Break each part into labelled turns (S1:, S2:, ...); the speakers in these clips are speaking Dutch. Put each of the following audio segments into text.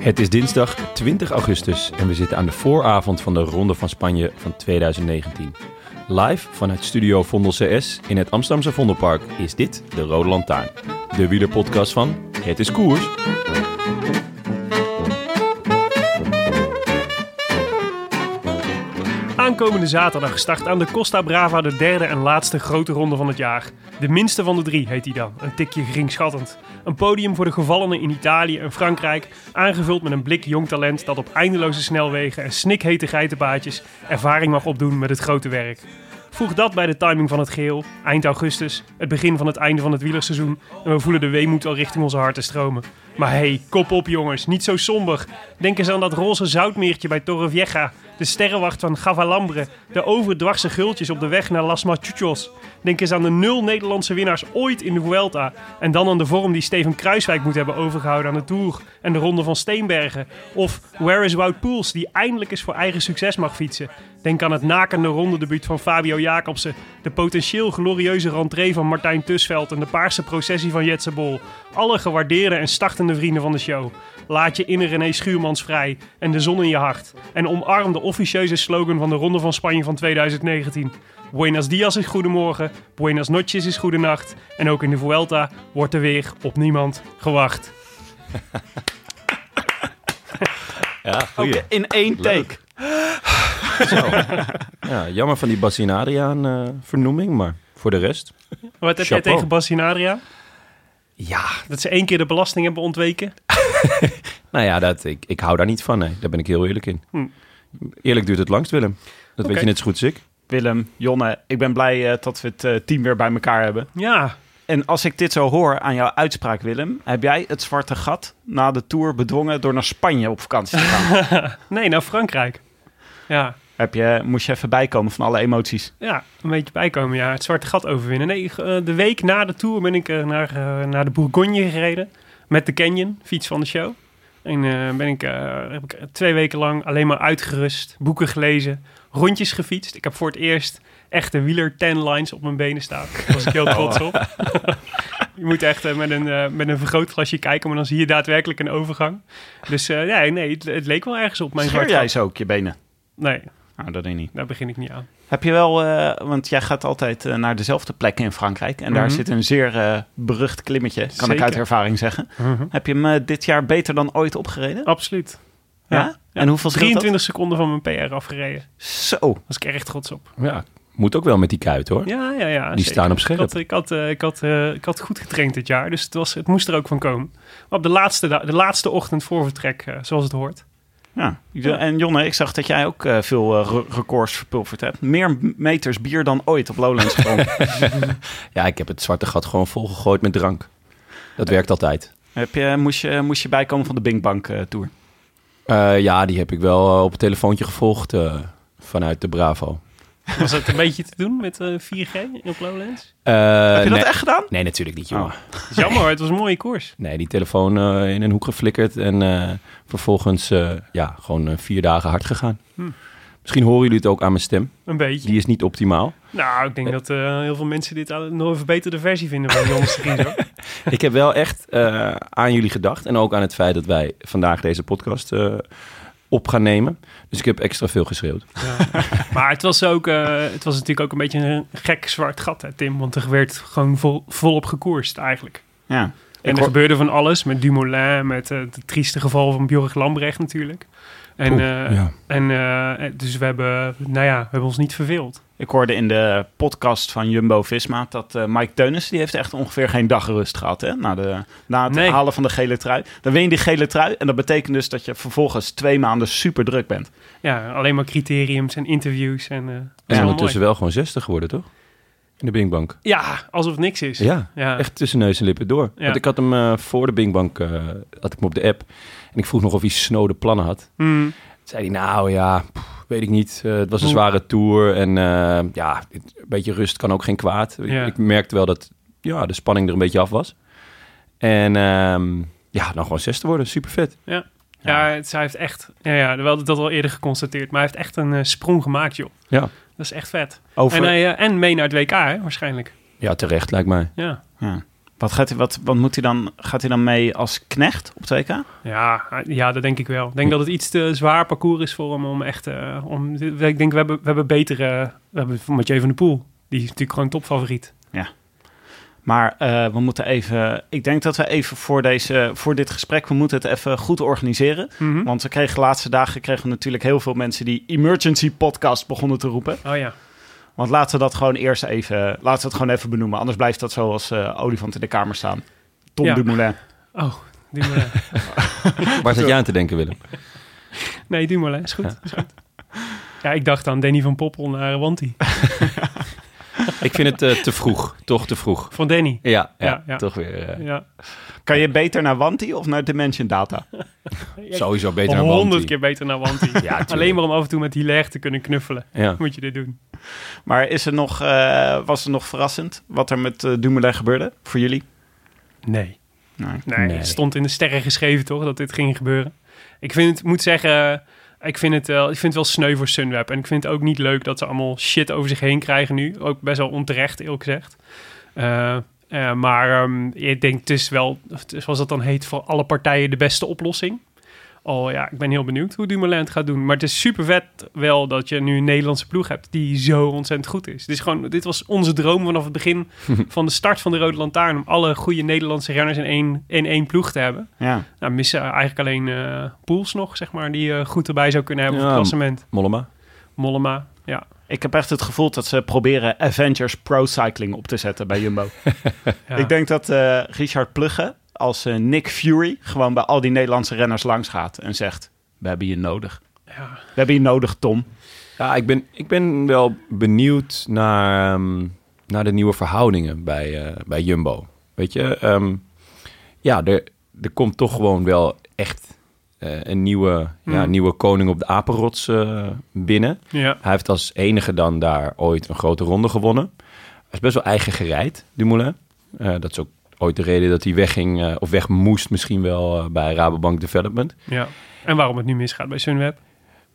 S1: Het is dinsdag 20 augustus en we zitten aan de vooravond van de Ronde van Spanje van 2019. Live vanuit Studio Vondel CS in het Amsterdamse Vondelpark is dit de Rode Lantaarn. De wielerpodcast van Het is Koers.
S2: Aankomende zaterdag start aan de Costa Brava de derde en laatste grote ronde van het jaar. De minste van de drie heet die dan, een tikje geringschattend. Een podium voor de gevallenen in Italië en Frankrijk, aangevuld met een blik jong talent dat op eindeloze snelwegen en snikhete geitenpaadjes ervaring mag opdoen met het grote werk. Voeg dat bij de timing van het geheel, eind augustus, het begin van het einde van het wielerseizoen en we voelen de weemoed al richting onze harten stromen. Maar hey, kop op jongens, niet zo somber. Denk eens aan dat roze zoutmeertje bij Torrevieja, de sterrenwacht van Gavalambre, de overdwarse gultjes op de weg naar Las Machuchos. Denk eens aan de nul Nederlandse winnaars ooit in de Vuelta en dan aan de vorm die Steven Kruiswijk moet hebben overgehouden aan de Tour en de Ronde van Steenbergen. Of Where is Wout Poels, die eindelijk eens voor eigen succes mag fietsen. Denk aan het nakende rondedebuut van Fabio Jacobsen, de potentieel glorieuze rentree van Martijn Tusveld en de paarse processie van Jetse Bol. Alle gewaardeerde en startende vrienden van de show. Laat je inner René Schuurmans vrij en de zon in je hart. En omarm de officieuze slogan van de Ronde van Spanje van 2019. Buenos dias is goedemorgen, buenas noches is goedenacht. En ook in de Vuelta wordt er weer op niemand gewacht.
S1: Ja, goeie.
S3: In één
S1: Leuk.
S3: take.
S1: Zo. Ja, jammer van die Bassinariaan-vernoeming, maar voor de rest...
S2: Wat heb jij
S1: Chapeau.
S2: tegen Bassinadria?
S1: Ja,
S2: Dat ze één keer de belasting hebben ontweken?
S1: nou ja, dat, ik, ik hou daar niet van. Hè. Daar ben ik heel eerlijk in.
S2: Hm.
S1: Eerlijk duurt het langst, Willem. Dat weet
S2: Oké.
S1: je net zo goed als ik.
S3: Willem, Jonne, ik ben blij eh, dat we het eh, team weer bij elkaar hebben.
S2: Ja,
S3: En als ik dit zo hoor aan jouw uitspraak, Willem, heb jij het zwarte gat na de Tour bedwongen door naar Spanje op vakantie te gaan?
S2: nee, naar Frankrijk. Ja,
S3: heb je, moest je even bijkomen van alle emoties?
S2: ja, een beetje bijkomen. Ja, het zwarte gat overwinnen. Nee, eh, de week na de Tour ben ik eh, naar, eh, naar de Bourgogne gereden. Met de Canyon, fiets van de show. En eh, ben ik, eh, heb ik twee weken lang alleen maar uitgerust, boeken gelezen, rondjes gefietst. Ik heb voor het eerst echte wieler ten lines op mijn benen staan. Daar was ik heel trots op. je moet echt eh, met, een, eh, met een vergrootglasje kijken, maar dan zie je daadwerkelijk een overgang. Dus eh, ja, nee, het, het leek wel ergens op mijn
S3: Scheer
S2: zwarte
S3: jij
S2: gat.
S3: zo ook je benen?
S2: Nee,
S3: Nou, dat denk ik niet.
S2: daar begin ik niet aan.
S3: Heb je wel, eh, want jij gaat altijd eh, naar dezelfde plekken in Frankrijk. En daar
S2: Mhm.
S3: zit een zeer eh, berucht klimmetje, kan ik
S2: Zeker.
S3: uit ervaring zeggen. Heb je hem eh, dit jaar beter dan ooit opgereden?
S2: Absoluut.
S3: Ja?
S2: ja.
S3: En hoeveel scheelt
S2: 23 seconden van mijn PR afgereden.
S3: dat? Zo.
S2: was ik erg trots op.
S1: Ja, moet ook wel met die kuit, hoor.
S2: Ja, ja, ja.
S1: Die staan op
S2: Ik
S1: scherp.
S2: had, ik, had, eh, ik, had, eh, ik had goed getraind dit jaar, dus het, was, het moest er ook van komen. Maar op de laatste, da- de laatste ochtend voor vertrek, eh, zoals het hoort.
S3: Ja. En Jonne, ik zag dat jij ook eh, veel eh, re- records verpulverd hebt. Meer m- meters bier dan ooit op Lowlands gewoon.
S1: Ja, ik heb het zwarte gat gewoon volgegooid met drank. Dat werkt altijd.
S3: heb je, moest, je, moest je bijkomen van de Bing Bang eh, Tour?
S1: Eh, ja, die heb ik wel eh, op het telefoontje gevolgd eh, vanuit de Bravo.
S2: Was dat een beetje te doen met eh, 4G op Lowlands?
S1: Eh,
S3: heb je
S1: nee,
S3: dat echt gedaan?
S1: Nee, natuurlijk niet, jongen.
S3: Oh.
S2: Jammer, hoor, het was een mooie koers.
S1: Nee, die telefoon eh, in
S3: Hm.
S1: een hoek geflikkerd en eh, vervolgens eh, ja, gewoon eh, vier dagen hard gegaan. Misschien horen jullie het ook aan mijn stem.
S2: Een beetje.
S1: Die is niet optimaal.
S2: Nou, ik denk dat eh, heel veel mensen dit al- nog een verbeterde versie vinden van Jon Stries, hoor.
S1: Ik heb wel echt eh, aan jullie gedacht. En ook aan het feit dat wij vandaag deze podcast eh, op gaan nemen. Dus ik heb extra veel geschreeuwd.
S2: Maar het was, ook, eh, het was natuurlijk ook een beetje een gek zwart gat, hè, Tim. Want er werd gewoon vol, volop gekoerst, eigenlijk.
S3: Ja.
S2: En
S1: Ik
S2: er
S3: dus
S1: hoor-
S2: gebeurde van alles met Dumoulin, met eh, het trieste geval van Björk Lambrecht natuurlijk. En,
S1: Oeh,
S2: eh, en eh, dus we hebben, nou ja, we hebben ons niet verveeld.
S3: Ik hoorde in de podcast van Jumbo Visma dat eh, Mike Teunissen, die heeft echt ongeveer geen dag rust gehad. Hè? Na, de, na het
S2: Nee.
S3: halen van de gele trui. Dan win je die gele trui en dat betekent dus dat je vervolgens twee maanden super druk bent.
S2: Ja, alleen maar criteriums en interviews en... eh, dat is
S1: En
S2: wel
S1: ondertussen
S2: mooi.
S1: wel gewoon 60 geworden, toch? In de Bingbank.
S2: Ja, alsof niks is.
S1: Ja,
S2: Ja.
S1: echt tussen neus en lippen door.
S2: Ja.
S1: Want ik had hem eh, voor de Bingbank eh, had ik hem op de app. En ik vroeg nog of hij snode plannen had.
S2: Mm.
S1: Toen zei hij, nou ja, pff, weet ik niet. Eh, het was een
S2: Oeh.
S1: zware tour. En eh, ja, dit- een beetje rust kan ook geen kwaad. Ik-
S2: Ja.
S1: Ik, merkte wel dat ja, de spanning er een beetje af was. En ehm, ja, dan gewoon zes te worden. Super vet.
S2: Ja, het, hij heeft echt... Ja, ja, we hadden dat al eerder geconstateerd. Maar hij heeft echt een eh, sprong gemaakt, joh.
S1: Ja.
S2: Dat is echt vet.
S3: Over,
S2: En, hij, eh, en mee naar het WK, hè, waarschijnlijk.
S1: ja, terecht lijkt mij.
S2: Ja,
S3: ja. wat, gaat hij, wat, wat moet hij dan? Gaat hij dan mee als knecht op 2K?
S2: ja, eh, ja dat denk ik wel. Ik denk dat het iets te zwaar parcours is voor hem om echt... eh, om, ik denk, we hebben, we hebben betere... We hebben Mathieu van der Poel. Die is natuurlijk gewoon topfavoriet.
S3: Maar eh, we moeten even. Ik denk dat we even voor, deze, voor dit gesprek. We moeten het even goed organiseren.
S2: Mhm.
S3: Want we kregen de laatste dagen kregen we natuurlijk heel veel mensen die emergency podcast begonnen te roepen.
S2: Oh ja.
S3: Want laten we dat gewoon eerst even, laten we het gewoon even benoemen. Anders blijft dat zo als eh, olifant in de kamer staan. Tom
S2: Ja.
S3: Dumoulin.
S2: Oh, Dumoulin.
S1: Waar zat je aan te denken, Willem?
S2: nee, Dumoulin. Is goed. Is goed. Ja, ik dacht aan Danny van Poppel naar Wanti.
S1: ik vind het eh, te vroeg. Toch te vroeg.
S2: Van Danny.
S1: Ja, ja,
S2: Ja, ja.
S1: toch weer. eh,
S2: Ja.
S3: Kan je beter naar Wanti of naar Dimension Data?
S1: Sowieso beter dan
S2: Honderd
S1: Wanty.
S2: keer beter naar Wanti.
S1: tuurlijk.
S2: Alleen maar om af en toe met Hilaire te kunnen knuffelen.
S1: Ja.
S2: Moet je dit doen.
S3: Maar is er nog, eh, was er nog verrassend wat er met eh, Dumoulin gebeurde voor jullie?
S2: Nee.
S3: Nee.
S2: Nee,
S1: Nee.
S2: het stond in de sterren geschreven toch, dat dit ging gebeuren. Ik vind het, moet zeggen, ik vind het, wel, ik vind het wel sneu voor Sunweb. En ik vind het ook niet leuk dat ze allemaal shit over zich heen krijgen nu. Ook best wel onterecht, eerlijk gezegd. Eh, eh, maar ehm, ik denk, het is wel, het is, zoals dat dan heet, voor alle partijen de beste oplossing. Oh ja, ik ben heel benieuwd hoe Dumoulin het gaat doen. Maar het is super vet wel dat je nu een Nederlandse ploeg hebt die zo ontzettend goed is. Dit, is gewoon, dit was onze droom vanaf het begin van de start van de Rode Lantaarn... om alle goede Nederlandse renners in één, in één ploeg te hebben.
S3: Ja.
S2: Nou, missen eigenlijk alleen eh Poels nog, zeg maar, die eh, goed erbij zou kunnen hebben op
S1: Ja.
S2: het klassement.
S1: Mollema.
S2: Mollema, ja.
S3: Ik heb echt het gevoel dat ze proberen Avengers Pro Cycling op te zetten bij Jumbo.
S2: ja.
S3: Ik denk dat eh, Richard Plugge als eh, Nick Fury gewoon bij al die Nederlandse renners langs gaat en zegt: We hebben je nodig.
S2: Ja.
S3: We hebben je nodig, Tom.
S1: Ja, ik ben, ik ben wel benieuwd naar, ehm, naar de nieuwe verhoudingen bij, eh, bij Jumbo. Weet je, ehm, ja, er, er komt toch gewoon wel echt eh, een nieuwe, ja,
S2: Mm.
S1: nieuwe koning op de apenrots eh, binnen.
S2: ja.
S1: Hij heeft als enige dan daar ooit een grote ronde gewonnen. Hij is best wel eigen gereid, Dumoulin. Eh dat is ook ooit de reden dat hij wegging, eh, of weg moest misschien wel eh, bij Rabobank Development.
S2: Ja. En waarom het nu misgaat bij Sunweb?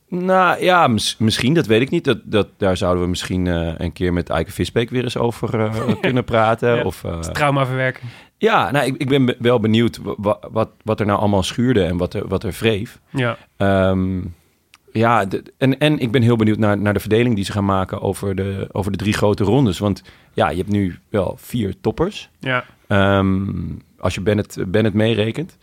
S1: Nou ja, mis- misschien, dat weet ik niet. Dat, dat, daar zouden we misschien eh, een keer met Eike Visbeek weer eens over eh, kunnen praten.
S2: Ja.
S1: Of, eh,
S2: Traumaverwerking.
S1: ja, nou, ik, ik ben be- wel benieuwd wa- wa- wat, wat er nou allemaal schuurde en wat er, wat er wreef.
S2: Ja.
S1: Ehm, ja, de- en, en ik ben heel benieuwd naar, naar de verdeling die ze gaan maken over de, over de drie grote rondes. Want ja, je hebt nu wel vier toppers.
S2: Ja.
S1: Ehm, als je Bennett, Bennett meerekent.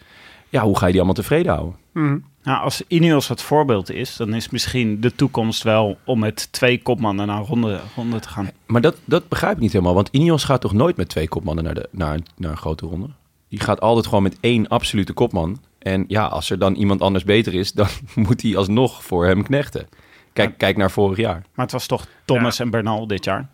S1: Ja, hoe ga je die allemaal tevreden houden?
S2: Mhm.
S3: Nou, als Ineos het voorbeeld is, dan is misschien de toekomst wel om met twee kopmannen naar een ronde, ronde te gaan.
S1: Maar dat, dat begrijp ik niet helemaal. Want Ineos gaat toch nooit met twee kopmannen naar, de, naar, naar een grote ronde? Die gaat altijd gewoon met één absolute kopman. En ja, als er dan iemand anders beter is, dan moet hij alsnog voor hem knechten. Kijk, kijk naar vorig jaar.
S3: Maar het was toch Thomas en Bernal dit jaar?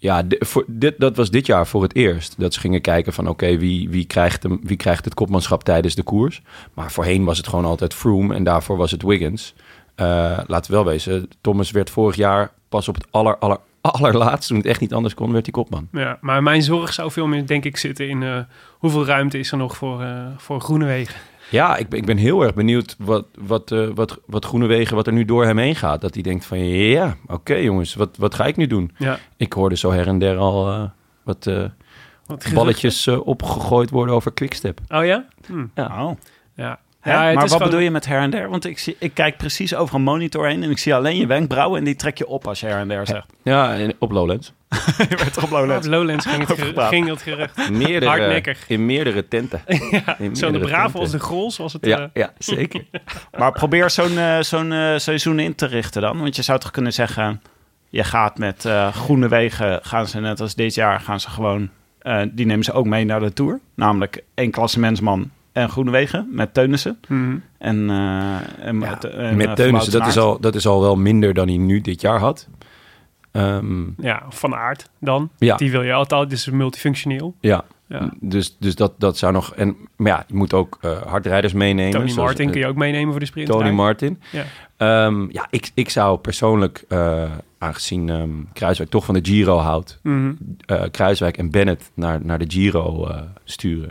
S1: Ja, di- voor, dit, dat was dit jaar voor het eerst. Dat ze gingen kijken van oké, wie, wie, krijgt hem, wie krijgt het kopmanschap tijdens de koers? Maar voorheen was het gewoon altijd Froome en daarvoor was het Wiggins. Eh, laten we wel wezen, Thomas werd vorig jaar pas op het aller, aller, allerlaatst, toen het echt niet anders kon, werd hij kopman.
S2: ja. Maar mijn zorg zou veel meer, denk ik, zitten in eh, hoeveel ruimte is er nog voor, eh voor Groenewegen.
S1: Ja, ik, ben- ik ben heel erg benieuwd wat, wat, eh, wat, wat Groenewegen, wat er nu door hem heen gaat. Dat hij denkt van, ja, oké jongens, wat, wat ga ik nu doen?
S2: Ja.
S1: Ik hoorde zo her en der al eh, wat eh,
S2: Wat
S1: balletjes eh, opgegooid worden over Quickstep.
S2: Oh ja? Hm.
S3: Oh.
S2: Ja.
S3: Hè?
S2: Ja, het
S3: maar
S2: is
S3: wat
S2: gewoon-
S3: bedoel je met her en der? Want ik, zie, ik kijk precies over een monitor heen en ik zie alleen je wenkbrauwen en die trek je op als je her en der zegt.
S1: Ja, en op Lowlands.
S3: je werd erop low
S2: Op Lowlands ging het, geru-
S3: Opgepraat.
S2: ging het gerucht.
S1: Meerdere,
S2: Hardnekkig.
S1: in meerdere tenten. In
S2: Zo de
S1: meerdere
S2: Bravo
S1: tenten.
S2: als de Grols was het. eh,
S1: Ja, ja, zeker.
S3: Maar probeer zo'n eh, zo'n eh, seizoen in te richten dan. Want je zou toch kunnen zeggen, je gaat met eh, Groene Wegen, gaan ze net als dit jaar, gaan ze gewoon, eh, die nemen ze ook mee naar de Tour. Namelijk één klasse mensman en Groene Wegen met Teunissen.
S2: hm.
S3: En, eh, en,
S2: Ja,
S3: en, eh,
S1: Mhm. Met Teunissen, dat
S3: Wout
S1: is,
S3: van Aert.
S1: al, dat is al wel minder dan hij nu dit jaar had. Ehm,
S2: Ja, van aard dan.
S1: Ja.
S2: Die wil je altijd. Dus multifunctioneel.
S1: ja,
S2: Ja.
S1: dus, dus dat, dat zou nog... En, maar ja, je moet ook eh, hardrijders meenemen.
S2: Tony
S1: zoals,
S2: Martin
S1: eh,
S2: kun je ook meenemen voor de sprint.
S1: Tony Martin.
S2: Ja.
S1: Ehm, ja, ik, ik zou persoonlijk, eh, aangezien ehm Kruiswijk toch van de Giro houdt...
S2: Mhm.
S1: eh, Kruiswijk en Bennett naar, naar de Giro eh, sturen.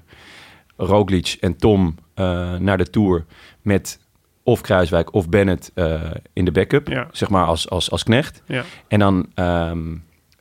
S1: Roglic en Tom eh, naar de Tour met of Kruiswijk of Bennett eh, in de backup.
S2: Ja.
S1: Zeg maar als, als, als knecht.
S2: Ja.
S1: En dan ehm,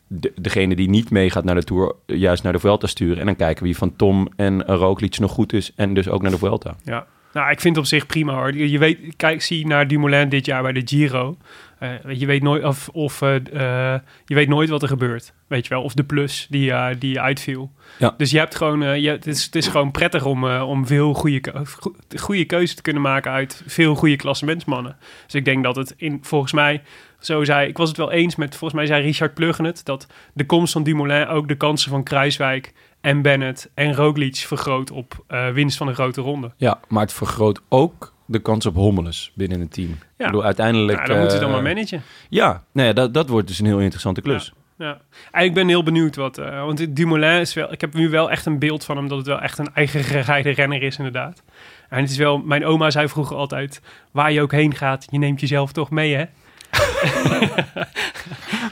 S1: de, degene die niet meegaat naar de Tour, eh, juist naar de Vuelta sturen. En dan kijken wie van Tom en eh, Roglic nog goed is. En dus ook naar de Vuelta.
S2: Ja. Nou, ik vind het op zich prima hoor. Je je weet, kijk, zie naar Dumoulin dit jaar bij de Giro. Eh, je weet nooit of, of eh, eh, je weet nooit wat er gebeurt, weet je wel? Of de plus die, eh, die uitviel.
S1: Ja.
S2: Dus je hebt gewoon, eh, je, het, is, het is gewoon prettig om, eh, om veel goede, keu- go- goede keuze te kunnen maken uit veel goede klassementsmannen. Dus ik denk dat het in, volgens mij, zo zei, ik was het wel eens met, volgens mij zei Richard Pluggen het, dat de komst van Dumoulin ook de kansen van Kruiswijk en Bennett en Roglic vergroot op eh, winst van een grote ronde.
S1: Ja, maar het vergroot ook de kans op hommeles binnen het team. Ik bedoel, uiteindelijk...
S2: Ja, dan moeten ze
S1: eh,
S2: dan maar managen.
S1: Ja, nee, dat, dat wordt dus een heel interessante klus.
S2: Ja. En ik ben heel benieuwd wat. eh, want Dumoulin is wel. Ik heb nu wel echt een beeld van hem dat het wel echt een eigen gerijde renner is, inderdaad. En het is wel. Mijn oma zei vroeger altijd: waar je ook heen gaat, je neemt jezelf toch mee, hè?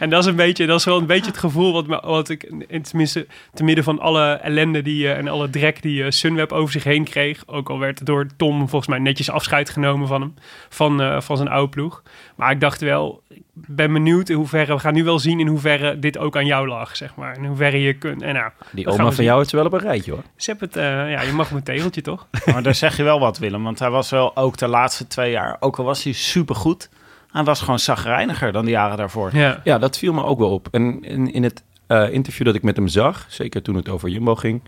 S2: en dat is een beetje, dat is wel een beetje het gevoel wat, me- wat ik, in- tenminste, te midden van alle ellende die, eh, en alle drek die eh, Sunweb over zich heen kreeg, ook al werd door Tom volgens mij netjes afscheid genomen van hem, van, eh, van zijn oude ploeg. Maar ik dacht wel, ik ben benieuwd in hoeverre, we gaan nu wel zien in hoeverre dit ook aan jou lag, zeg maar. In hoeverre je kunt, en nou,
S1: Die
S2: Dat
S1: oma
S2: gaan we
S1: van
S2: zien.
S1: jou heeft ze wel op een rijtje, hoor.
S2: ze hebben het, eh, ja, je mag mijn tegeltje toch?
S3: Maar daar zeg je wel wat, Willem. Want hij was wel ook de laatste twee jaar, ook al was hij supergoed, hij was gewoon zagrijniger dan de jaren daarvoor.
S2: Ja.
S1: Ja, dat viel me ook wel op. En in, in het eh, interview dat ik met hem zag, zeker toen het over Jumbo ging...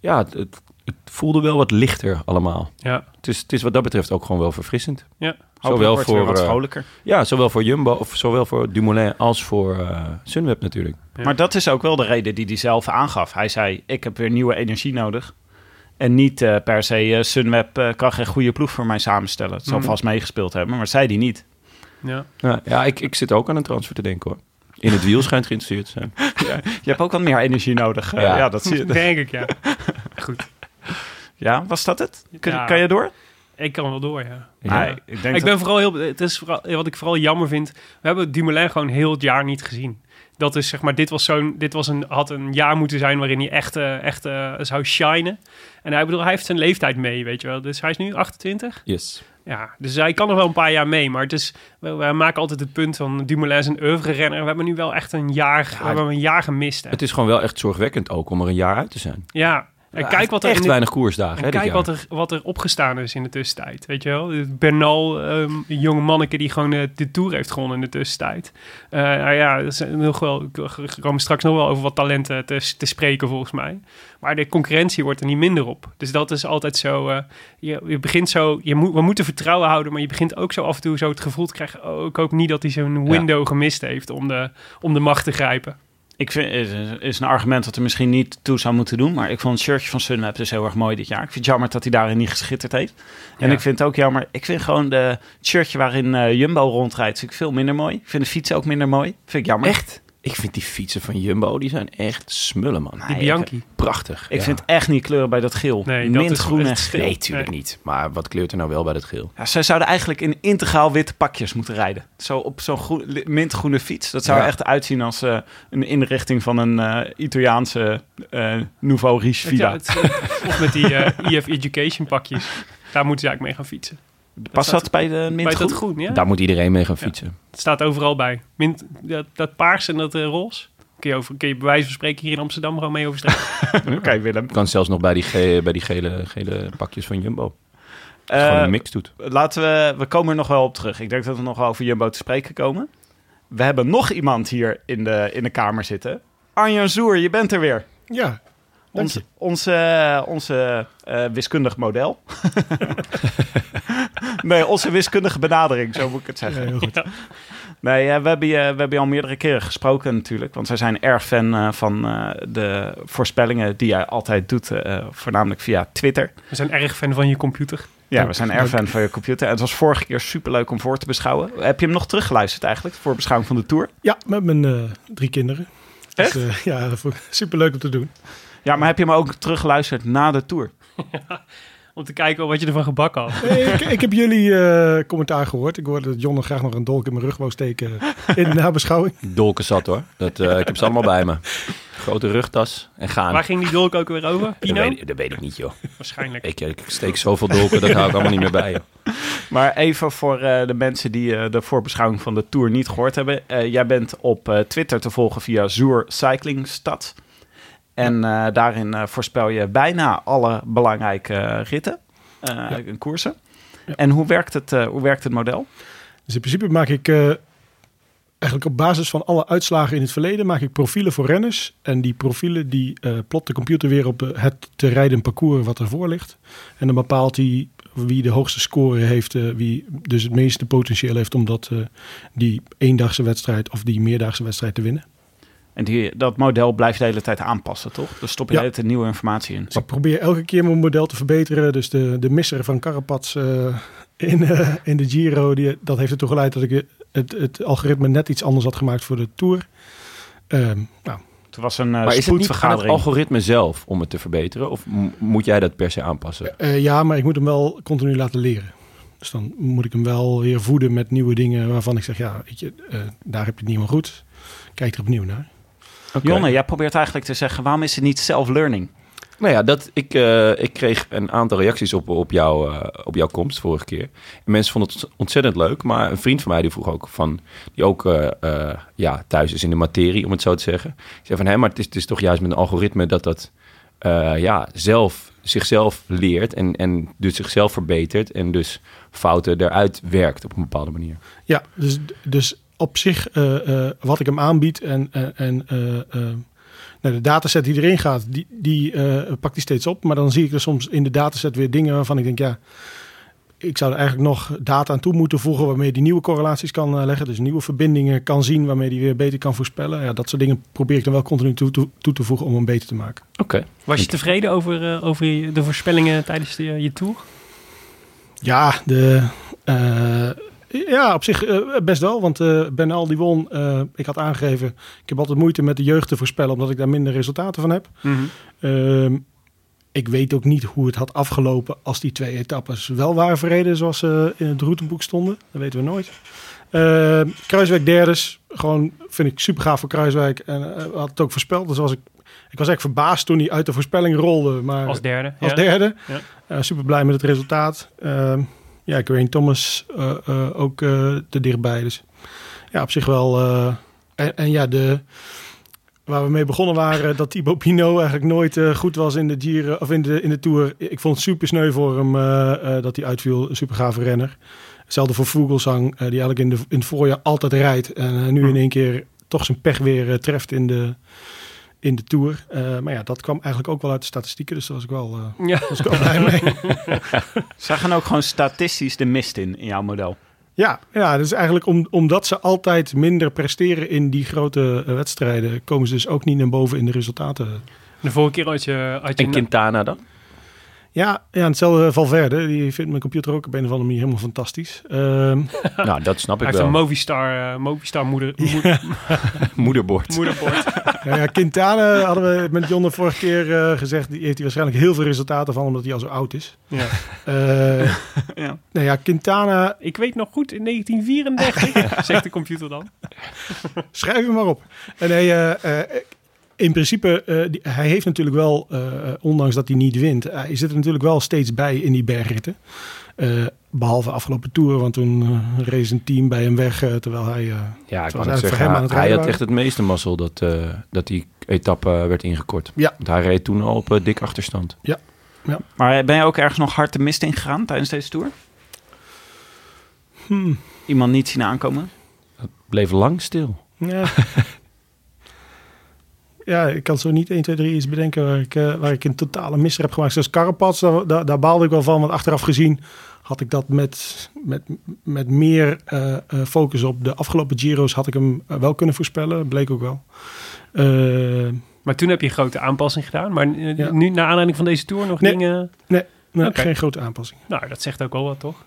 S1: Ja, het, het, het voelde wel wat lichter allemaal.
S2: Ja.
S1: Het is, het is wat dat betreft ook gewoon wel verfrissend.
S2: Ja.
S3: Hopelijk
S1: Zowel
S3: wordt het weer
S1: voor,
S3: wat
S1: eh,
S3: vrolijker.
S1: Ja, zowel voor Jumbo, of zowel voor Dumoulin als voor eh, Sunweb natuurlijk.
S2: Ja.
S3: Maar dat is ook wel de reden die hij zelf aangaf. Hij zei, ik heb weer nieuwe energie nodig. En niet eh, per se, eh, Sunweb eh, kan geen goede ploeg voor mij samenstellen. Het zal
S2: Mm.
S3: vast meegespeeld hebben, maar dat zei hij niet.
S2: ja.
S1: Ja, ja ik, ik zit ook aan een transfer te denken, hoor. In het wiel schijnt geïnteresseerd te zijn.
S3: Je hebt ook wat meer energie nodig. Eh,
S1: Ja.
S3: ja. dat zie je.
S2: Denk ik, ja. Goed.
S3: Ja, was dat het? Kun,
S2: Ja.
S3: Kan je door?
S2: Ik kan wel door, ja.
S1: Ja.
S3: Nee, ik denk
S2: Ik
S3: dat-
S2: ben vooral heel. Het is vooral, wat ik vooral jammer vind. We hebben Dumoulin gewoon heel het jaar niet gezien. Dat is zeg maar. Dit was zo'n. Dit was een, had een jaar moeten zijn waarin hij echt, eh, echt eh, zou shinen. En hij bedoel, hij heeft zijn leeftijd mee, weet je wel. Dus hij is nu 28.
S1: Yes.
S2: Ja, dus hij kan nog wel een paar jaar mee. Maar het is. We, we maken altijd het punt van Dumoulin is een oeuvre-renner. We hebben nu wel echt een jaar. we hebben een jaar gemist. Hè.
S1: Het is gewoon wel echt zorgwekkend ook om er een jaar uit te zijn.
S2: ja. En kijk wat er in
S1: Echt
S2: dit-
S1: weinig koersdagen, hè,
S2: En
S1: dit
S2: kijk
S1: jaar.
S2: wat er, wat er opgestaan is in de tussentijd. Weet je wel? Bernal, ehm, een jonge manneke die gewoon eh, de Tour heeft gewonnen in de tussentijd. Eh, nou ja, er zijn nog wel, ik kom straks nog wel over wat talenten te, te spreken volgens mij. Maar de concurrentie wordt er niet minder op. Dus dat is altijd zo. eh, je, je begint zo, je moet, we moeten vertrouwen houden, maar je begint ook zo af en toe zo het gevoel te krijgen. Oh, ik hoop niet dat hij zo'n window gemist heeft om de, om de macht te grijpen.
S3: Ik vind, is- is een argument dat er misschien niet toe zou moeten doen. Maar ik vond het shirtje van Sunweb dus heel erg mooi dit jaar. Ik vind het jammer dat hij daarin niet geschitterd heeft. En
S2: Ja.
S3: ik vind het ook jammer. Ik vind gewoon de het shirtje waarin eh, Jumbo rondrijdt vind ik veel minder mooi. Ik vind de fiets ook minder mooi. Vind ik jammer.
S1: Echt? Ik vind die fietsen van Jumbo, die zijn echt smullen, man.
S2: Die
S3: Nee,
S2: Bianchi.
S1: Prachtig.
S3: Ik
S1: ja.
S3: vind echt niet kleuren bij dat geel.
S2: Nee, dat
S3: Mint
S2: is
S3: groen en
S2: echt
S3: geel.
S2: veel.
S1: Nee, tuurlijk niet. Maar wat kleurt er nou wel bij dat geel?
S3: Ja, zij zouden eigenlijk in integraal witte pakjes moeten rijden. Zo op zo'n groen, li- mintgroene fiets. Dat zou
S1: Ja.
S3: er echt uitzien als eh, een inrichting van een eh, Italiaanse eh, Nouveau Riche Vida.
S2: Ja, het- of met die eh, EF E Education pakjes. Daar moeten ze eigenlijk mee gaan fietsen.
S3: Past
S2: staat-
S3: dat bij de
S2: Bij dat
S3: mintgroep?
S2: groen, ja?
S1: Daar moet iedereen mee gaan fietsen.
S2: Het staat overal bij. Mint, dat, dat paars en dat eh, roze. Kun je, over, kun je bij wijze van spreken hier in Amsterdam gewoon mee over straat.
S3: Oké, Willem.
S1: Kan zelfs nog bij die, ge- bij die gele, gele pakjes van Jumbo. Als je
S3: Eh,
S1: gewoon een mix doet.
S3: Laten we, we komen er nog wel op terug. Ik denk dat we nog wel over Jumbo te spreken komen. We hebben nog iemand hier in de, in de kamer zitten. Arjan Zoer, je bent er weer.
S4: Ja,
S3: Ons,
S4: je.
S3: onze eh, onze eh, wiskundig model. nee, onze wiskundige benadering, zo moet ik het
S4: ja,
S3: zeggen.
S4: heel goed.
S3: Nee, eh, we, hebben je, we hebben je al meerdere keren gesproken natuurlijk. Want wij zijn erg fan eh, van eh, de voorspellingen die jij altijd doet. eh, voornamelijk via Twitter.
S2: We zijn erg fan van je computer.
S3: Ja, we zijn erg fan van je computer. En het was vorige keer superleuk om voor te beschouwen. Heb je hem nog teruggeluisterd eigenlijk? Voor beschouwing van de tour?
S4: Ja, met mijn eh, drie kinderen. Dus, eh, ja, dat vond ik superleuk om te doen.
S3: Ja, maar heb je hem ook teruggeluisterd na de tour?
S2: Om te kijken wat je ervan gebakken had.
S1: Nou,
S4: Hey, ik, ik heb jullie eh, commentaar gehoord. Ik hoorde dat John nog graag nog een dolk in mijn rug wou steken in de nabeschouwing.
S1: Dolken zat hoor. Dat, eh, ik heb ze allemaal bij me. Grote rugtas en gaan.
S2: Waar ging die dolk ook weer over?
S1: dat,
S2: Pino?
S1: weet, dat weet ik niet joh.
S2: Waarschijnlijk.
S1: Ik, eh, ik steek zoveel dolken, dat hou ik allemaal niet meer bij. joh.
S3: Maar even voor eh, de mensen die eh, de voorbeschouwing van de tour niet gehoord hebben. Eh, jij bent op eh, Twitter te volgen via Zoer Cycling Stad. En eh, daarin eh, voorspel je bijna alle belangrijke eh, ritten eh, en koersen. En hoe werkt, het, eh, hoe werkt het model?
S4: Dus in principe maak ik eh, eigenlijk op basis van alle uitslagen in het verleden... maak ik profielen voor renners. En die profielen die eh, plot de computer weer op eh, het te rijden parcours wat ervoor ligt. En dan bepaalt hij wie de hoogste score heeft. eh, wie dus het meeste potentieel heeft om dat, eh, die eendagse wedstrijd of die meerdaagse wedstrijd te winnen.
S3: En die, dat model blijft de hele tijd aanpassen, toch? Dus stop je
S4: Ja.
S3: de hele tijd nieuwe informatie in.
S4: Dus ik probeer elke keer mijn model te verbeteren. Dus de, de misser van Carapaz eh, in, eh, in de Giro, die, dat heeft ertoe geleid dat ik eh, het, het algoritme net iets anders had gemaakt voor de Tour. Ehm, nou,
S3: Het was een eh,
S1: Maar is het niet aan het
S3: spoedvergadering.
S1: algoritme zelf om het te verbeteren? Of m- moet jij dat per se aanpassen?
S4: eh, ja, maar ik moet hem wel continu laten leren. Dus dan moet ik hem wel weer voeden met nieuwe dingen waarvan ik zeg, ja, weet je, eh, daar heb je het niet meer goed. Kijk er opnieuw naar.
S3: Jonne, jij probeert eigenlijk te zeggen, waarom is het niet self-learning?
S1: Nou ja, dat, ik, eh, ik kreeg een aantal reacties op, op, jou, eh, op jouw komst vorige keer. En mensen vonden het ontzettend leuk. Maar een vriend van mij die vroeg ook van... die ook eh, eh, ja, thuis is in de materie, om het zo te zeggen. Die zei van, hé, maar het is, het is toch juist met een algoritme... dat dat eh, ja, zelf, zichzelf leert en, en dus zichzelf verbetert... en dus fouten eruit werkt op een bepaalde manier.
S4: Ja, dus, dus op zich eh, eh, wat ik hem aanbied en, en, en eh, eh, nou, de dataset die erin gaat, die, die eh, pakt die steeds op. Maar dan zie ik er soms in de dataset weer dingen waarvan ik denk, ja, ik zou er eigenlijk nog data aan toe moeten voegen waarmee die nieuwe correlaties kan eh, leggen. Dus nieuwe verbindingen kan zien waarmee die weer beter kan voorspellen. Ja, dat soort dingen probeer ik dan wel continu toe, toe, toe te voegen om hem beter te maken.
S1: Oké.
S2: Was je tevreden over, eh, over je- de voorspellingen tijdens de, eh, je tour?
S4: Ja, de, eh, ja op zich eh, best wel. Want eh Ben Al die won. eh, ik had aangegeven, ik heb altijd moeite met de jeugd te voorspellen, omdat ik daar minder resultaten van heb.
S1: Mhm.
S4: Ehm, ik weet ook niet hoe het had afgelopen als die twee etappes wel waren verreden zoals ze in het routeboek stonden. Dat weten we nooit. Ehm, Kruiswijk derdes, gewoon vind ik super gaaf voor Kruiswijk. En eh, had het ook voorspeld. Dus was ik, ik was echt verbaasd toen hij uit de voorspelling rolde. Maar
S2: Als derde.
S4: als
S2: ja.
S4: derde.
S2: Ja.
S4: super blij met het resultaat. Ehm, ja, Green Thomas eh, eh, ook eh, te dichtbij. Dus ja, op zich wel. eh, en, en ja, de, waar we mee begonnen waren, dat Thibaut Pinot eigenlijk nooit eh, goed was in de, Giro, of in, de, in de Tour. Ik vond het super sneu voor hem eh, eh, dat hij uitviel. Een super gave renner. Hetzelfde voor Vogelsang, eh, die eigenlijk in, de, in het voorjaar altijd rijdt. En eh,
S2: Hm.
S4: nu in één keer toch zijn pech weer eh, treft in de, in de Tour. Eh, maar ja, dat kwam eigenlijk ook wel uit de statistieken. Dus dat was ik wel... eh,
S2: Ja.
S4: was ik wel blij mee.
S3: Zij gaan ook gewoon statistisch de mist in, in jouw model.
S4: Ja, ja dus eigenlijk om, omdat ze altijd minder presteren in die grote eh, wedstrijden, komen ze dus ook niet naar boven in de resultaten.
S2: De vorige keer had je... Had je
S1: En Quintana dan?
S4: Ja, ja en hetzelfde eh, Valverde, die vindt mijn computer ook op een of andere manier helemaal fantastisch. Ehm,
S1: nou, dat snap
S2: hij
S1: ik
S2: heeft een
S1: wel.
S2: Movistar, eh Movistar moeder, moed-
S1: Moederbord.
S2: moederbord.
S4: nou ja, ja, Quintana hadden we met John de vorige keer eh, gezegd, die heeft hij waarschijnlijk heel veel resultaten van, omdat hij al zo oud is.
S2: Ja.
S4: Eh,
S3: Ja.
S4: Nou ja, Quintana,
S2: Ik weet nog goed, in 1934, zegt de computer dan.
S4: schrijf hem maar op. En nee, eh, eh, in principe, eh, die- hij heeft natuurlijk wel, eh, ondanks dat hij niet wint, eh, hij zit er natuurlijk wel steeds bij in die bergritten. Eh, behalve afgelopen toeren, want toen eh, race een team bij hem weg, eh, terwijl hij...
S1: Ja,
S4: eh,
S1: ik
S4: was
S1: kan het
S4: eigenlijk voor
S1: zeggen.
S4: hem aan
S1: Hij,
S4: het
S1: hij
S4: rijden
S1: had echt
S4: waren.
S1: het meeste mazzel dat, eh, dat die etappe werd ingekort.
S4: Ja.
S1: Want hij reed toen al op eh, dik achterstand.
S3: Maar ben je ook ergens nog hard de mist ingegaan tijdens deze tour?
S4: hmm,
S3: Iemand niet zien aankomen?
S1: Bleef lang stil.
S4: ja. ja, ik kan zo niet 1, 2, 3 iets bedenken waar ik, eh, waar ik een totale misser heb gemaakt. Zoals Carapaz, daar, daar, daar baalde ik wel van, want achteraf gezien had ik dat met, met, met meer eh, eh, focus op de afgelopen Giro's had ik hem eh, wel kunnen voorspellen. Bleek ook wel. Eh,
S2: Maar toen heb je een grote aanpassing gedaan. Maar eh,
S4: Ja.
S2: nu, naar aanleiding van deze tour, nog
S4: Nee.
S2: dingen...
S4: nee,
S2: Oké.
S4: Geen grote aanpassing.
S2: Nou, dat zegt ook wel wat, toch?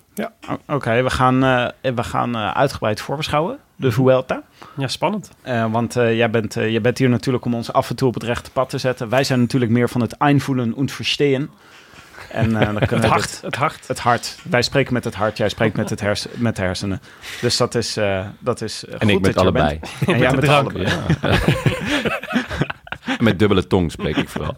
S3: O- Oké, we gaan, eh, we gaan eh, uitgebreid voorbeschouwen. De Vuelta.
S2: Ja, spannend.
S3: Eh, want eh, jij, bent, eh, jij bent hier natuurlijk om ons af en toe op het rechte pad te zetten. Wij zijn natuurlijk meer van het einvoelen en verstehen. En eh, dan kunnen
S2: Het
S3: we
S2: hart,
S3: dit-
S2: het hart.
S3: het hart. Wij spreken met het hart, jij spreekt met, het hersen, met de hersenen. Dus dat is, eh, dat is eh,
S1: En
S3: goed
S1: ik met
S3: dat je er
S1: allebei.
S3: bent. En jij
S2: de
S3: met
S2: drank.
S3: allebei.
S1: Ja. En met dubbele tong spreek ik vooral.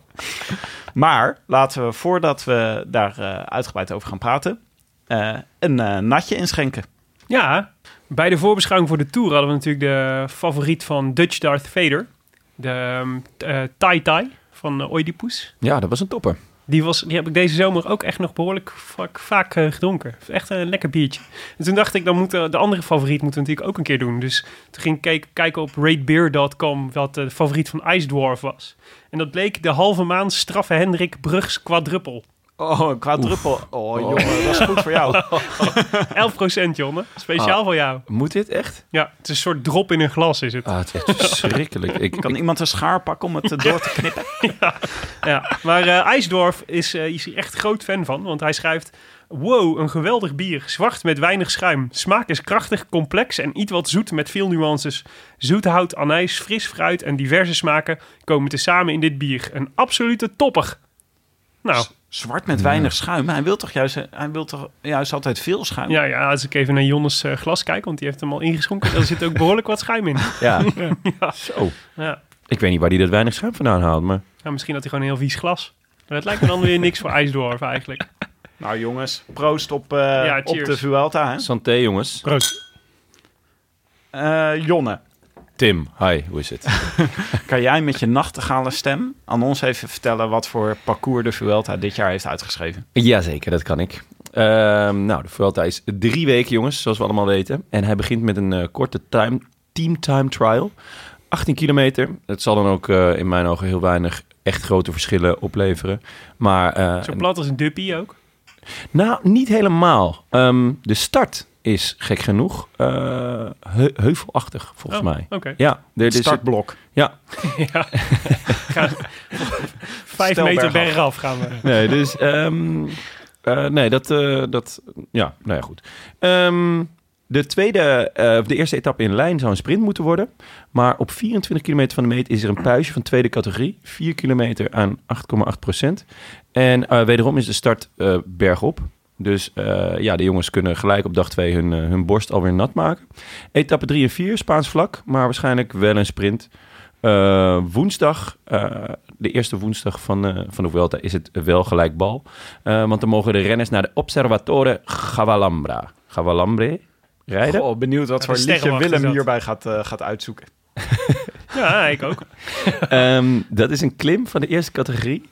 S3: Maar laten we, voordat we daar eh, uitgebreid over gaan praten, eh, een eh, natje inschenken.
S2: Ja, bij de voorbeschouwing voor de tour hadden we natuurlijk de favoriet van Dutch Darth Vader. De ehm, t- eh, Tai Tai van eh, Oedipus.
S1: Ja, dat was een topper.
S2: Die, was, die heb ik deze zomer ook echt nog behoorlijk vaak, vaak eh, gedronken. Echt een lekker biertje. En toen dacht ik, dan moet eh, de andere favoriet moeten we natuurlijk ook een keer doen. Dus toen ging ik kijk- kijken op ratebeer.com wat eh, de favoriet van Ice Dwarf was. En dat bleek de halve maand straffe Hendrik Brugs quadruppel.
S3: Oh, quadruppel. Oh, jongen, dat is goed voor jou.
S2: 11% Jonne, speciaal voor jou.
S1: Moet dit echt?
S2: Ja, het is een soort drop in een glas is het.
S1: Ah, het is echt verschrikkelijk. Ik,
S3: Kan
S1: ik,
S3: iemand een schaar pakken om het eh, door te knippen?
S2: Ja, maar eh, IJsdorf is, eh, is hier echt groot fan van, want hij schrijft... Wow, een geweldig bier. Zwart met weinig schuim. Smaak is krachtig, complex en iets wat zoet met veel nuances. Zoet hout, anijs, fris fruit en diverse smaken komen tezamen in dit bier. Een absolute topper. Nou,
S3: Zwart met weinig schuim. Hij wil toch juist, eh, hij wil toch juist altijd veel schuim?
S2: ja, ja, als ik even naar Jonnes eh, glas kijk, want die heeft hem al ingeschonken, daar zit ook behoorlijk wat schuim in.
S1: ja. Zo.
S2: Ja.
S1: Ik weet niet waar die dat weinig schuim vandaan haalt, maar...
S2: Ja, misschien had hij gewoon een heel vies glas. Maar dat lijkt me dan weer niks voor IJsdorf eigenlijk.
S3: Nou jongens, proost op, eh,
S2: Ja,
S3: op
S2: cheers.
S3: de Vuelta. Hè?
S1: Santé, jongens.
S4: Proost.
S3: Eh, Jonne,
S1: Tim, hi, hoe is het?
S3: kan jij met je nachtegale stem aan ons even vertellen wat voor parcours de Vuelta dit jaar heeft uitgeschreven?
S1: Jazeker, dat kan ik. Ehm, nou, de Vuelta is drie weken, jongens, zoals we allemaal weten. En hij begint met een eh, korte time, team time trial. 18 kilometer. Het zal dan ook eh, in mijn ogen heel weinig echt grote verschillen opleveren. Maar eh,
S2: Zo plat als een duppie ook.
S1: Nou, niet helemaal. Ehm, de start is gek genoeg eh, heu- heuvelachtig, volgens
S2: Oh,
S1: mij.
S2: Oké.
S1: Ja, er
S3: Het
S1: is
S3: startblok.
S2: Ja. Gaan- vijf
S3: Stel
S2: meter
S3: bergaf.
S2: bergaf gaan we.
S1: Nee, dus... ehm, eh, nee, dat, eh, dat... Ja, nou ja, goed. Ehm, de tweede, eh, of de eerste etappe in lijn zou een sprint moeten worden. Maar op 24 kilometer van de meet is er een puisje van tweede categorie. 4 kilometer aan 8,8 procent. En eh, wederom is de start eh, bergop. Dus eh, ja, de jongens kunnen gelijk op dag 2 hun, eh, hun borst alweer nat maken. Etappe 3 en 4, Spaans vlak, maar waarschijnlijk wel een sprint. Eh, woensdag, eh, de eerste woensdag van, eh, van de Vuelta, is het wel gelijk bal. Eh, want dan mogen de renners naar de Observatore Gavalambra. Gavalambre rijden.
S3: Goh, benieuwd wat
S2: Ja,
S3: voor
S2: de
S3: liedje
S2: sterrenwacht is
S3: Willem
S2: dat.
S3: hierbij gaat, eh, gaat uitzoeken.
S2: Ja, ik ook.
S1: Ehm, dat is een klim van de eerste categorie.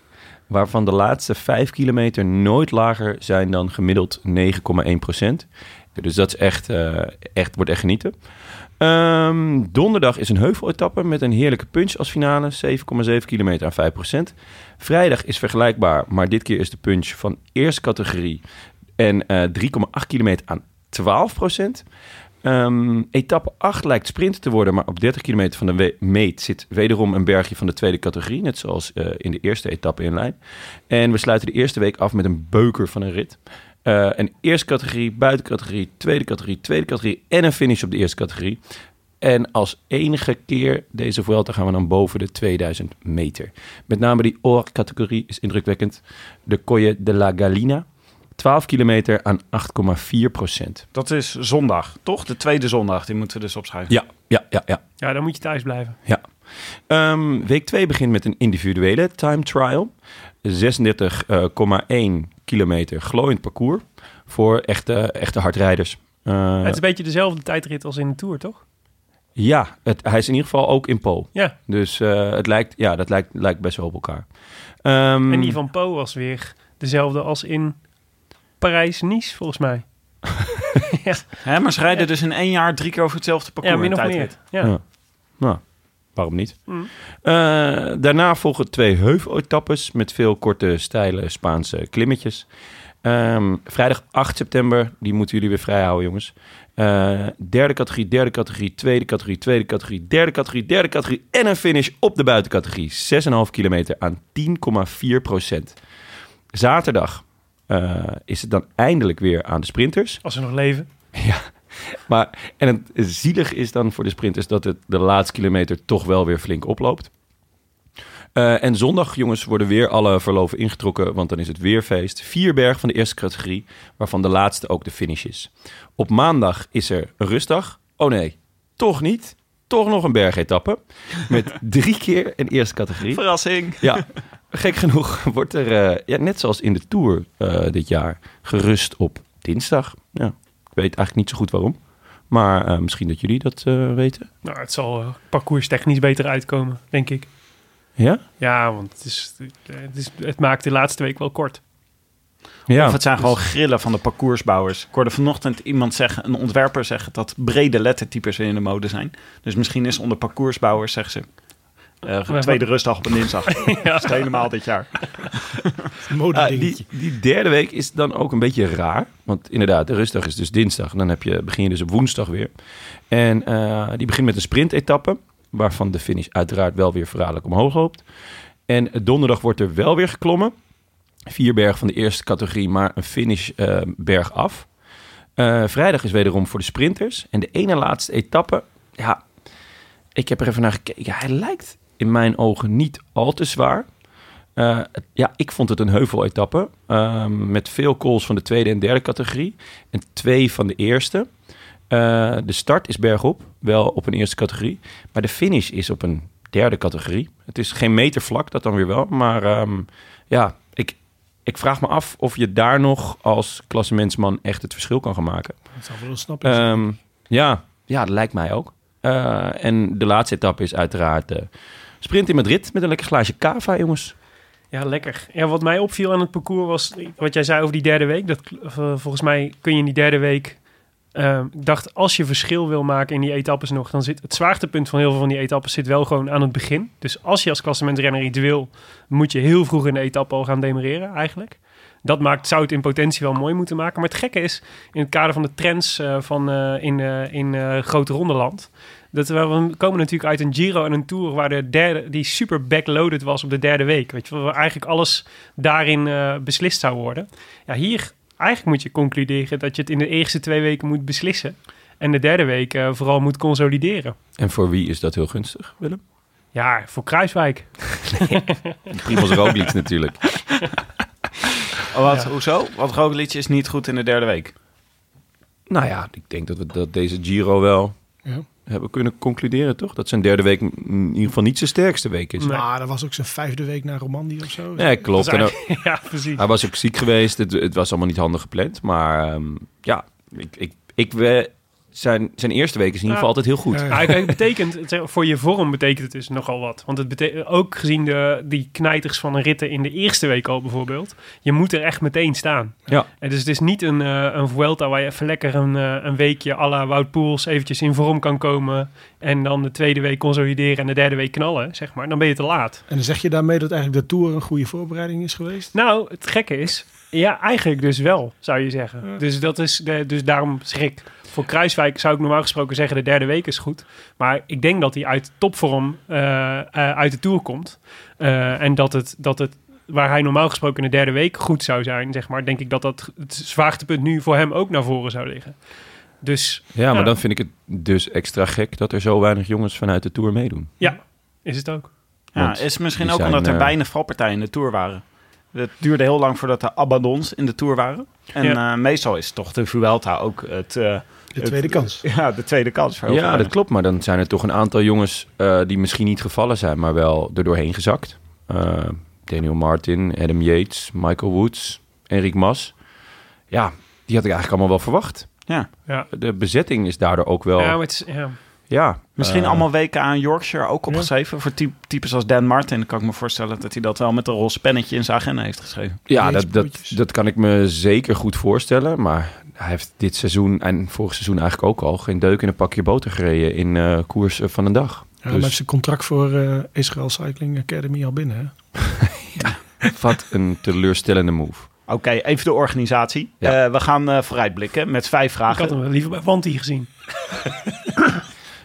S1: Waarvan de laatste 5 kilometer nooit lager zijn dan gemiddeld 9,1 procent. Dus dat is echt, eh, echt, wordt echt genieten. Ehm, donderdag is een heuveletappe met een heerlijke punch als finale. 7,7 kilometer aan 5 procent. Vrijdag is vergelijkbaar, maar dit keer is de punch van eerste categorie. En eh 3,8 kilometer aan 12 procent. Ehm, etappe 8 lijkt sprint te worden, maar op 30 kilometer van de we- meet zit wederom een bergje van de tweede categorie, net zoals eh, in de eerste etappe in lijn. En we sluiten de eerste week af met een beuker van een rit. Eh, een eerste categorie, buitencategorie, tweede categorie, tweede categorie en een finish op de eerste categorie. En als enige keer deze Vuelta gaan we dan boven de 2000 meter. Met name die OR-categorie is indrukwekkend. De Colle de la Galina, 12 kilometer aan 8,4 procent.
S3: Dat is zondag, toch? De tweede zondag, die moeten we dus opschrijven.
S1: Ja, ja, ja, ja.
S2: Ja, dan moet je thuis blijven.
S1: Ja. Ehm, week 2 begint met een individuele time trial. 36,1 kilometer glooiend parcours voor echte, echte hardrijders. Eh,
S2: het is een beetje dezelfde tijdrit als in de Tour, toch?
S1: ja, het, hij is in ieder geval ook in Pool.
S2: Ja.
S1: Dus eh, het lijkt, ja, dat lijkt, lijkt best wel op elkaar. Ehm,
S2: En die van Po was weer dezelfde als in Parijs-Nice, volgens mij.
S3: Hè, maar ze rijden dus in één jaar drie keer over hetzelfde parcours.
S2: ja, min
S3: in
S2: of
S3: tijdrit.
S2: meer. Ja.
S1: Ja. Nou, waarom niet?
S2: Mm.
S1: Eh, daarna volgen twee heuveletappes met veel korte, steile Spaanse klimmetjes. Ehm, vrijdag 8 september, die moeten jullie weer vrijhouden, jongens. Eh, derde categorie, derde categorie, tweede categorie, tweede categorie, derde categorie, derde categorie. En een finish op de buitencategorie. 6,5 kilometer aan 10,4 procent. Zaterdag eh, is het dan eindelijk weer aan de sprinters.
S2: Als ze nog leven.
S1: Ja, maar en het zielig is dan voor de sprinters dat het de laatste kilometer toch wel weer flink oploopt. Eh, en zondag, jongens, worden weer alle verloven ingetrokken, want dan is het weer feest. Vier berg van de eerste categorie, waarvan de laatste ook de finish is. Op maandag is er een rustdag. Oh nee, toch niet. Toch nog een bergetappe met drie keer een eerste categorie.
S3: Verrassing.
S1: Ja, gek genoeg wordt er, eh, ja, net zoals in de Tour eh, dit jaar, gerust op dinsdag. Ja, ik weet eigenlijk niet zo goed waarom. Maar eh, misschien dat jullie dat eh, weten.
S2: Nou, het zal eh, parcourstechnisch beter uitkomen, denk ik.
S1: Ja?
S2: Ja, want het, is, het, is, het maakt de laatste week wel kort.
S1: Ja.
S3: Of het zijn gewoon grillen van de parcoursbouwers. Ik hoorde vanochtend iemand zeggen, een ontwerper zeggen dat brede lettertypes weer in de mode zijn. Dus misschien is onder parcoursbouwers, zeggen ze, eh,
S2: maar-
S3: tweede rustdag op een dinsdag. Dat is het helemaal dit jaar.
S1: Ah,
S4: Modedingetje.
S1: die, die derde week is dan ook een beetje raar. Want inderdaad, de rustdag is dus dinsdag. En dan heb je, begin je dus op woensdag weer. En eh, die begint met een sprintetappe. Waarvan de finish uiteraard wel weer verraderlijk omhoog loopt. En donderdag wordt er wel weer geklommen. Vier berg van de eerste categorie, maar een finish eh, berg af. Eh, vrijdag is wederom voor de sprinters. En de ene laatste etappe, ja, ik heb er even naar gekeken. Hij lijkt in mijn ogen niet al te zwaar. Eh, ja, ik vond het een heuveletappe. Ehm met veel calls van de tweede en derde categorie. En twee van de eerste. Eh, de start is bergop, wel op een eerste categorie. Maar de finish is op een derde categorie. Het is geen meter vlak, dat dan weer wel. Maar ehm, ja, ik, ik vraag me af of je daar nog als klassementsman echt het verschil kan gaan maken.
S4: Dat zal wel een snapping zijn.
S1: Ehm, ja, ja, dat lijkt mij ook. Eh, en de laatste etappe is uiteraard de sprint in Madrid met een lekker glaasje cava, jongens.
S2: Ja, lekker. Ja, wat mij opviel aan het parcours was wat jij zei over die derde week. Dat, eh, volgens mij kun je in die derde week. eh, ik dacht, als je verschil wil maken in die etappes nog, dan zit het zwaartepunt van heel veel van die etappes zit wel gewoon aan het begin. Dus als je als klassementrenner iets wil, moet je heel vroeg in de etappe al gaan demereren eigenlijk. Dat maakt, zou het in potentie wel mooi moeten maken. Maar het gekke is, in het kader van de trends eh, van, eh, in, eh, in eh, Grote Rondeland, dat we, we komen natuurlijk uit een Giro en een Tour waar de derde, die super backloaded was op de derde week. Weet je, wel, waar eigenlijk alles daarin eh, beslist zou worden. Ja, hier eigenlijk moet je concluderen dat je het in de eerste twee weken moet beslissen. En de derde week eh, vooral moet consolideren.
S1: En voor wie is dat heel gunstig, Willem?
S2: Ja, voor Kruiswijk.
S1: Primoz Roglic natuurlijk.
S3: Oh, wat, Hoezo? Want Roglic is niet goed in de derde week.
S1: Nou ja, ik denk dat we dat deze Giro wel
S4: Ja.
S1: hebben kunnen concluderen, toch? Dat zijn derde week m- in ieder geval niet zijn sterkste week is.
S2: Nee.
S4: Maar dat was ook zijn vijfde week naar Romandie of zo.
S1: Nee, klopt.
S2: Dat is
S1: En ook-
S2: eigenlijk- ja, precies.
S1: hij was ook ziek geweest. Het, het was allemaal niet handig gepland. Maar ehm, ja, ik, ik, ik, we, zijn, zijn eerste week is in ieder geval altijd heel goed.
S4: Ja, ja.
S2: Ja, kijk, het betekent, het zeg- voor je vorm betekent het dus nogal wat. Want het betekent ook gezien de, die knijters van een ritten in de eerste week al bijvoorbeeld. Je moet er echt meteen staan.
S1: Ja.
S2: En dus het is niet een, eh, een Vuelta waar je even lekker een, eh, een weekje à la Wout Poels eventjes in vorm kan komen. En dan de tweede week consolideren en de derde week knallen, zeg maar. Dan ben je te laat.
S4: En dan zeg je daarmee dat eigenlijk de Tour een goede voorbereiding is geweest?
S2: Nou, het gekke is, ja, eigenlijk dus wel, zou je zeggen. Dus, dat is de, dus daarom schrik. Voor Kruiswijk zou ik normaal gesproken zeggen, de derde week is goed. Maar ik denk dat hij uit topvorm eh, eh, uit de Tour komt. Eh, en dat het, dat het, waar hij normaal gesproken in de derde week goed zou zijn, zeg maar, denk ik dat dat het zwaartepunt nu voor hem ook naar voren zou liggen. Dus
S1: Ja, maar
S2: Ja.
S1: dan vind ik het dus extra gek dat er zo weinig jongens vanuit de Tour meedoen.
S2: ja, is het ook.
S3: Ja,
S1: Want
S3: is misschien
S1: die
S3: ook
S1: zijn,
S3: omdat er
S1: eh,
S3: weinig valpartijen in de Tour waren. Het duurde heel lang voordat de abandons in de Tour waren. En
S2: Ja.
S3: eh, meestal is toch de Vuelta ook het, eh,
S4: De tweede kans.
S3: ja, de tweede kans. voor heel veel
S1: Ja, dat
S3: mensen.
S1: klopt. Maar dan zijn er toch een aantal jongens eh, die misschien niet gevallen zijn, maar wel er doorheen gezakt. Eh, Daniel Martin, Adam Yates, Michael Woods, Enric Mas. Ja, die had ik eigenlijk allemaal wel verwacht.
S3: Ja.
S2: Ja.
S1: De bezetting is daardoor ook wel...
S2: Ja,
S1: Ja,
S2: maar Nou, het is, ja.
S3: Misschien
S1: eh,
S3: allemaal weken aan Yorkshire ook opgeschreven. Voor ty- types als Dan Martin kan ik me voorstellen dat hij dat wel met een roze pennetje in zijn agenda heeft geschreven.
S1: Ja,
S4: Yates
S1: dat, dat,
S4: broertjes.
S1: dat kan ik me zeker goed voorstellen. Maar hij heeft dit seizoen en vorig seizoen eigenlijk ook al... geen deuk in een pakje boter gereden in eh, koers eh, van een dag.
S4: Ja, maar
S1: Dus-
S4: hij heeft zijn contract voor eh, Israel Cycling Academy al binnen. Hè?
S1: Wat een teleurstellende move.
S3: Oké, even de organisatie.
S1: Ja.
S3: Eh, we gaan eh, vooruitblikken met vijf
S2: Ik had
S3: vragen.
S2: hem wel liever bij Wanty gezien.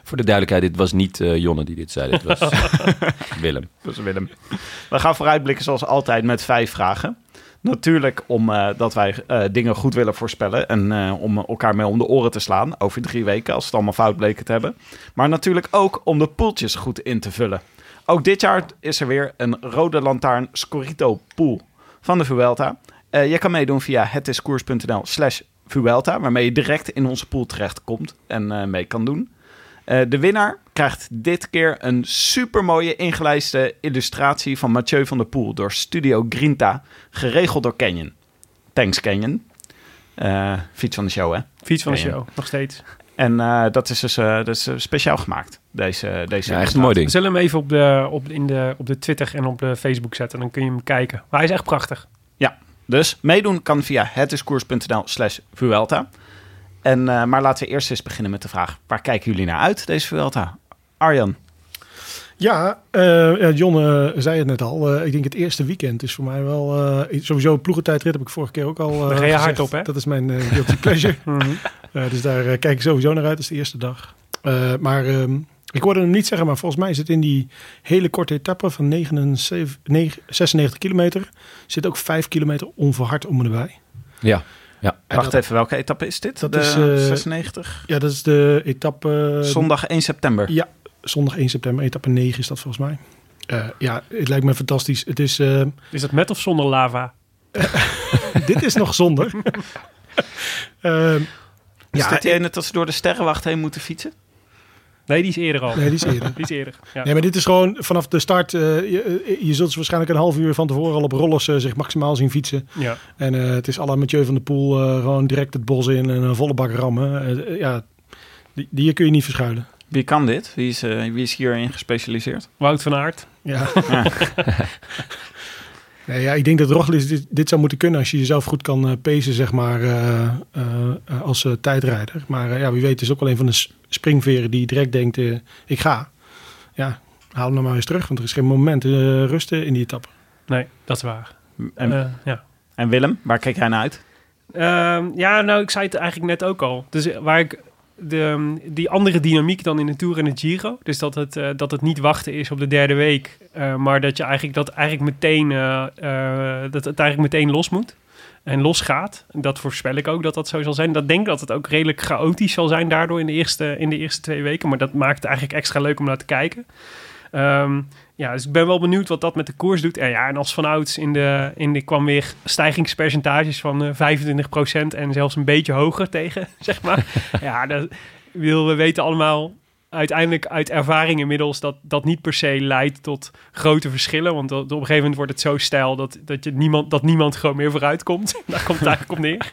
S1: Voor de duidelijkheid, dit was niet eh, Jonne die dit zei. Dit was Willem.
S3: Dus Willem. We gaan vooruitblikken zoals altijd met vijf vragen. Natuurlijk omdat dat wij eh, dingen goed willen voorspellen en eh, om elkaar mee om de oren te slaan over drie weken als we het allemaal fout bleken te hebben. Maar natuurlijk ook om de poeltjes goed in te vullen. Ook dit jaar is er weer een rode lantaarn Scorito pool van de Vuelta. Eh, je kan meedoen via hetiskoers.nl slash Vuelta, waarmee je direct in onze pool terechtkomt en eh, mee kan doen. Eh, de winnaar krijgt dit keer een supermooie ingelijste illustratie van Mathieu van der Poel door Studio Grinta, geregeld door Canyon. Thanks Canyon. Eh, fiets van de show, hè?
S2: Fiets van de
S3: Ja, ja.
S2: show, nog steeds.
S3: En eh, dat is dus eh, dat is, eh, speciaal gemaakt, deze, deze
S1: Ja, echt een mooi ding.
S2: Zullen we hem even op de, op, in de, op de Twitter en op de Facebook zetten. Dan kun je hem kijken. Maar hij is echt prachtig.
S3: Dus meedoen kan via hetiskoers.nl slash Vuelta. En, eh, maar laten we eerst eens beginnen met de vraag, waar kijken jullie naar uit deze Vuelta? Arjan,
S4: Ja, eh, ja, John eh, zei het net al. Eh, ik denk het eerste weekend is voor mij wel... eh, sowieso ploegentijdrit heb ik vorige keer ook al eh,
S2: Daar ga je hard
S4: gezegd.
S2: op, hè?
S4: Dat is mijn eh, guilty pleasure.
S2: Mhm.
S4: Eh, dus daar eh, kijk ik sowieso naar uit. Dat is de eerste dag. Eh, maar ehm, ik hoorde hem niet zeggen, maar volgens mij zit in die hele korte etappe van 79, negen- 96 kilometer... zit ook 5 kilometer onverhard om me erbij.
S1: Ja,
S4: En
S3: wacht
S4: dat-
S3: even, welke etappe is dit?
S4: dat
S3: de
S4: is, eh,
S3: 96?
S4: Ja, dat is de etappe...
S3: Zondag 1 september.
S4: zondag 1 september, etappe 9 is dat volgens mij. Eh, ja, het lijkt me fantastisch. Het is, eh,
S2: Is dat met of zonder lava?
S4: dit is nog zonder. Ehm,
S3: Is
S4: ja,
S3: dit die ene dat ze door de sterrenwacht heen moeten fietsen?
S2: Nee, die is eerder al.
S4: nee, die is eerder.
S2: Die is eerder. Ja.
S4: Nee, maar dit is gewoon vanaf de start. eh, je, je zult ze waarschijnlijk een half uur van tevoren al op rollers eh, zich maximaal zien fietsen.
S2: ja.
S4: En eh, het is alle Mathieu van der Poel eh, gewoon direct het bos in en een volle bak rammen. Eh, eh, ja, die, die kun je niet verschuilen.
S3: Wie kan dit? Wie is, eh, wie is hierin gespecialiseerd?
S2: Wout van Aert.
S4: Ja. nee, ja, ik denk dat Roglic dit, dit zou moeten kunnen als je jezelf goed kan eh, pacen, zeg maar, eh, eh, eh, als eh, tijdrijder. Maar eh, ja, wie weet is het ook wel een van de s- springveren die direct denkt, eh, ik ga. Ja, haal hem nou maar eens terug, want er is geen moment eh, rusten in die etappe.
S2: Nee, dat is waar.
S3: En,
S2: Eh, ja.
S3: en Willem, waar kijk jij naar uit?
S2: Ehm, ja, nou, ik zei het eigenlijk net ook al. Dus waar ik de, ehm, die andere dynamiek dan in de Tour en de Giro. Dus dat het, eh, dat het niet wachten is op de derde week. eh, maar dat je eigenlijk dat eigenlijk meteen, eh, eh, dat het eigenlijk meteen los moet. En los gaat. Dat voorspel ik ook dat dat zo zal zijn. Dat denk ik dat het ook redelijk chaotisch zal zijn daardoor in de eerste, in de eerste twee weken. Maar dat maakt het eigenlijk extra leuk om naar te kijken. Ehm, ja, dus ik ben wel benieuwd wat dat met de koers doet. En ja, en als vanouds in de, in de kwam weer stijgingspercentages van eh, 25% en zelfs een beetje hoger tegen, zeg maar. ja, dat wil, we weten allemaal uiteindelijk uit ervaring inmiddels dat dat niet per se leidt tot grote verschillen. Want dat- op een gegeven moment wordt het zo stijl dat, dat, je niemand, dat niemand gewoon meer vooruit komt. Daar komt het eigenlijk op neer.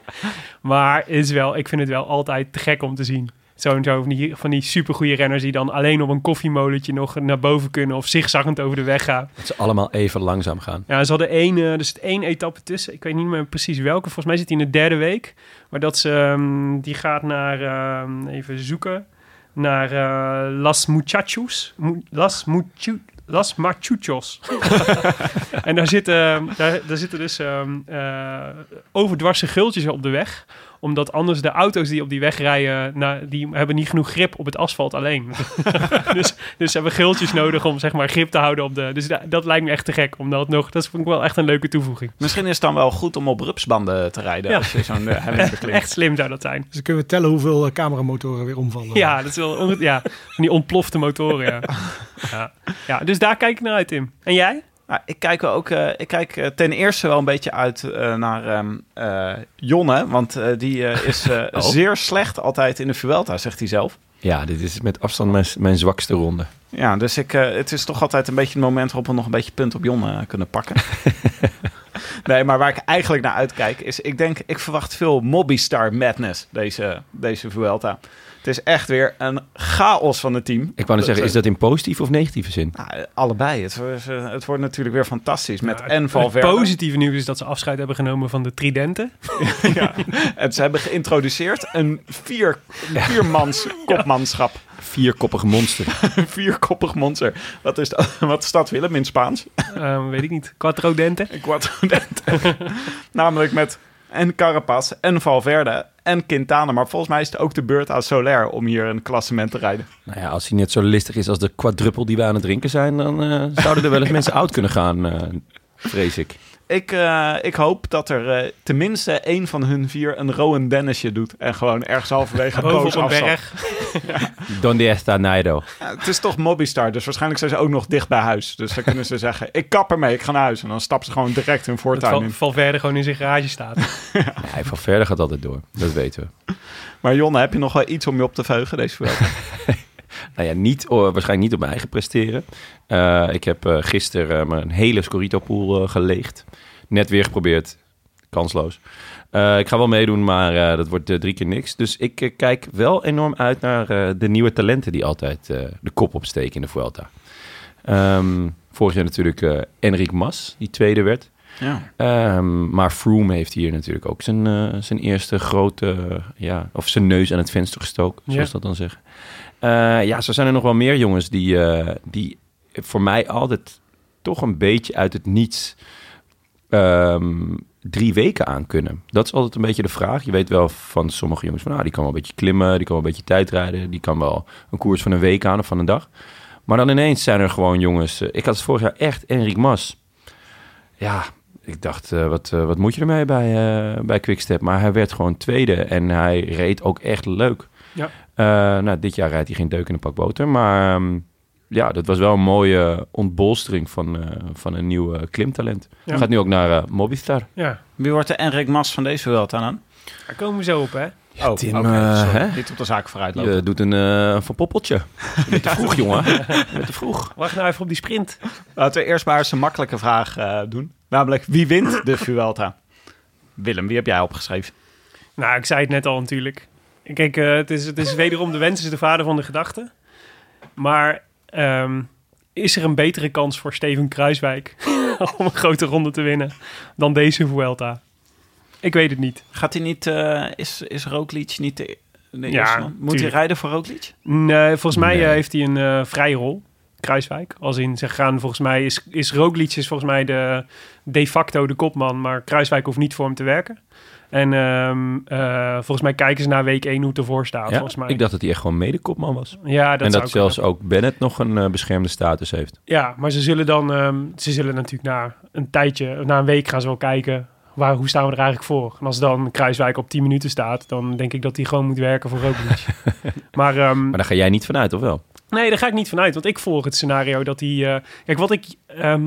S2: Maar is wel, ik vind het wel altijd te gek om te zien. Zo'n zo van die, van die supergoeie renners die dan alleen op een koffiemolentje nog naar boven kunnen of zigzaggend over de weg gaan.
S1: dat ze allemaal even langzaam gaan.
S2: Ja, ze hadden één, eh, er zit één etappe tussen. Ik weet niet meer precies welke. Volgens mij zit hij in de derde week. Maar dat ze, ehm, die gaat naar, ehm, even zoeken, naar eh, Las Muchachos. Mu- Las Muchu- Las Machuchos. en daar zitten, ehm, daar, daar zitten dus ehm eh, overdwarse gultjes op de weg. Omdat anders de auto's die op die weg rijden, nou, die hebben niet genoeg grip op het asfalt alleen. dus, dus ze hebben geeltjes nodig om zeg maar grip te houden op de. Dus da- dat lijkt me echt te gek. Omdat nog, dat vond ik wel echt een leuke toevoeging.
S3: Misschien is het dan wel goed om op rupsbanden te rijden
S2: Ja.
S3: als je zo'n eh, helling beklimt.
S2: Echt slim zou dat zijn.
S4: Dus dan kunnen we tellen hoeveel eh, cameramotoren weer omvallen.
S2: Ja, dat is wel onge- ja, van die ontplofte motoren. Ja. Ja. ja, dus daar kijk ik naar uit, Tim. En jij?
S3: Nou, ik kijk, wel ook, eh, ik kijk eh, ten eerste wel een beetje uit eh, naar ehm, eh, Jonne. Want eh, die eh, is eh,
S1: Oh.
S3: zeer slecht altijd in de Vuelta, zegt hij zelf.
S1: Ja, dit is met afstand mijn, mijn zwakste ronde.
S3: Ja, dus ik, eh, het is toch altijd een beetje het moment waarop we nog een beetje punt op Jon eh, kunnen pakken. nee, maar waar ik eigenlijk naar uitkijk is, ik denk, ik verwacht veel Mobbystar madness deze, deze Vuelta. Het is echt weer een chaos van het team.
S1: Ik wou net zeggen,
S3: eh,
S1: is dat in positieve of negatieve zin?
S3: nou, allebei. Het, wordt- het wordt natuurlijk weer fantastisch met
S2: Nou, het-
S3: en Valverde.
S2: Het positieve nieuws is dat ze afscheid hebben genomen van de tridenten.
S3: ja. En ze hebben geïntroduceerd een, vier, een viermans kopmanschap.
S1: Vierkoppig monster.
S3: Een vierkoppig monster. Wat is dat? Wat is dat, Willem, in het Spaans?
S2: Ehm, weet ik niet. Quattro denten.
S3: Een quattro dente. Namelijk met en Carapaz en Valverde en Quintana. Maar volgens mij is het ook de beurt aan Soler om hier een klassement te rijden.
S1: nou ja, als hij net zo listig is als de quadruppel die we aan het drinken zijn, dan eh, zouden er wel eens mensen oud kunnen gaan, eh, vrees ik.
S3: Ik, eh, ik hoop dat er eh, tenminste één van hun vier een Rowan Dennisje doet. En gewoon ergens halverwege
S2: Boven op
S3: boos
S2: een
S3: afstapt.
S2: berg.
S1: Donde está Naido?
S3: Ja, het is toch Mobistar, dus waarschijnlijk zijn ze ook nog dicht bij huis. Dus dan kunnen ze zeggen, ik kap ermee, ik ga naar huis. En dan stappen ze gewoon direct hun
S2: Dat
S3: voortuin
S2: Val-
S3: in.
S2: Valverde gewoon in zijn garage staat.
S1: Nee, hij van verder gaat altijd door, dat weten we.
S3: Maar Jonne, heb je nog wel iets om je op te veugen deze Vuelta?
S1: Nou ja, niet, oh, waarschijnlijk niet op mijn eigen presteren. Eh, ik heb eh gisteren eh, mijn hele Scorito-pool eh, geleegd. Net weer geprobeerd. Kansloos. Eh, ik ga wel meedoen, maar eh, dat wordt eh, drie keer niks. Dus ik eh, kijk wel enorm uit naar eh, de nieuwe talenten die altijd eh, de kop opsteken in de Vuelta. Ehm, vorig jaar natuurlijk eh Enric Mas, die tweede werd.
S3: Ja.
S1: Ehm, maar Froome heeft hier natuurlijk ook zijn, eh, zijn eerste grote, eh, ja, of zijn neus aan het venster gestoken,
S2: Ja.
S1: zoals dat dan zeggen. Eh, ja, zo zijn er nog wel meer jongens die, eh, die voor mij altijd toch een beetje uit het niets ehm, drie weken aan kunnen. Dat is altijd een beetje de vraag. Je weet wel van sommige jongens van, nou, die kan wel een beetje klimmen, die kan wel een beetje tijdrijden, die kan wel een koers van een week aan of van een dag. Maar dan ineens zijn er gewoon jongens. eh, Ik had het vorig jaar echt Enric Mas. Ja, ik dacht, eh, wat, eh, wat moet je ermee bij, eh bij Quickstep? Maar hij werd gewoon tweede en hij reed ook echt leuk.
S2: Ja.
S1: Eh, nou, dit jaar rijdt hij geen deuk in een pak boter. Maar ehm, ja, dat was wel een mooie ontbolstering van, eh, van een nieuw eh, klimtalent. Hij gaat nu ook naar eh Mobistar.
S2: Ja.
S3: Wie wordt de Enric Mas van deze Vuelta dan?
S2: Daar komen we zo op, hè?
S3: oh,
S1: Tim,
S3: oké,
S1: eh,
S3: sorry.
S1: hè?
S3: Niet op de zaak vooruit lopen.
S1: Je doet een eh van poppeltje. Je bent te vroeg, jongen. Je bent te vroeg.
S2: Wacht nou even op die sprint.
S3: Laten we eerst maar eens een makkelijke vraag eh, doen. Namelijk, wie wint de Vuelta? Willem, wie heb jij opgeschreven?
S2: Nou, ik zei het net al natuurlijk. Kijk, eh, het, is, het is wederom de wens is de vader van de gedachte. Maar ehm, is er een betere kans voor Steven Kruiswijk om een grote ronde te winnen dan deze Vuelta? Ik weet het niet.
S3: Gaat hij niet, eh, is, is Roglic niet de, de
S2: Ja,
S3: eerste man? Moet
S2: tuurlijk.
S3: hij rijden voor Roglic?
S2: Nee, volgens mij eh,
S1: Nee.
S2: heeft hij een eh, vrije rol. Kruiswijk. Als in, ze gaan volgens mij, is, is Roglic is volgens mij de, de facto de kopman, maar Kruiswijk hoeft niet voor hem te werken. En ehm, eh, volgens mij kijken ze naar week 1 hoe het ervoor staat.
S1: Ja,
S2: volgens mij.
S1: ik dacht dat hij echt gewoon medekopman was.
S2: ja, dat
S1: en
S2: zou
S1: dat
S2: kunnen.
S1: zelfs ook Bennett nog een eh, beschermde status heeft.
S2: Ja, maar ze zullen dan, ehm, ze zullen natuurlijk na een tijdje, na een week gaan ze wel kijken, waar, hoe staan we er eigenlijk voor? En als dan Kruiswijk op 10 minuten staat, dan denk ik dat hij gewoon moet werken voor Roglic. maar ehm,
S1: Maar daar ga jij niet vanuit, of wel?
S2: nee, daar ga ik niet vanuit, want ik volg het scenario dat hij... eh, kijk, wat ik ehm,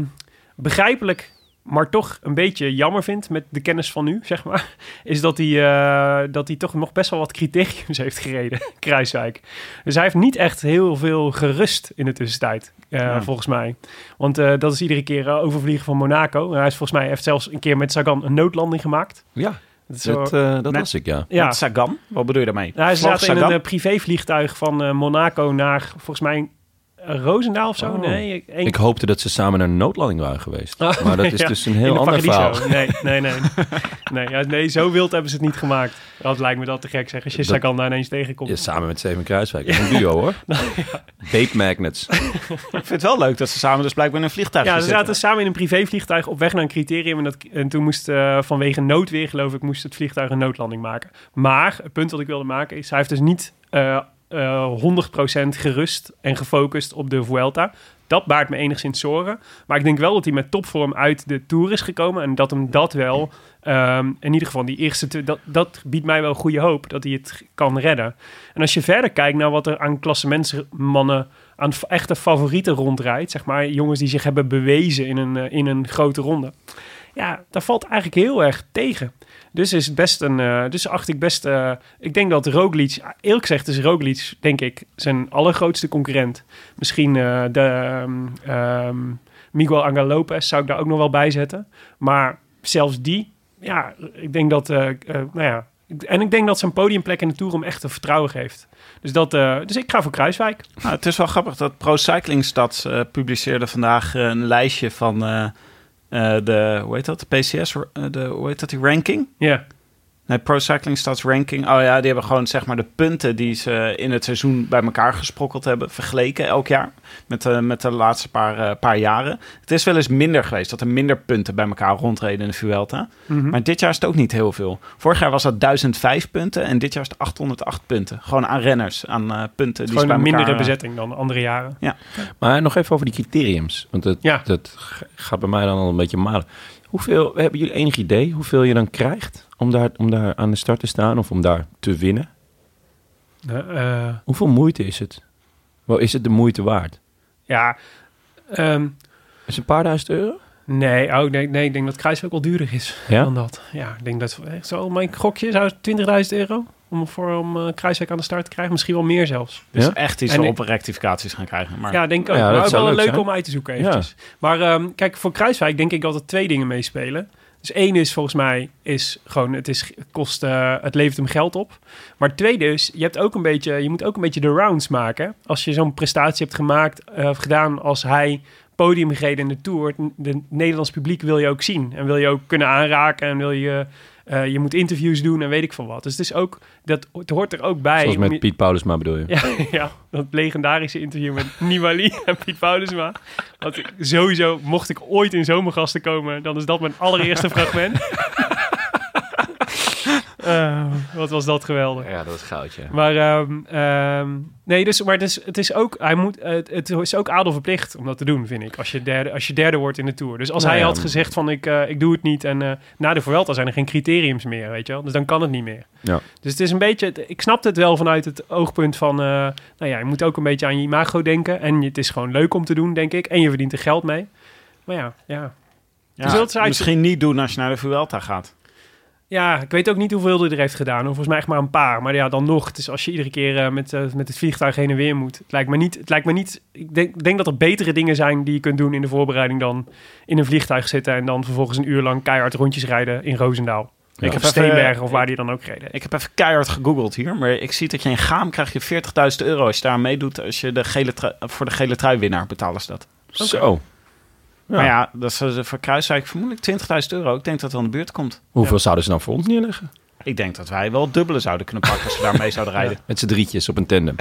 S2: begrijpelijk, maar toch een beetje jammer vind met de kennis van nu, zeg maar, is dat hij, eh, dat hij toch nog best wel wat criteriums heeft gereden, Kruiswijk. Dus hij heeft niet echt heel veel gerust in de tussentijd, eh,
S3: Ja.
S2: volgens mij. Want eh, dat is iedere keer eh, overvliegen van Monaco. En hij is volgens mij heeft zelfs een keer met Sagan een noodlanding gemaakt.
S1: Ja,
S2: Dat is wel-
S1: dat, eh, dat
S3: Net-
S1: was ik, ja.
S2: ja.
S3: Met Sagan? Wat bedoel je daarmee?
S2: Nou, ze
S3: Vloog
S2: zaten in een
S3: Sagan?
S2: eh, privévliegtuig van eh, Monaco naar, volgens mij, eh, Roosendaal of zo.
S1: Oh.
S2: Nee, één-
S1: Ik hoopte dat ze samen naar een noodlanding waren geweest. maar dat is
S2: Oh, ja.
S1: dus een
S2: in
S1: heel
S2: de
S1: ander
S2: Paradiso.
S1: verhaal.
S2: Nee, nee, nee. nee, ja, nee, zo wild hebben ze het niet gemaakt. Dat lijkt me dat te gek zeg. Als je
S1: Dat-
S2: Sagan daar ineens tegenkomt.
S1: Ja, samen met Steven Kruiswijk. Dat is Een duo, hoor.
S2: Nou,
S1: Bape Magnets.
S3: Ik vind het wel leuk dat ze samen dus blijkbaar in een vliegtuig
S2: Ja, ze
S3: zitten.
S2: zaten samen in een privévliegtuig op weg naar een criterium. En, dat, en toen moest eh, vanwege noodweer, geloof ik, moest het vliegtuig een noodlanding maken. Maar het punt dat ik wilde maken is, hij heeft dus niet eh, eh, 100% gerust en gefocust op de Vuelta. Dat baart me enigszins zorgen. Maar ik denk wel dat hij met topvorm uit de Tour is gekomen. En dat hem dat wel, ehm, in ieder geval die eerste... tw- Dat, dat biedt mij wel goede hoop dat hij het kan redden. En als je verder kijkt naar wat er aan klassementsmannen aan f- echte favorieten rondrijdt. Zeg maar jongens die zich hebben bewezen in een, eh, in een grote ronde. Ja, daar valt eigenlijk heel erg tegen. Dus is het best een. eh, dus acht ik best. eh, ik denk dat Roglic. Eerlijk gezegd is Roglic, denk ik, zijn allergrootste concurrent. Misschien eh, de. ehm, ehm, Miguel Angel Lopez zou ik daar ook nog wel bij zetten. Maar zelfs die. Ja, ik denk dat. eh, eh, nou ja. En ik denk dat zijn podiumplek in de Tour hem echt een vertrouwen geeft. Dus, dat, eh, dus ik ga voor Kruiswijk.
S3: Nou, het is wel grappig dat Pro Cycling Stats eh, publiceerde vandaag eh, een lijstje van eh, eh, de, hoe heet dat, de PCS, eh, de, hoe heet dat, die ranking?
S2: Ja.
S3: Nee, Pro Cycling Stats ranking. Oh ja, die hebben gewoon zeg maar de punten die ze in het seizoen bij elkaar gesprokkeld hebben, vergeleken elk jaar met, de- met de laatste paar, eh, paar jaren. Het is wel eens minder geweest dat er minder punten bij elkaar rondreden in de Vuelta.
S2: Mhm.
S3: Maar dit jaar is het ook niet heel veel. Vorig jaar was dat 1005 punten en dit jaar is het 808 punten. Gewoon aan renners, aan eh, punten die ze
S2: Gewoon
S3: bij
S2: een mindere
S3: elkaar, eh,
S2: bezetting dan andere jaren.
S1: Maar nog even over die criteriums. Want dat,
S2: Ja.
S1: dat g- gaat bij mij dan al een beetje malen. Hoeveel, hebben jullie enig idee hoeveel je dan krijgt om daar, om daar aan de start te staan of om daar te winnen?
S2: Eh, eh,
S1: Hoeveel moeite is het? Wel, is het de moeite waard?
S2: ja. Ehm,
S1: Is het een paar duizend euro?
S2: nee, oh, nee, nee, ik denk dat Kruiswijk wel duurder is
S1: Ja?
S2: dan dat. Ja, ik denk dat... eh, Zo, mijn gokje zou 20.000 euro om, voor, om eh, Kruiswijk aan de start te krijgen. Misschien wel meer zelfs.
S3: Dus
S1: Ja?
S3: echt iets
S2: En
S3: wel
S2: ik-
S3: op rectificaties gaan krijgen. Maar
S2: Ja, denk ik ook.
S1: Ja, dat
S2: maar ook
S1: zou
S2: wel een
S1: leuk
S2: leuke
S1: zijn.
S2: om uit te zoeken eventjes. Maar ehm, kijk, voor Kruiswijk denk ik dat er twee dingen meespelen. Dus één is volgens mij, is gewoon, het, is, het kost, eh, het levert hem geld op. Maar het tweede is, je, hebt ook een beetje, je moet ook een beetje de rounds maken. Als je zo'n prestatie hebt gemaakt, eh, of gedaan als hij podium gereden in de Tour. Het Nederlands publiek wil je ook zien. En wil je ook kunnen aanraken. En wil je, eh, je moet interviews doen en weet ik veel wat. Dus het, is ook, dat, het hoort er ook bij.
S1: Zoals
S2: om je-
S1: met Piet Paulus maar bedoel je.
S2: ja, ja, dat legendarische interview met Nibali en Piet Paulusma. Want ik- sowieso, mocht ik ooit in zomergasten komen, dan is dat mijn allereerste fragment. Eh, wat was dat geweldig.
S1: dat is goudje.
S2: Maar, ehm, ehm, nee, dus, maar het is, het is ook, hij moet, eh, het, het is ook adelverplicht om dat te doen, vind ik. Als je derde, als je derde wordt in de Tour. Dus als
S1: Nou
S2: hij
S1: ja.
S2: had gezegd van, ik, eh, ik doe het niet. En eh, na de Vuelta zijn er geen criteriums meer, weet je wel. Dus dan kan het niet meer.
S1: Ja.
S2: Dus het is een beetje, ik snapte het wel vanuit het oogpunt van, eh, nou ja, je moet ook een beetje aan je imago denken. En het is gewoon leuk om te doen, denk ik. En je verdient er geld mee. Maar ja, ja.
S3: Ja,
S2: Dus dat is eigenlijk-
S3: misschien niet doen als je naar de Vuelta gaat.
S2: Ja, ik weet ook niet hoeveel hij er heeft gedaan. hoor. Volgens mij echt maar een paar. Maar ja, dan nog. Het is als je iedere keer eh, met, eh, met het vliegtuig heen en weer moet. Het lijkt me niet... Het lijkt me niet ik denk, ik denk dat er betere dingen zijn die je kunt doen in de voorbereiding dan in een vliegtuig zitten en dan vervolgens een uur lang keihard rondjes rijden in Roosendaal.
S3: Ik
S2: Ik eh,
S3: heb
S2: of
S3: even- eh,
S2: Steenbergen of waar die dan ook reden. heeft.
S3: Ik heb even keihard gegoogeld hier, maar ik zie dat je in Gaam krijg je 40.000 euro als je daar aan meedoet. Als je de gele trui- voor de gele trui winnaar betalen ze dat.
S1: Zo. Ja.
S3: Maar ja, dat is eh, voor Kruiswijk vermoedelijk 20.000 euro. Ik denk dat het wel in de buurt komt.
S1: Hoeveel zouden ze dan voor ons neerleggen?
S3: Ik denk dat wij wel dubbele zouden kunnen pakken als we daarmee zouden rijden.
S1: Met z'n drietjes op een tandem.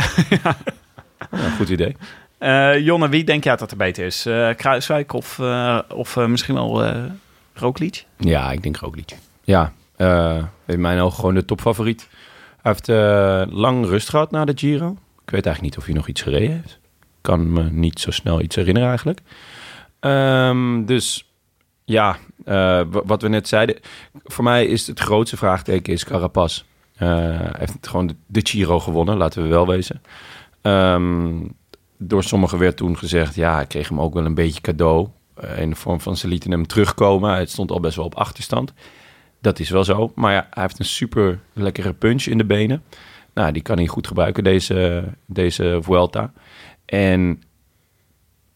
S1: ja, goed idee.
S3: Eh, Jonne, wie denk jij dat er beter is? Eh, Kruiswijk of, eh, of eh, misschien wel eh Roglic?
S1: Ja, ik denk Roglic. Ja, eh, in mijn ogen gewoon de topfavoriet. Hij heeft eh, lang rust gehad na de Giro. Ik weet eigenlijk niet of hij nog iets gereden heeft. Ik kan me niet zo snel iets herinneren eigenlijk. Ehm, dus ja, eh, wa- wat we net zeiden. Voor mij is het grootste vraagteken is Carapaz. Eh, Hij heeft gewoon de, de Giro gewonnen, laten we wel wezen. Ehm, door sommigen werd toen gezegd, ja, ik kreeg hem ook wel een beetje cadeau. Eh, in de vorm van ze lieten hem terugkomen. Het stond al best wel op achterstand. Dat is wel zo. Maar ja, hij heeft een super lekkere punch in de benen. Nou, die kan hij goed gebruiken, deze, deze Vuelta. En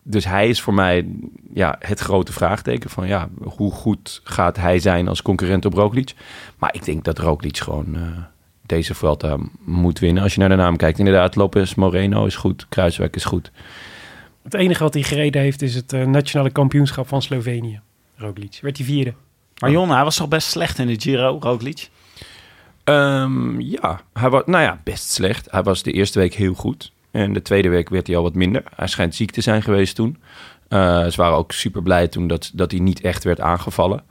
S1: dus hij is voor mij ja, het grote vraagteken van ja, hoe goed gaat hij zijn als concurrent op Roglic? Maar ik denk dat Roglic gewoon eh, deze Vuelta moet winnen. Als je naar de naam kijkt, inderdaad, Lopez Moreno is goed, Kruiswijk is goed.
S2: Het enige wat hij gereden heeft is het eh, nationale kampioenschap van Slovenië. Roglic. Werd hij vierde.
S3: Maar Jonne, hij was toch best slecht in de Giro, Roglic?
S1: Ehm, ja, hij was, nou ja, best slecht. Hij was de eerste week heel goed. En de tweede week werd hij al wat minder. Hij schijnt ziek te zijn geweest toen. Eh, ze waren ook super blij toen dat, dat hij niet echt werd aangevallen.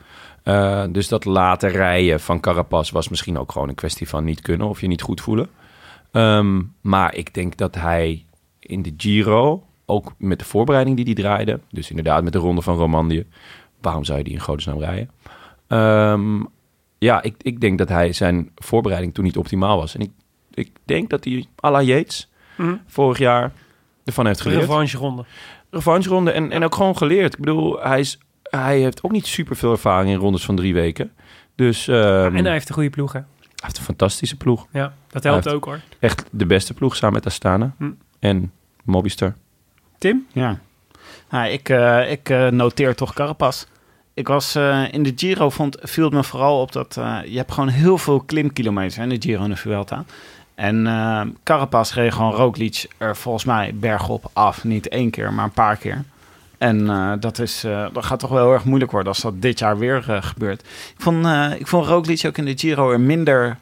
S1: Eh, dus dat laten rijden van Carapaz was misschien ook gewoon een kwestie van niet kunnen of je niet goed voelen. Ehm, maar ik denk dat hij in de Giro, ook met de voorbereiding die hij draaide, dus inderdaad met de ronde van Romandie, waarom zou je die in godesnaam rijden? Ehm, ja, ik, ik denk dat hij zijn voorbereiding toen niet optimaal was. En ik, ik denk dat hij à la Yates
S2: Mhm.
S1: vorig jaar ervan heeft geleerd.
S2: Revanche ronde.
S1: Revanche ronde en, en ook gewoon geleerd. Ik bedoel, hij, is, hij heeft ook niet super veel ervaring in rondes van drie weken. Dus ehm,
S2: en hij
S1: hij
S2: heeft een goede ploeg, hè?
S1: heeft een fantastische ploeg.
S2: Ja, dat
S1: Hij
S2: helpt
S1: heeft-
S2: ook hoor.
S1: Echt de beste ploeg samen met Astana
S2: Hm.
S1: en Mobistar.
S2: Tim?
S3: Ja. Nou, ik eh, ik eh, noteer toch Carapas. Ik was eh, in de Giro, vond, viel het me vooral op dat eh, je hebt gewoon heel veel klimkilometers hè, in de Giro en de Vuelta. En eh Carapas reed gewoon Roglic er volgens mij bergop af. Niet één keer, maar een paar keer. En eh, dat, is, eh, dat gaat toch wel heel erg moeilijk worden als dat dit jaar weer eh, gebeurt. Ik vond, eh ik vond Roglic ook in de Giro er minder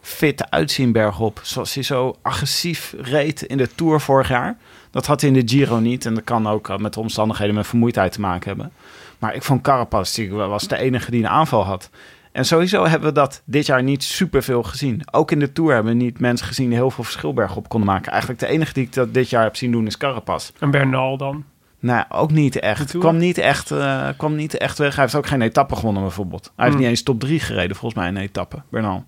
S3: fit uitzien bergop. Zoals hij zo agressief reed in de Tour vorig jaar. Dat had hij in de Giro niet. En dat kan ook eh, met de omstandigheden met vermoeidheid te maken hebben. Maar ik vond Carapaz, die was de enige die een aanval had. En sowieso hebben we dat dit jaar niet superveel gezien. Ook in de Tour hebben we niet mensen gezien die heel veel verschil bergop konden maken. Eigenlijk de enige die ik dat dit jaar heb zien doen is Carapaz.
S2: En Bernal dan.
S3: Nou, ook niet echt.
S2: Tour?
S3: Kwam niet echt, eh, kwam niet echt weg. Hij heeft ook geen etappe gewonnen bijvoorbeeld. Hij heeft
S2: Hmm.
S3: niet eens top 3 gereden volgens mij in een etappe, Bernal.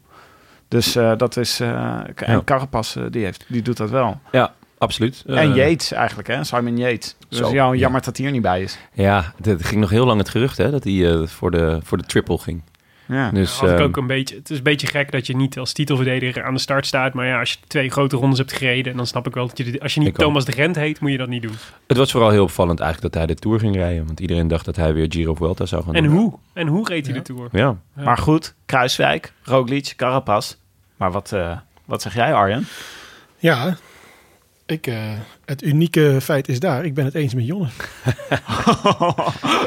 S3: Dus eh, dat is... eh, en Carapaz, eh, die, heeft, die doet dat wel.
S1: Ja, absoluut.
S3: En
S1: Eh,
S3: Yates eigenlijk, hè? Simon Yates. Dus
S1: Zo,
S3: jou,
S1: ja.
S3: jammer dat hij er niet bij is.
S1: Ja, het ging nog heel lang het gerucht hè, dat hij eh, voor, de, voor de triple ging.
S3: Ja.
S1: Dus,
S2: had ik
S1: ehm,
S2: ook een beetje, het is een beetje gek dat je niet als titelverdediger aan de start staat. Maar ja, als je twee grote rondes hebt gereden, dan snap ik wel dat je... dit- Als je niet
S1: Ik ook.
S2: Thomas de Gent heet, moet je dat niet doen.
S1: Het was vooral heel opvallend eigenlijk dat hij de Tour ging rijden. Want iedereen dacht dat hij weer Giro Vuelta zou gaan
S2: En
S1: doen.
S2: hoe? En hoe reed hij
S3: Ja.
S2: de Tour?
S1: Ja.
S3: Maar goed, Kruiswijk, Roglic, Carapaz. Maar wat, eh, wat zeg jij, Arjen?
S4: Ja, ik, eh, het unieke feit is daar. Ik ben het eens met Jonne.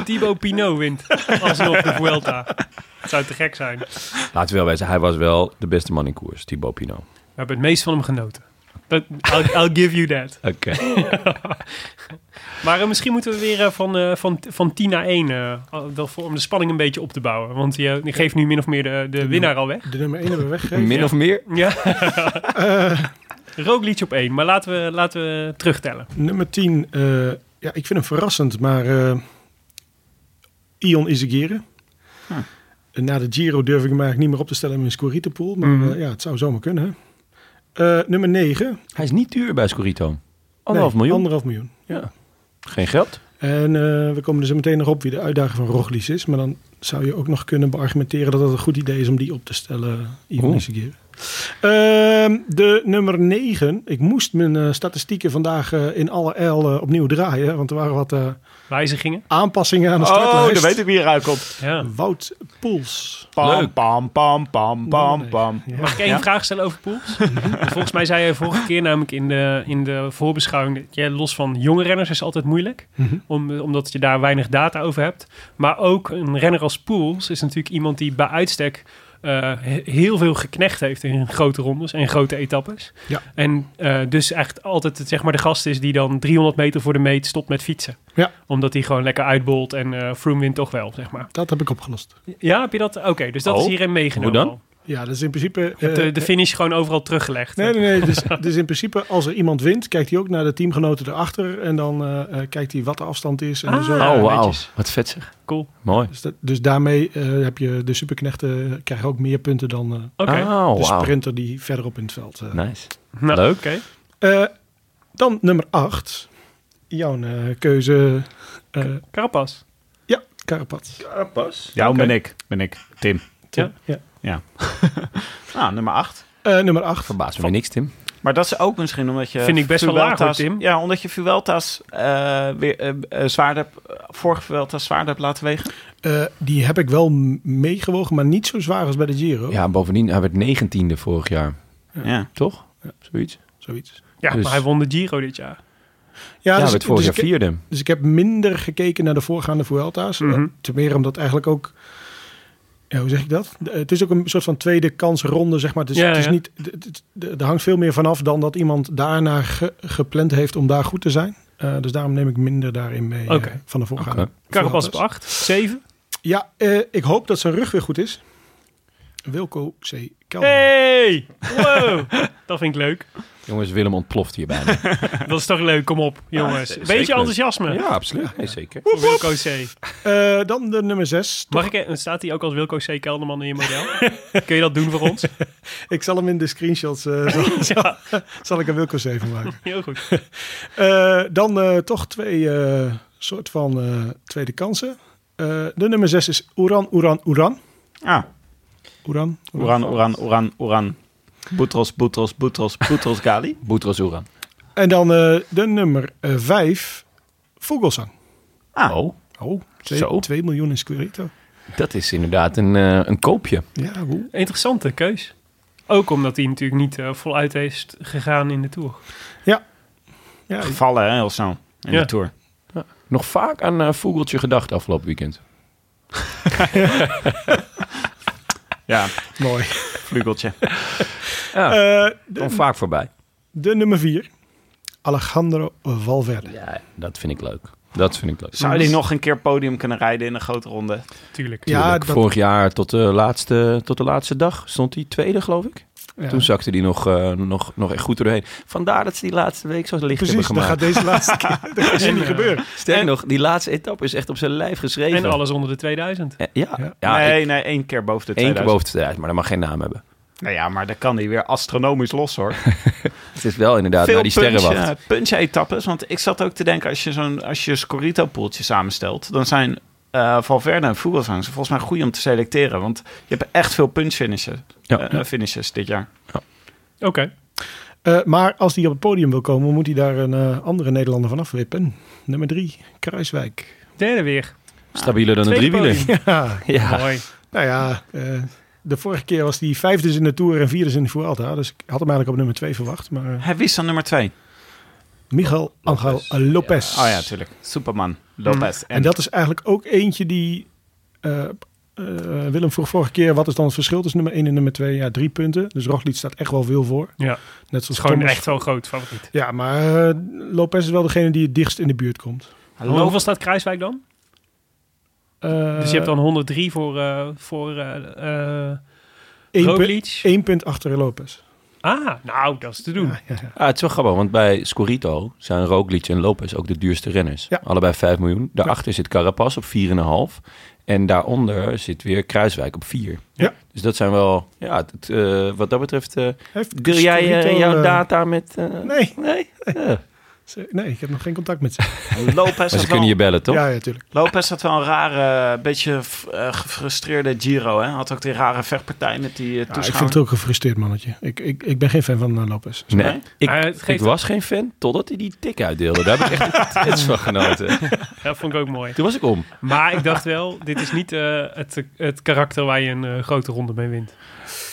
S2: Thibaut Pinot wint alsnog de Vuelta. Het zou te gek zijn. We
S1: Laten we wel wezen, hij was wel de beste man in koers, Thibaut Pinot.
S2: hebben het meest van hem genoten. Dat, I'll, I'll give you that.
S1: Oké.
S2: Maar eh, misschien moeten we weer eh, van, eh, van, van 10 naar 1, eh, al- dat voor- om de spanning een beetje op te bouwen. Want je, je geeft nu min of meer de, de winnaar al weg.
S4: De nummer 1 hebben we weggegeven.
S1: Min of meer?
S2: Ja. Rookliedje op 1, maar laten we, laten we terugtellen.
S4: Nummer 10, eh, ja, ik vind hem verrassend, maar eh, Ion Izagirre.
S3: Huh.
S4: Na de Giro durf ik hem eigenlijk niet meer op te stellen in mijn Scorito-pool. Maar
S2: Mhm.
S4: eh, ja, het zou zomaar kunnen. Hè? Eh, nummer 9.
S1: Hij is niet duur bij Scorito. Anderhalf miljoen.
S4: Anderhalf miljoen.
S1: Geen geld.
S4: En eh, we komen er zo meteen nog op wie de uitdager van Roglic is. Maar dan zou je ook nog kunnen beargumenteren dat het een goed idee is om die op te stellen. eh, Ion
S1: Oeh.
S4: Izagirre. Ehm, de nummer 9. Ik moest mijn eh, statistieken vandaag eh, in alle L opnieuw draaien. Want er waren wat eh,
S2: Wijzigingen.
S4: aanpassingen aan de startlijst.
S3: Oh, ik wie eruit komt.
S2: Ja.
S4: Wout Poels.
S3: Pam,
S1: Leuk.
S3: pam, pam, pam, pam, pam.
S2: Mag ik één
S3: Ja? Mhm.
S2: vraag stellen over Poels? Volgens mij zei je vorige keer namelijk in de, in de voorbeschouwing... Dat, ja, los van jonge renners is altijd moeilijk.
S4: Mhm.
S2: om, omdat je daar weinig data over hebt. Maar ook een renner als Poels is natuurlijk iemand die bij uitstek... eh, he- heel veel geknecht heeft in grote rondes en grote etappes.
S4: Ja.
S2: En eh, dus echt altijd zeg maar, de gast is die dan 300 meter voor de meet stopt met fietsen.
S4: Ja.
S2: Omdat hij gewoon lekker uitbolt en eh Froome wint toch wel, zeg maar.
S4: Dat heb ik opgelost.
S2: Ja, heb je dat? Oké, dus dat
S1: Oh,
S2: is hierin meegenomen.
S1: hoe dan?
S2: al.
S4: Ja, dat is in principe...
S2: Je hebt
S4: eh,
S2: de, de finish gewoon overal teruggelegd.
S4: Nee, nee, nee. Dus, dus in principe, als er iemand wint, kijkt hij ook naar de teamgenoten erachter. En dan eh, eh, kijkt hij wat de afstand is. En
S2: Ah.
S4: zo.
S2: Ja,
S1: oh, wauw.
S2: netjes.
S1: Wat vet zeg.
S2: Cool.
S1: Mooi.
S4: Dus, dat, dus daarmee eh, heb je de superknechten krijgen ook meer punten dan eh,
S2: Oké.
S1: Oh,
S4: de
S1: wauw.
S4: sprinter die verderop in het veld. eh.
S1: Nice.
S2: Nou,
S1: Leuk.
S2: oké.
S4: Eh, dan nummer 8. Jouw eh, keuze. eh
S2: Carapas.
S4: ja, Karapat.
S3: Jou ben ik, ben ik. Tim.
S2: Ja.
S4: Ja.
S3: Ja. nou, nummer 8.
S4: Eh, nummer 8.
S1: Verbaas me niks, Tim.
S3: Maar dat is ook misschien omdat je...
S2: Vind ik best wel laag, hoor,
S3: Vuelta's-
S2: Tim.
S3: Ja, omdat je Vuelta's eh, weer eh, eh, zwaarder... hebt- Vorige Vuelta's zwaarder hebt laten wegen.
S4: Eh, die heb ik wel m- meegewogen, maar niet zo zwaar als bij de Giro.
S1: Ja, bovendien, hij werd negentiende vorig jaar.
S3: ja.
S1: Toch? Zoiets.
S4: Zoiets.
S2: Ja,
S1: Dus-
S2: maar hij won de Giro dit jaar.
S1: Ja,
S4: dus
S1: hij
S4: ik-
S1: werd vorig
S4: dus
S1: jaar
S4: ik-
S1: vierde.
S4: Dus ik heb minder gekeken naar de voorgaande Vuelta's.
S2: Mhm.
S4: Eh, Ten meer omdat eigenlijk ook... Ja, hoe zeg ik dat? Eh, Het is ook een soort van tweede kansronde, zeg maar. Het is,
S2: Ja,
S4: het is
S2: ja.
S4: niet... het- het- het- Er hangt veel meer vanaf dan dat iemand daarna ge- gepland heeft om daar goed te zijn. Eh, dus daarom neem ik minder daarin mee eh,
S2: Oké.
S4: van de voorgaande.
S1: Oké.
S2: Carapas op
S4: Vuelta's.
S2: 8, 7.
S4: Ja, eh, ik hoop dat zijn rug weer goed is. Wilco C. Kelderman.
S2: Hey! Wow! dat vind ik leuk.
S1: Jongens, Willem ontploft hier bijna.
S2: Dat is toch leuk, kom op, jongens.
S1: z-
S2: Beetje
S1: zeker.
S2: enthousiasme
S1: ja, absoluut. Nee, zeker.
S2: voor Wilco C.
S4: Eh, dan de nummer 6.
S2: Mag ik, en staat hij ook als Wilco C. Kelderman in je model? Kun je dat doen voor ons?
S4: Ik zal hem in de screenshots, eh, zal,
S2: ja,
S4: zal ik een Wilco 7 maken.
S2: heel goed.
S4: Eh, dan eh, toch twee eh, soort van eh, tweede kansen. Eh, de nummer 6 is Oeran, Oeran, Oeran.
S3: Ah,
S4: Oeran.
S3: Oeran, Oeran, Oeran, Oeran. Boutros, Boutros, Boutros, Boutros Gali.
S1: Boutros Oeran.
S4: En dan eh, de nummer 5, Vogelsang.
S3: Ah,
S1: Oh,
S4: Oh,
S1: Zo.
S4: 2 miljoen in Squirito.
S1: dat is inderdaad een, eh, een koopje.
S4: Ja, hoe?
S2: Interessante keus. Ook omdat hij natuurlijk niet eh, voluit is gegaan in de Tour.
S4: Ja,
S3: gevallen hè, heel snel in
S2: Ja.
S3: de Tour.
S1: Nog vaak aan eh, Vogeltje gedacht afgelopen weekend.
S3: Ja,
S4: mooi.
S3: vlugeltje.
S1: Ja,
S4: Eh, de,
S1: kwam vaak voorbij.
S4: de nummer 4, Alejandro Valverde.
S1: Ja, dat vind ik leuk. Dat vind ik leuk.
S3: Zou die nog een keer podium kunnen rijden in een grote ronde?
S2: Tuurlijk.
S4: Ja,
S1: Tuurlijk,
S4: dat-
S1: Vorig jaar tot de, laatste, tot de laatste dag stond hij tweede, geloof ik.
S4: Ja.
S1: Toen zakte hij nog, eh, nog, nog echt goed doorheen. Vandaar dat ze die laatste week zo licht
S4: Precies,
S1: hebben
S4: dat
S1: gemaakt.
S4: gaat deze laatste keer dat gaat
S2: En,
S4: niet
S2: eh,
S4: gebeuren.
S1: Sterker nog, die laatste etappe is echt op zijn lijf geschreven.
S2: En alles onder de 2000.
S1: Eh, Ja, ja.
S3: nee,
S1: ik-
S3: nee, één keer boven de
S1: één keer
S3: 2000.
S1: boven de tijd, maar dat mag geen naam hebben.
S3: Nou ja, maar dan kan hij weer astronomisch los hoor.
S1: Het is wel inderdaad naar die sterrenwacht.
S3: punch, eh, punch-etappes. Want ik zat ook te denken, als je zo'n als je Scorito-poeltje samenstelt, dan zijn eh, Valverde en Vogelsang zijn volgens mij goed om te selecteren. Want je hebt echt veel punch-finishes
S1: Ja.
S3: eh, finishes dit jaar.
S2: Oké.
S4: Eh, maar als hij op het podium wil komen, moet hij daar een eh, andere Nederlander van afwippen. Nummer 3, Kruiswijk.
S2: Derde weer.
S1: Stabieler dan een
S2: Tweede
S1: driewieler.
S2: podium.
S4: Ja,
S1: Ja,
S2: Mooi.
S4: nou ja, eh, de vorige keer was hij vijfde in de Tour en vierde in de Vuelta. Dus ik had hem eigenlijk op nummer 2 verwacht. Maar eh,
S3: Hij wist dan nummer twee.
S4: Miguel Angel Lopez.
S3: Oh ja, tuurlijk. Superman, Lopez. En,
S4: En dat is eigenlijk ook eentje die... eh, eh, Willem vroeg vorige keer, wat is dan het verschil tussen nummer 1 en nummer 2? Ja, drie punten. Dus Roglic staat echt wel veel voor.
S2: Ja,
S4: Net
S2: dat is
S4: zoals
S2: gewoon
S4: Thomas.
S2: echt wel groot favoriet.
S4: Ja, maar eh, Lopez is wel degene die het dichtst in de buurt komt.
S2: Hoe- Hoeveel staat Kruiswijk dan?
S4: Eh,
S2: dus je hebt dan 103 voor, eh voor eh eh,
S4: één punt-
S2: Roglic.
S4: Eén punt achter Lopez.
S2: Ah, nou, dat is te doen.
S1: Ah, het is wel grappig, want bij Scorito zijn Roglic en Lopez ook de duurste renners.
S4: Ja.
S1: Allebei 5 miljoen. Daarachter zit Carapaz op 4,5. En daaronder zit weer Kruiswijk op 4.
S4: Ja.
S1: Dus dat zijn wel, ja, het, eh, wat dat betreft... eh,
S4: Heeft
S1: deel jij eh,
S4: Scorito,
S1: jouw
S4: eh,
S1: data met... eh,
S4: Nee,
S1: nee? Ja.
S4: ze- nee, ik heb nog geen contact met ze.
S3: Lopez,
S1: Maar
S3: had
S1: ze kunnen je
S3: wel,
S1: bellen, toch?
S4: Ja, ja, tuurlijk.
S3: Lopez had wel een rare, beetje f- eh, gefrustreerde Giro. Hè? Had ook die rare vechtpartij met die eh,
S4: Ja,
S1: dus
S4: ik
S3: toeschouwer.
S4: vind het ook een gefrustreerd mannetje. Ik, ik, ik ben geen fan van eh, Lopez.
S1: Nee,
S3: Nee?
S1: ik,
S2: Maar het
S1: ik
S2: geeft-
S1: was geen fan totdat hij die tik uitdeelde. Daar heb ik echt iets van genoten.
S2: Dat vond ik ook mooi.
S1: Toen was ik om.
S2: Maar ik dacht wel, dit is niet eh, het, het karakter waar je een eh, grote ronde mee wint.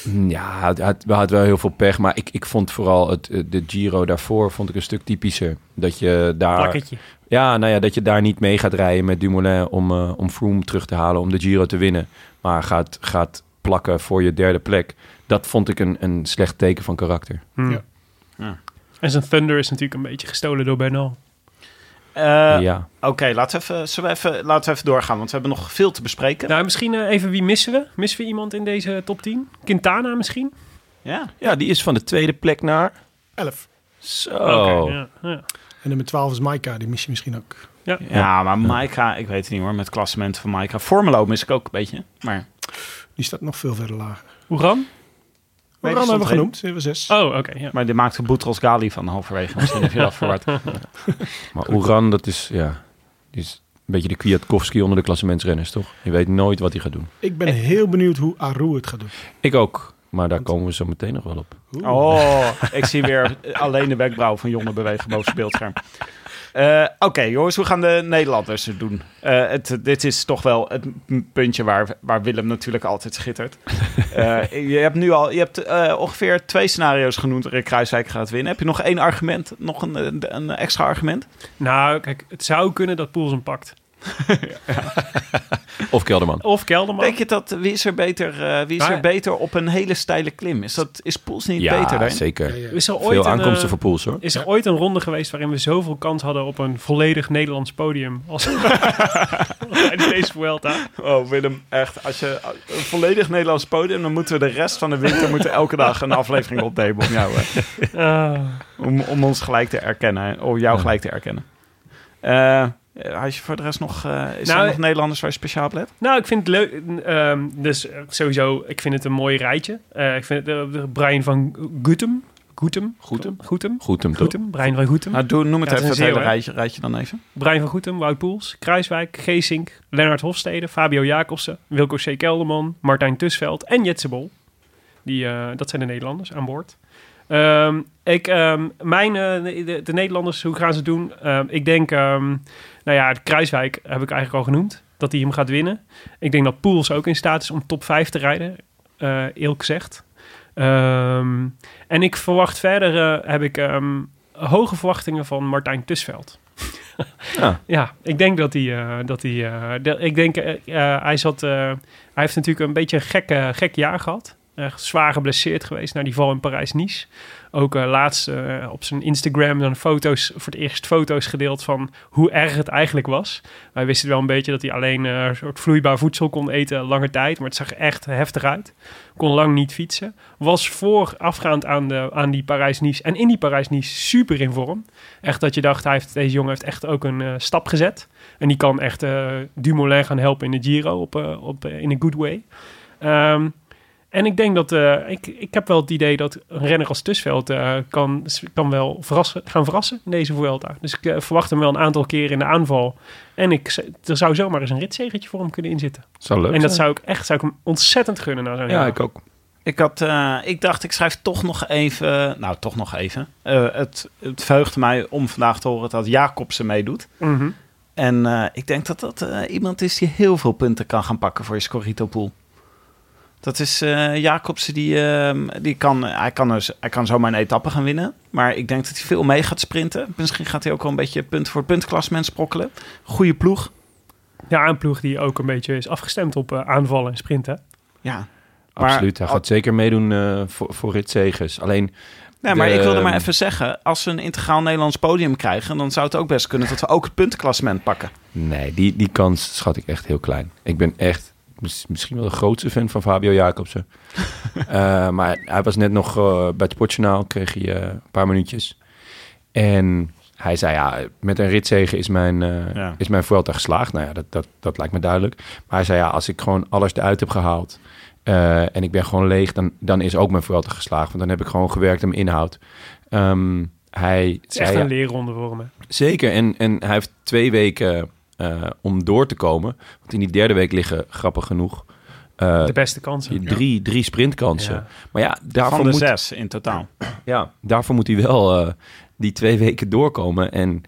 S1: Mm, Ja, het had, we hadden wel heel veel pech. Maar ik, ik vond vooral het, eh, de Giro daarvoor vond ik een stuk typischer. Dat je daar...
S2: Plakketje.
S1: Ja, nou ja, dat je daar niet mee gaat rijden met Dumoulin om, eh, om Froome terug te halen, om de Giro te winnen. Maar gaat, gaat plakken voor je derde plek. Dat vond ik een, een slecht teken van karakter.
S2: Hm.
S4: Ja.
S3: Ja.
S2: En zijn Thunder is natuurlijk een beetje gestolen door Bernal.
S3: Eh,
S1: ja.
S3: Oké, laten, we even- zullen we even- laten we even doorgaan, want we hebben nog veel te bespreken.
S2: Nou, misschien eh, even wie missen we? Missen we iemand in deze top 10? Quintana misschien?
S3: Ja.
S1: ja, die is van de tweede plek naar...
S4: Elf.
S1: Zo.
S2: Oké, ja, ja.
S4: En nummer 12 is Maika, die mis je misschien ook.
S3: Ja, maar Maika, ik weet het niet hoor, met het klassement van Maika. Formelo mis ik ook een beetje, maar...
S4: Die staat nog veel verder lager.
S2: Oeran?
S4: Waarom
S3: stond
S4: hebben we
S3: geen-
S4: genoemd? Nummer 6.
S1: Ah.
S2: Oh, oké. ja.
S3: Maar die maakte Boutros Gali van halverwege, misschien heb je dat verward.
S1: Maar Oeran, dat is, ja, die is een beetje de Kwiatkowski onder de klassementsrenners, toch? Je weet nooit wat hij gaat doen.
S4: Ik ben heel benieuwd hoe Aru het gaat doen.
S1: Ik ook, maar daar komen we zo meteen nog wel op.
S4: Oeh.
S3: Oh, ik zie weer alleen de wenkbrauw van jongen bewegen boven zijn beeldscherm. Eh, Oké jongens, hoe gaan de Nederlanders het doen? Eh, het, dit is toch wel het m- puntje waar, waar Willem natuurlijk altijd schittert. Eh, je hebt nu al je hebt, eh, ongeveer twee scenario's genoemd waarin Kruiswijk gaat winnen. Heb je nog één argument, nog een, eh, een, een extra argument?
S2: Nou, kijk, het zou kunnen dat Poels hem pakt.
S1: Of Kelderman.
S2: Of Kelderman.
S3: Denk je dat wie is er beter, eh, wie is
S2: Maar-
S3: er beter op een hele steile klim? Is, dat, is Poels niet
S1: Ja,
S3: beter daarin?
S4: Ja,
S1: zeker.
S4: ja.
S2: is er ooit
S1: Veel
S2: een,
S1: aankomsten
S2: eh,
S1: voor Poels hoor.
S2: Is er ooit een ronde geweest waarin we zoveel kans hadden op een volledig Nederlands podium? Als tijdens deze Vuelta.
S3: Oh Willem, echt. Als je een volledig Nederlands podium, dan moeten we de rest van de winter moeten elke dag een aflevering opnemen om jou, eh,
S2: Ah,
S3: om, om ons gelijk te erkennen, hè, om jou
S1: Ja.
S3: gelijk te erkennen. Eh, had je voor de rest nog, eh, is
S2: Nou,
S3: er nog Nederlanders waar je speciaal op let?
S2: nou, ik vind het leuk. ehm, dus eh, sowieso, ik vind het een mooi rijtje. Eh, ik vind het, eh, Brian van Gutem. Gutem?
S1: Goedem.
S2: Goetem?
S1: Goed hem toch?
S2: Goetem. Brian van Goetem.
S3: Nou, doe, noem het
S2: Ja, het
S3: even
S2: is
S3: het
S2: een
S3: hele
S2: zeeuw, hè?
S3: rijtje, rijtje dan even.
S2: Brian van Goetem, Wout Poels, Kruiswijk, Geesink, Lennart Hofstede, Fabio Jacobsen, Wilco C. Kelderman, Martijn Tusveld en Jetse Bol. Die, eh, dat zijn de Nederlanders aan boord. Ehm, ik, ehm, mijn, eh, de, de Nederlanders, hoe gaan ze het doen? Ehm, ik denk, ehm, nou ja, Kruiswijk heb ik eigenlijk al genoemd. Dat hij hem gaat winnen. Ik denk dat Poels ook in staat is om top 5 te rijden. eh eerlijk gezegd. Ehm, en ik verwacht verder, eh, heb ik ehm, hoge verwachtingen van Martijn Tusveld.
S1: Ja.
S2: Ja, ik denk dat hij. eh, dat hij, eh, de- ik denk, eh, eh, hij zat. eh, hij heeft natuurlijk een beetje een gek, eh, gek jaar gehad. Echt zwaar geblesseerd geweest naar die val in Parijs-Nice. Ook eh, laatst eh, op zijn Instagram dan foto's, voor het eerst foto's gedeeld van hoe erg het eigenlijk was. Wij wisten wel een beetje dat hij alleen eh, een soort vloeibaar voedsel kon eten lange tijd. Maar het zag echt heftig uit. Kon lang niet fietsen. Was voorafgaand aan, de, aan die Parijs-Nice en in die Parijs-Nice super in vorm. Echt dat je dacht, hij heeft, deze jongen heeft echt ook een eh, stap gezet. En die kan echt eh, Dumoulin gaan helpen in de Giro op, eh, op, eh, in een good way. Ehm, en ik denk dat eh, ik, ik heb wel het idee dat een renner als Tusveld eh, kan, kan wel verrassen, gaan verrassen in deze Vuelta. Dus ik eh, verwacht hem wel een aantal keren in de aanval. En ik, z- er zou zomaar eens een ritzegentje voor hem kunnen inzitten.
S1: Zou leuk
S2: en dat
S1: zijn.
S2: zou ik echt zou ik hem ontzettend gunnen naar zo'n
S1: Ja,
S2: jaar.
S1: ik ook.
S3: Ik, had, eh, ik dacht, ik schrijf toch nog even. Nou, toch nog even. Eh, het, het verheugde mij om vandaag te horen dat Jacobsen meedoet.
S2: Mhm.
S3: En eh, ik denk dat dat eh, iemand is die heel veel punten kan gaan pakken voor je Scorito pool. Dat is eh, Jacobsen, die, ehm, die kan, hij, kan dus, hij kan zomaar een etappe gaan winnen. Maar ik denk dat hij veel mee gaat sprinten. Misschien gaat hij ook wel een beetje punt voor punt klassement sprokkelen. Goede ploeg.
S2: ja, een ploeg die ook een beetje is afgestemd op eh, aanvallen en sprinten.
S3: Ja. Maar-
S1: Absoluut. Hij gaat zeker meedoen eh, voor, voor ritzegers. Alleen,
S3: Nee, maar
S1: De-
S3: ik wilde maar even zeggen, als we een integraal Nederlands podium krijgen, dan zou het ook best kunnen dat we ook het puntenklassement pakken.
S1: nee, die, die kans schat ik echt heel klein. Ik ben echt mis- misschien wel de grootste fan van Fabio Jacobsen. Eh, maar hij was net nog eh, bij het Sportjournaal, kreeg hij eh, een paar minuutjes. En hij zei, ja, met een ritzegen is mijn, eh,
S3: Ja.
S1: is mijn Vuelta geslaagd. Nou ja, dat, dat, dat lijkt me duidelijk. Maar hij zei, ja, als ik gewoon alles eruit heb gehaald... eh, en ik ben gewoon leeg, dan, dan is ook mijn Vuelta geslaagd. Want dan heb ik gewoon gewerkt aan mijn inhoud. Ehm, hij
S2: Het is echt
S1: zei,
S2: een leerronde voor hem. hè.
S1: Zeker. En, en hij heeft twee weken eh, om door te komen. Want in die derde week liggen, grappig genoeg, eh,
S2: De beste kansen.
S1: drie, drie sprintkansen.
S2: Ja.
S1: Maar ja
S3: Van
S1: daarvoor,
S3: de
S1: moet,
S3: zes in totaal.
S1: ja, daarvoor moet hij wel eh, die twee weken doorkomen. En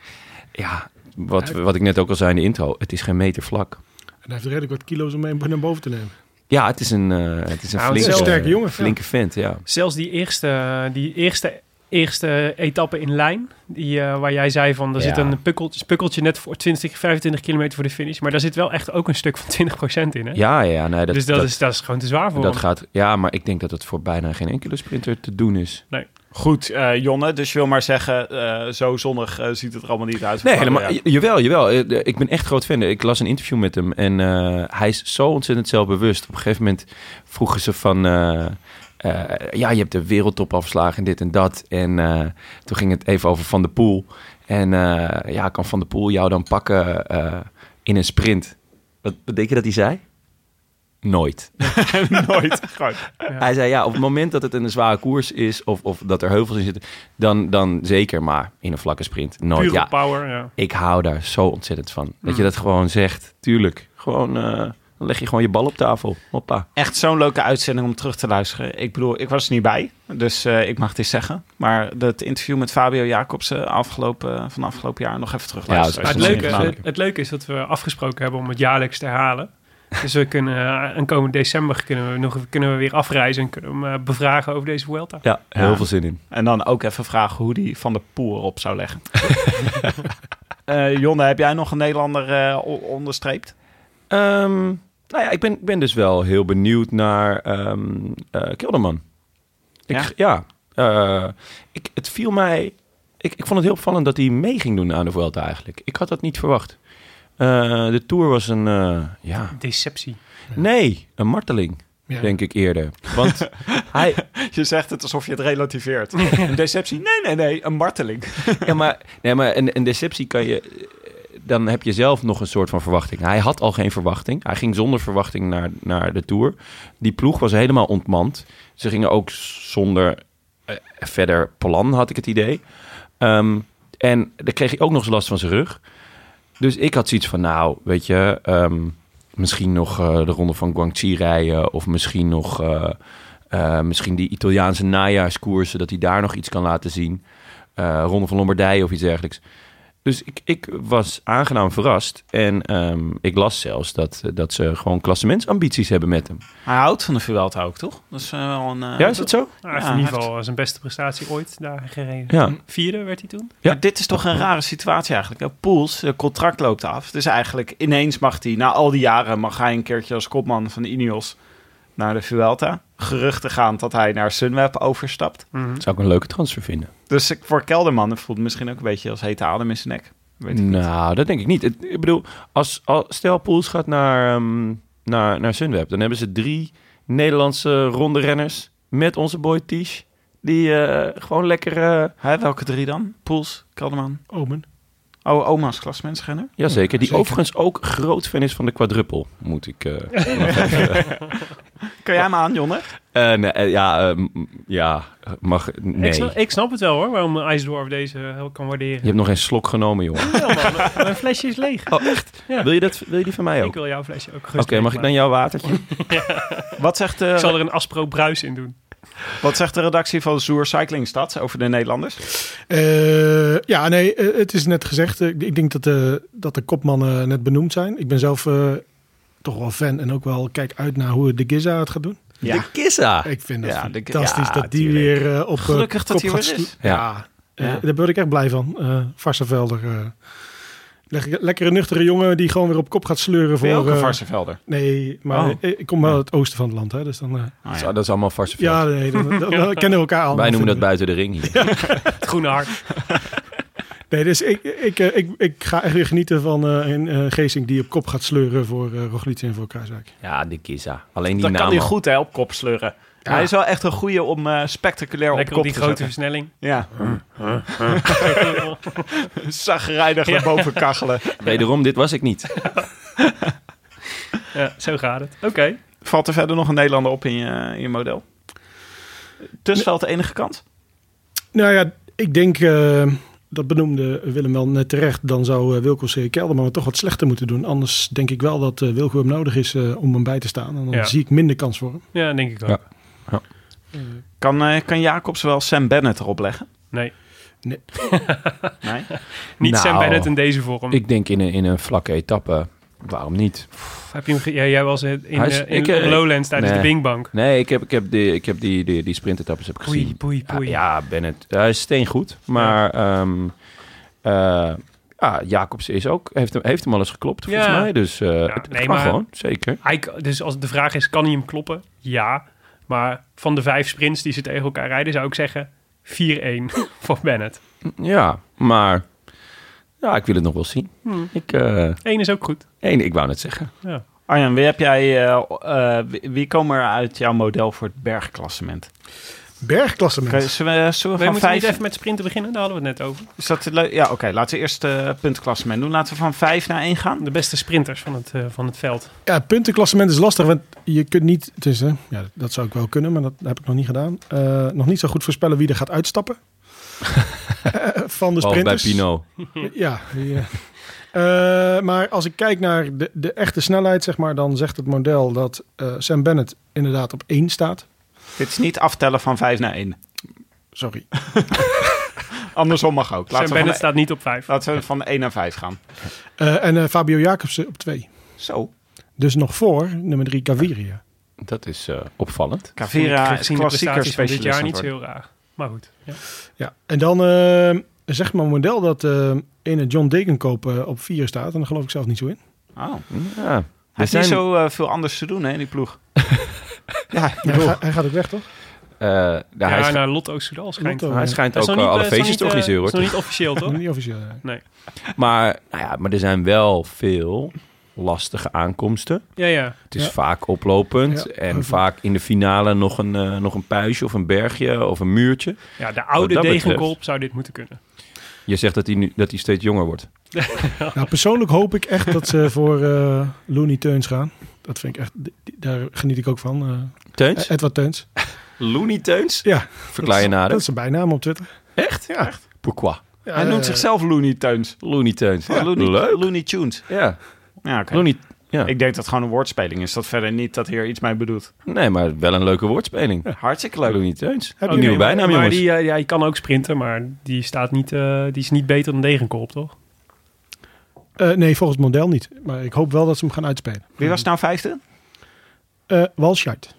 S1: ja, wat, we- wat ik net ook al zei in de intro, het is geen meter vlak.
S4: En hij heeft redelijk wat kilo's om mee naar boven te nemen.
S1: Ja, het is een, eh, het is een
S2: Nou, het is
S1: flinke,
S2: een
S4: sterke jongen,
S1: flinke vent, ja.
S2: Zelfs die eerste, die eerste, eerste etappe in lijn, die, eh, waar jij zei van, er
S1: Ja.
S2: zit een pukkeltje, pukkeltje net voor 20, 25 kilometer voor de finish, maar daar zit wel echt ook een stuk van 20% in, hè?
S1: Ja, ja, nee, dat,
S2: dus dat,
S1: dat,
S2: is, dat is gewoon te zwaar voor
S1: dat
S2: hem.
S1: gaat... Ja, maar ik denk dat het voor bijna geen enkele sprinter te doen is.
S3: Goed, eh, Jonne, dus je wil maar zeggen, eh, zo zonnig eh, ziet het er allemaal niet uit.
S1: Nee,
S3: Fabio
S1: helemaal.
S3: Jacobsen.
S1: j- Jawel, jawel. Eh, de- Ik ben echt groot fan. Ik las een interview met hem en eh, hij is zo ontzettend zelfbewust. Op een gegeven moment vroegen ze van... eh, eh, ja, je hebt de wereldtopafslagen en dit en dat. En eh, toen ging het even over Van der Poel. En eh, ja, kan Van der Poel jou dan pakken eh, in een sprint? Wat, wat denk je dat hij zei? Nooit.
S3: Nooit. Gewoon.
S1: Hij zei ja, op het moment dat het een zware koers is... of, of dat er heuvels in zitten, dan, dan zeker. Maar in een vlakke sprint nooit.
S2: Pure
S1: ja,
S2: power, ja.
S1: ik hou daar zo ontzettend van. Dat je dat gewoon zegt. Tuurlijk. Gewoon, eh, dan leg je gewoon je bal op tafel. Hoppa.
S3: Echt zo'n leuke uitzending om terug te luisteren. Ik bedoel, ik was er niet bij, dus eh, ik mag dit zeggen. Maar dat interview met Fabio Jacobsen afgelopen, eh, van afgelopen jaar nog even terugluisteren.
S1: Ja,
S2: Maar
S1: dat
S2: het,
S1: is
S3: Als je
S2: leuke,
S1: ontzettend
S3: het niet
S2: het, het leuke is dat we afgesproken hebben om het jaarlijks te herhalen. Dus we kunnen, eh, en komend december kunnen we, nog, kunnen we weer afreizen en kunnen we hem eh, bevragen over deze Vuelta.
S1: Ja, heel
S3: Ja.
S1: veel zin in.
S3: gedaan. En dan ook even vragen hoe die Van de Poel erop zou leggen. Eh Jonne, heb jij nog een Nederlander eh, o- onderstreept?
S1: Ehm, nou ja, ik ben, ik ben dus wel heel benieuwd naar ehm eh, Kilderman. Ik, ja?
S3: Ja?
S1: Eh, ik, het viel mij... Ik, ik vond het heel opvallend dat hij mee ging doen aan de Vuelta eigenlijk. Ik had dat niet verwacht. Eh, de Tour was een... eh, ja.
S2: Deceptie.
S1: Nee, een marteling,
S4: Ja.
S1: denk ik eerder. Want hij,
S3: Je zegt het alsof je het relativeert. Een deceptie? Nee, nee, nee. Een marteling.
S1: Ja, maar, nee, maar een, een deceptie kan je. eh, Dan heb je zelf nog een soort van verwachting. Hij had al geen verwachting. Hij ging zonder verwachting naar, naar de tour. Die ploeg was helemaal ontmand. Ze gingen ook zonder eh, verder plan, had ik het idee. Ehm, en dan kreeg hij ook nog eens last van zijn rug. Dus ik had zoiets van: nou, weet je, ehm, misschien nog eh, de ronde van Guangxi rijden. Of misschien nog. eh, eh, misschien die Italiaanse najaarskoersen, dat hij daar nog iets kan laten zien eh Ronde van Lombardije of iets dergelijks. Dus ik, ik was aangenaam verrast. En ehm, ik las zelfs dat, dat ze gewoon klassementsambities hebben met hem.
S3: Hij houdt van de Vuelta ook, toch? Dat is eh, wel een... eh,
S1: ja, is Ah, dat zo?
S2: Nou, hij heeft
S3: Ja,
S2: in ieder geval zijn beste prestatie ooit daar gereden.
S1: Ja.
S2: Vierde werd hij toen.
S1: Ja.
S3: Maar dit is toch een rare situatie eigenlijk. hè? Poels, het contract loopt af. Dus eigenlijk ineens mag hij, na al die jaren, mag hij een keertje als kopman van Ineos naar de Vuelta. Geruchten gaan dat hij naar Sunweb overstapt.
S2: Mhm.
S1: Zou ik een leuke transfer vinden?
S3: Dus ik- voor Kelderman het voelt het misschien ook een beetje als hete adem in zijn nek. Weet ik niet.
S1: Nou, dat denk ik niet. Het- ik bedoel, als, als, stel Poels gaat naar, ehm, naar, naar Sunweb. Dan hebben ze drie Nederlandse ronde renners met onze boy Tisch. Die eh, gewoon lekker... eh,
S3: Hè, welke drie dan? Poels, Kelderman.
S4: Omen.
S3: Oh, oma's klasmensrenner.
S1: jazeker. Die
S4: Zeker.
S1: overigens ook groot fan is van de quadruppel. Moet ik... eh,
S3: Kun jij hem aan, Jonne?
S1: Eh, nee, eh, ja, eh, m- ja, mag. Nee.
S2: Ik, snap, ik snap het wel hoor, waarom IJsdorf deze heel kan
S1: Je
S2: waarderen.
S1: hebt nog geen slok genomen, jongen.
S2: Ja, man, mijn flesje is leeg.
S1: Oh, echt?
S2: Ja.
S1: Wil, je dat, wil je die van mij ook?
S2: Ik
S1: Oké,
S2: wil jouw flesje ook gerust
S1: mag ik dan
S2: leegmaken.
S1: jouw watertje?
S3: Wat zegt, de,
S2: Ik zal er een Aspro Bruis in doen.
S3: wat zegt de redactie van Zoer Cycling Stad over de Nederlanders?
S4: Eh, ja, nee, eh, het is net gezegd. eh, ik- ik denk dat de, dat de kopmannen net benoemd zijn. Ik ben zelf eh, toch wel fan en ook wel kijk uit naar hoe de Giza het gaat doen.
S3: Ja.
S1: kissa.
S4: Ik vind het
S3: Ah, Ja, de-
S4: fantastisch
S3: ja,
S4: dat die
S3: tuurlijk.
S4: weer eh, op eh,
S3: Gelukkig dat
S4: kop
S3: hij
S4: gaat
S3: weer is.
S4: scho- Ja, eh,
S3: Ja.
S4: daar word ik echt blij van. Eh Varsenvelder. eh, le- lekkere nuchtere jongen die gewoon weer op kop gaat sleuren
S3: Voor
S4: voor...
S3: ook een
S4: eh,
S3: Varsenvelder.
S4: nee, maar
S3: Oh.
S4: eh, ik kom wel uit het oosten van het land, hè, dus dan... eh,
S3: Ah, ja.
S1: Dat is allemaal farse veld.
S4: ja, nee, dan, dan- dan kennen we elkaar allemaal.
S1: Wij noemen dat buiten
S4: vinden we.
S1: de ring hier.
S2: Het groene hart.
S4: Nee, dus ik, ik, eh, ik, ik ga echt weer genieten van eh, een eh, Geesink die op kop gaat sleuren voor eh Roglic en voor Kruiswijk.
S1: Ja, de kissa. Alleen die
S3: Dan kan
S1: naam
S3: hij
S1: al.
S3: goed hè, op kop sleuren. Hij is wel echt een goeie om eh, spectaculair
S2: Lekker op
S3: op kop
S2: die
S3: te
S2: grote
S3: zetten.
S2: versnelling.
S3: Ja. Zagrijnig naar boven kachelen.
S1: Wederom, dit was ik niet.
S2: Ja, zo gaat het. Oké.
S3: Valt er verder nog een Nederlander op in je, in je model? Tussveld de enige kant?
S4: Nou ja, ik denk, eh, dat benoemde Willem wel net terecht, dan zou eh, Wilco C. Kelderman het toch wat slechter moeten doen. Anders denk ik wel dat eh, Wilco hem nodig is eh, om hem bij te staan. En dan
S2: Ja.
S4: zie ik minder kans voor hem.
S2: Ja, denk ik ook.
S1: Ja.
S3: Kan, eh, kan Jacobs wel Sam Bennett erop leggen?
S2: Nee.
S4: Nee.
S3: nee?
S2: Niet Sam
S1: Nou,
S2: Bennett in deze vorm.
S1: Ik denk in een, in een vlakke etappe. Waarom niet?
S2: Heb je hem ge- ja, jij was in, in,
S1: Hij is-
S2: eh, in
S1: ik, eh,
S2: Lowlands tijdens
S1: nee.
S2: de Bing Bang.
S1: Nee, ik heb, ik heb, die, ik heb die, die, die sprintetappes heb ik gezien.
S2: Poei, poei, poei.
S1: Ja, ja, Bennett. Hij is steengoed. Maar ehm, eh, ja, Jacobs is ook, heeft, hem, heeft hem al eens geklopt, volgens
S2: Ja.
S1: mij. Dus eh het- het
S2: nee,
S1: kan
S2: maar-
S1: gewoon, zeker.
S2: Hij k- dus als de vraag is, kan hij hem kloppen? Ja. Maar van de vijf sprints die ze tegen elkaar rijden, zou ik zeggen 4-1 voor Bennett.
S1: Ja, maar ja, ik wil het nog wel zien. Ik, eh,
S2: Eén is ook goed.
S1: één, ik wou net zeggen.
S3: Arjan, wie, heb jij, eh, eh, wie, wie komen er uit jouw model voor het bergklassement? Kan-
S4: Bergklassement.
S3: Zullen we, zullen
S2: We
S3: we van
S2: moeten
S3: vijf...
S2: niet even met sprinten beginnen, daar hadden we het net over.
S3: Is dat leuk? Ja, oké. laten we eerst het puntenklassement doen. Laten we van vijf naar één gaan.
S2: De beste sprinters van het, eh, van het veld.
S4: Ja, puntenklassement is lastig, want je kunt niet... Het is, eh, ja, dat zou ik wel kunnen, maar dat heb ik nog niet gedaan. Eh, nog niet zo goed voorspellen wie er gaat uitstappen. Eh, van de
S1: Behalve bij
S4: sprinters.
S1: Pino.
S4: Ja. die, eh. Eh, maar als ik kijk naar de, de echte snelheid, zeg maar, dan zegt het model dat eh, Sam Bennett inderdaad op 1 staat.
S3: Dit is niet aftellen van vijf naar één.
S4: Sorry.
S3: Andersom mag ook. Laten,
S2: Sam
S3: we
S2: Bennett
S3: van, e-
S2: staat niet op vijf.
S3: laten we van één naar vijf gaan.
S4: Eh, en eh, Fabio Jacobsen op 2.
S3: Zo.
S4: Dus nog voor nummer 3 Gaviria.
S1: Dat is eh, opvallend.
S3: Cavera is
S2: gezien de
S3: klassieker
S2: prestaties van dit
S3: specialist.
S2: jaar
S3: aan
S2: niet
S3: het
S2: zo
S3: worden.
S2: heel raar. Maar goed. Ja.
S4: Ja. En dan eh zeg maar model dat eh in het John Degenkoop eh, op 4 staat. En daar geloof ik zelf niet zo in.
S3: Oh.
S1: Ja.
S3: heeft
S1: zijn-
S3: niet zo eh, veel anders te doen, hè, die ploeg. ja, die
S4: hij,
S3: ploeg.
S4: ga- hij gaat ook weg, toch?
S1: Eh, nou, hij,
S2: Ja,
S1: schijnt-
S2: naar Lotto Soudal schijnt.
S4: Lotto.
S1: hij schijnt
S2: Dat is
S1: ook
S2: nog
S1: eh,
S2: niet,
S1: alle
S2: eh, is nog
S1: feestjes
S2: niet,
S1: te organiseren,
S2: eh,
S1: hoor.
S2: is nog niet officieel, toch?
S4: Niet officieel. ja.
S1: Maar, nou ja, maar er zijn wel veel lastige aankomsten.
S2: Ja, ja.
S1: Het is
S4: Ja.
S1: vaak oplopend
S4: Ja,
S1: en
S4: oké.
S1: vaak in de finale nog een, eh, nog een puistje of een bergje of een muurtje.
S2: Ja, de
S1: Wat
S2: oude
S1: dat betreft.
S2: Degenkolb zou dit moeten kunnen.
S1: Je zegt dat hij, nu, dat hij steeds jonger wordt.
S4: Nou, persoonlijk hoop ik echt dat ze voor eh Looney Teuns gaan. Dat vind ik echt, die- die- daar geniet ik ook van. eh,
S1: Teuns?
S4: Edward Teuns.
S1: Looney Teuns?
S4: Ja,
S1: Verklaar je nader.
S4: dat is zijn bijnaam op Twitter.
S1: Echt? Ja. Echt? Pourquoi?
S4: Ja,
S3: Hij noemt
S4: eh,
S3: zichzelf Looney Tunes.
S1: Looney Teuns.
S3: Ja, Looney,
S1: Leuk.
S3: Looney Tunes.
S1: Ja.
S3: Ja, oké.
S1: Looney... Ja.
S3: Ik denk dat het gewoon een woordspeling is. Dat verder niet dat hier iets mee bedoelt.
S1: Nee, maar wel een leuke woordspeling.
S3: Hartstikke leuk.
S1: Looney Teuns.
S4: Heb
S1: Een
S4: je
S1: nieuwe
S4: hem?
S1: bijnaam,
S2: maar
S1: jongens.
S2: die, eh, ja, je kan ook sprinten, maar die, staat niet, eh, die is niet beter dan Degenkolb, toch?
S4: eh, nee, volgens het model niet. Maar ik hoop wel dat ze hem gaan uitspelen.
S3: Wie was nou vijfde?
S4: Eh Walscheid.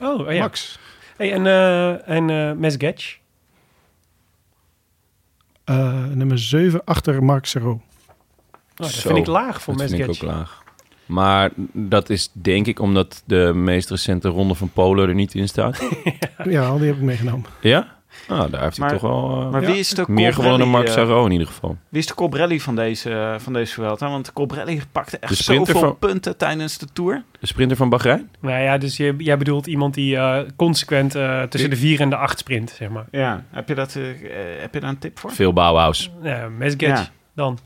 S2: Oh, ja.
S4: Max.
S2: Hey, en eh en eh Mesgetch?
S4: Eh, nummer 7 achter Mark Serrault.
S2: Oh, dat
S1: Zo,
S2: vind ik laag voor
S1: Dat vind ik ook
S2: Mesgetch.
S1: laag. Maar dat is denk ik omdat de meest recente ronde van Polen er niet in staat.
S4: Ja, die heb ik meegenomen.
S1: ja? Nou, daar heeft hij
S3: Maar-
S1: toch wel eh,
S3: Maar
S4: Ja.
S3: wie is de
S1: meer gewonnen dan Mark
S3: Cobrelli, eh,
S1: Sarro in ieder geval.
S3: Wie is de Cobrelli van deze, eh, van deze Vuelta? Want Cobrelli pakte echt
S1: De sprinter
S3: zoveel
S1: van-
S3: punten tijdens de Tour.
S1: De sprinter van Bahrein?
S2: Nou ja, dus je, jij bedoelt iemand die eh, consequent eh, tussen de vier en de acht sprint, zeg maar.
S3: Ja. Heb je, dat, eh, eh, heb je daar een tip voor?
S1: Veel Bauhaus.
S2: Ja, Mesgetch
S3: Ja.
S2: dan.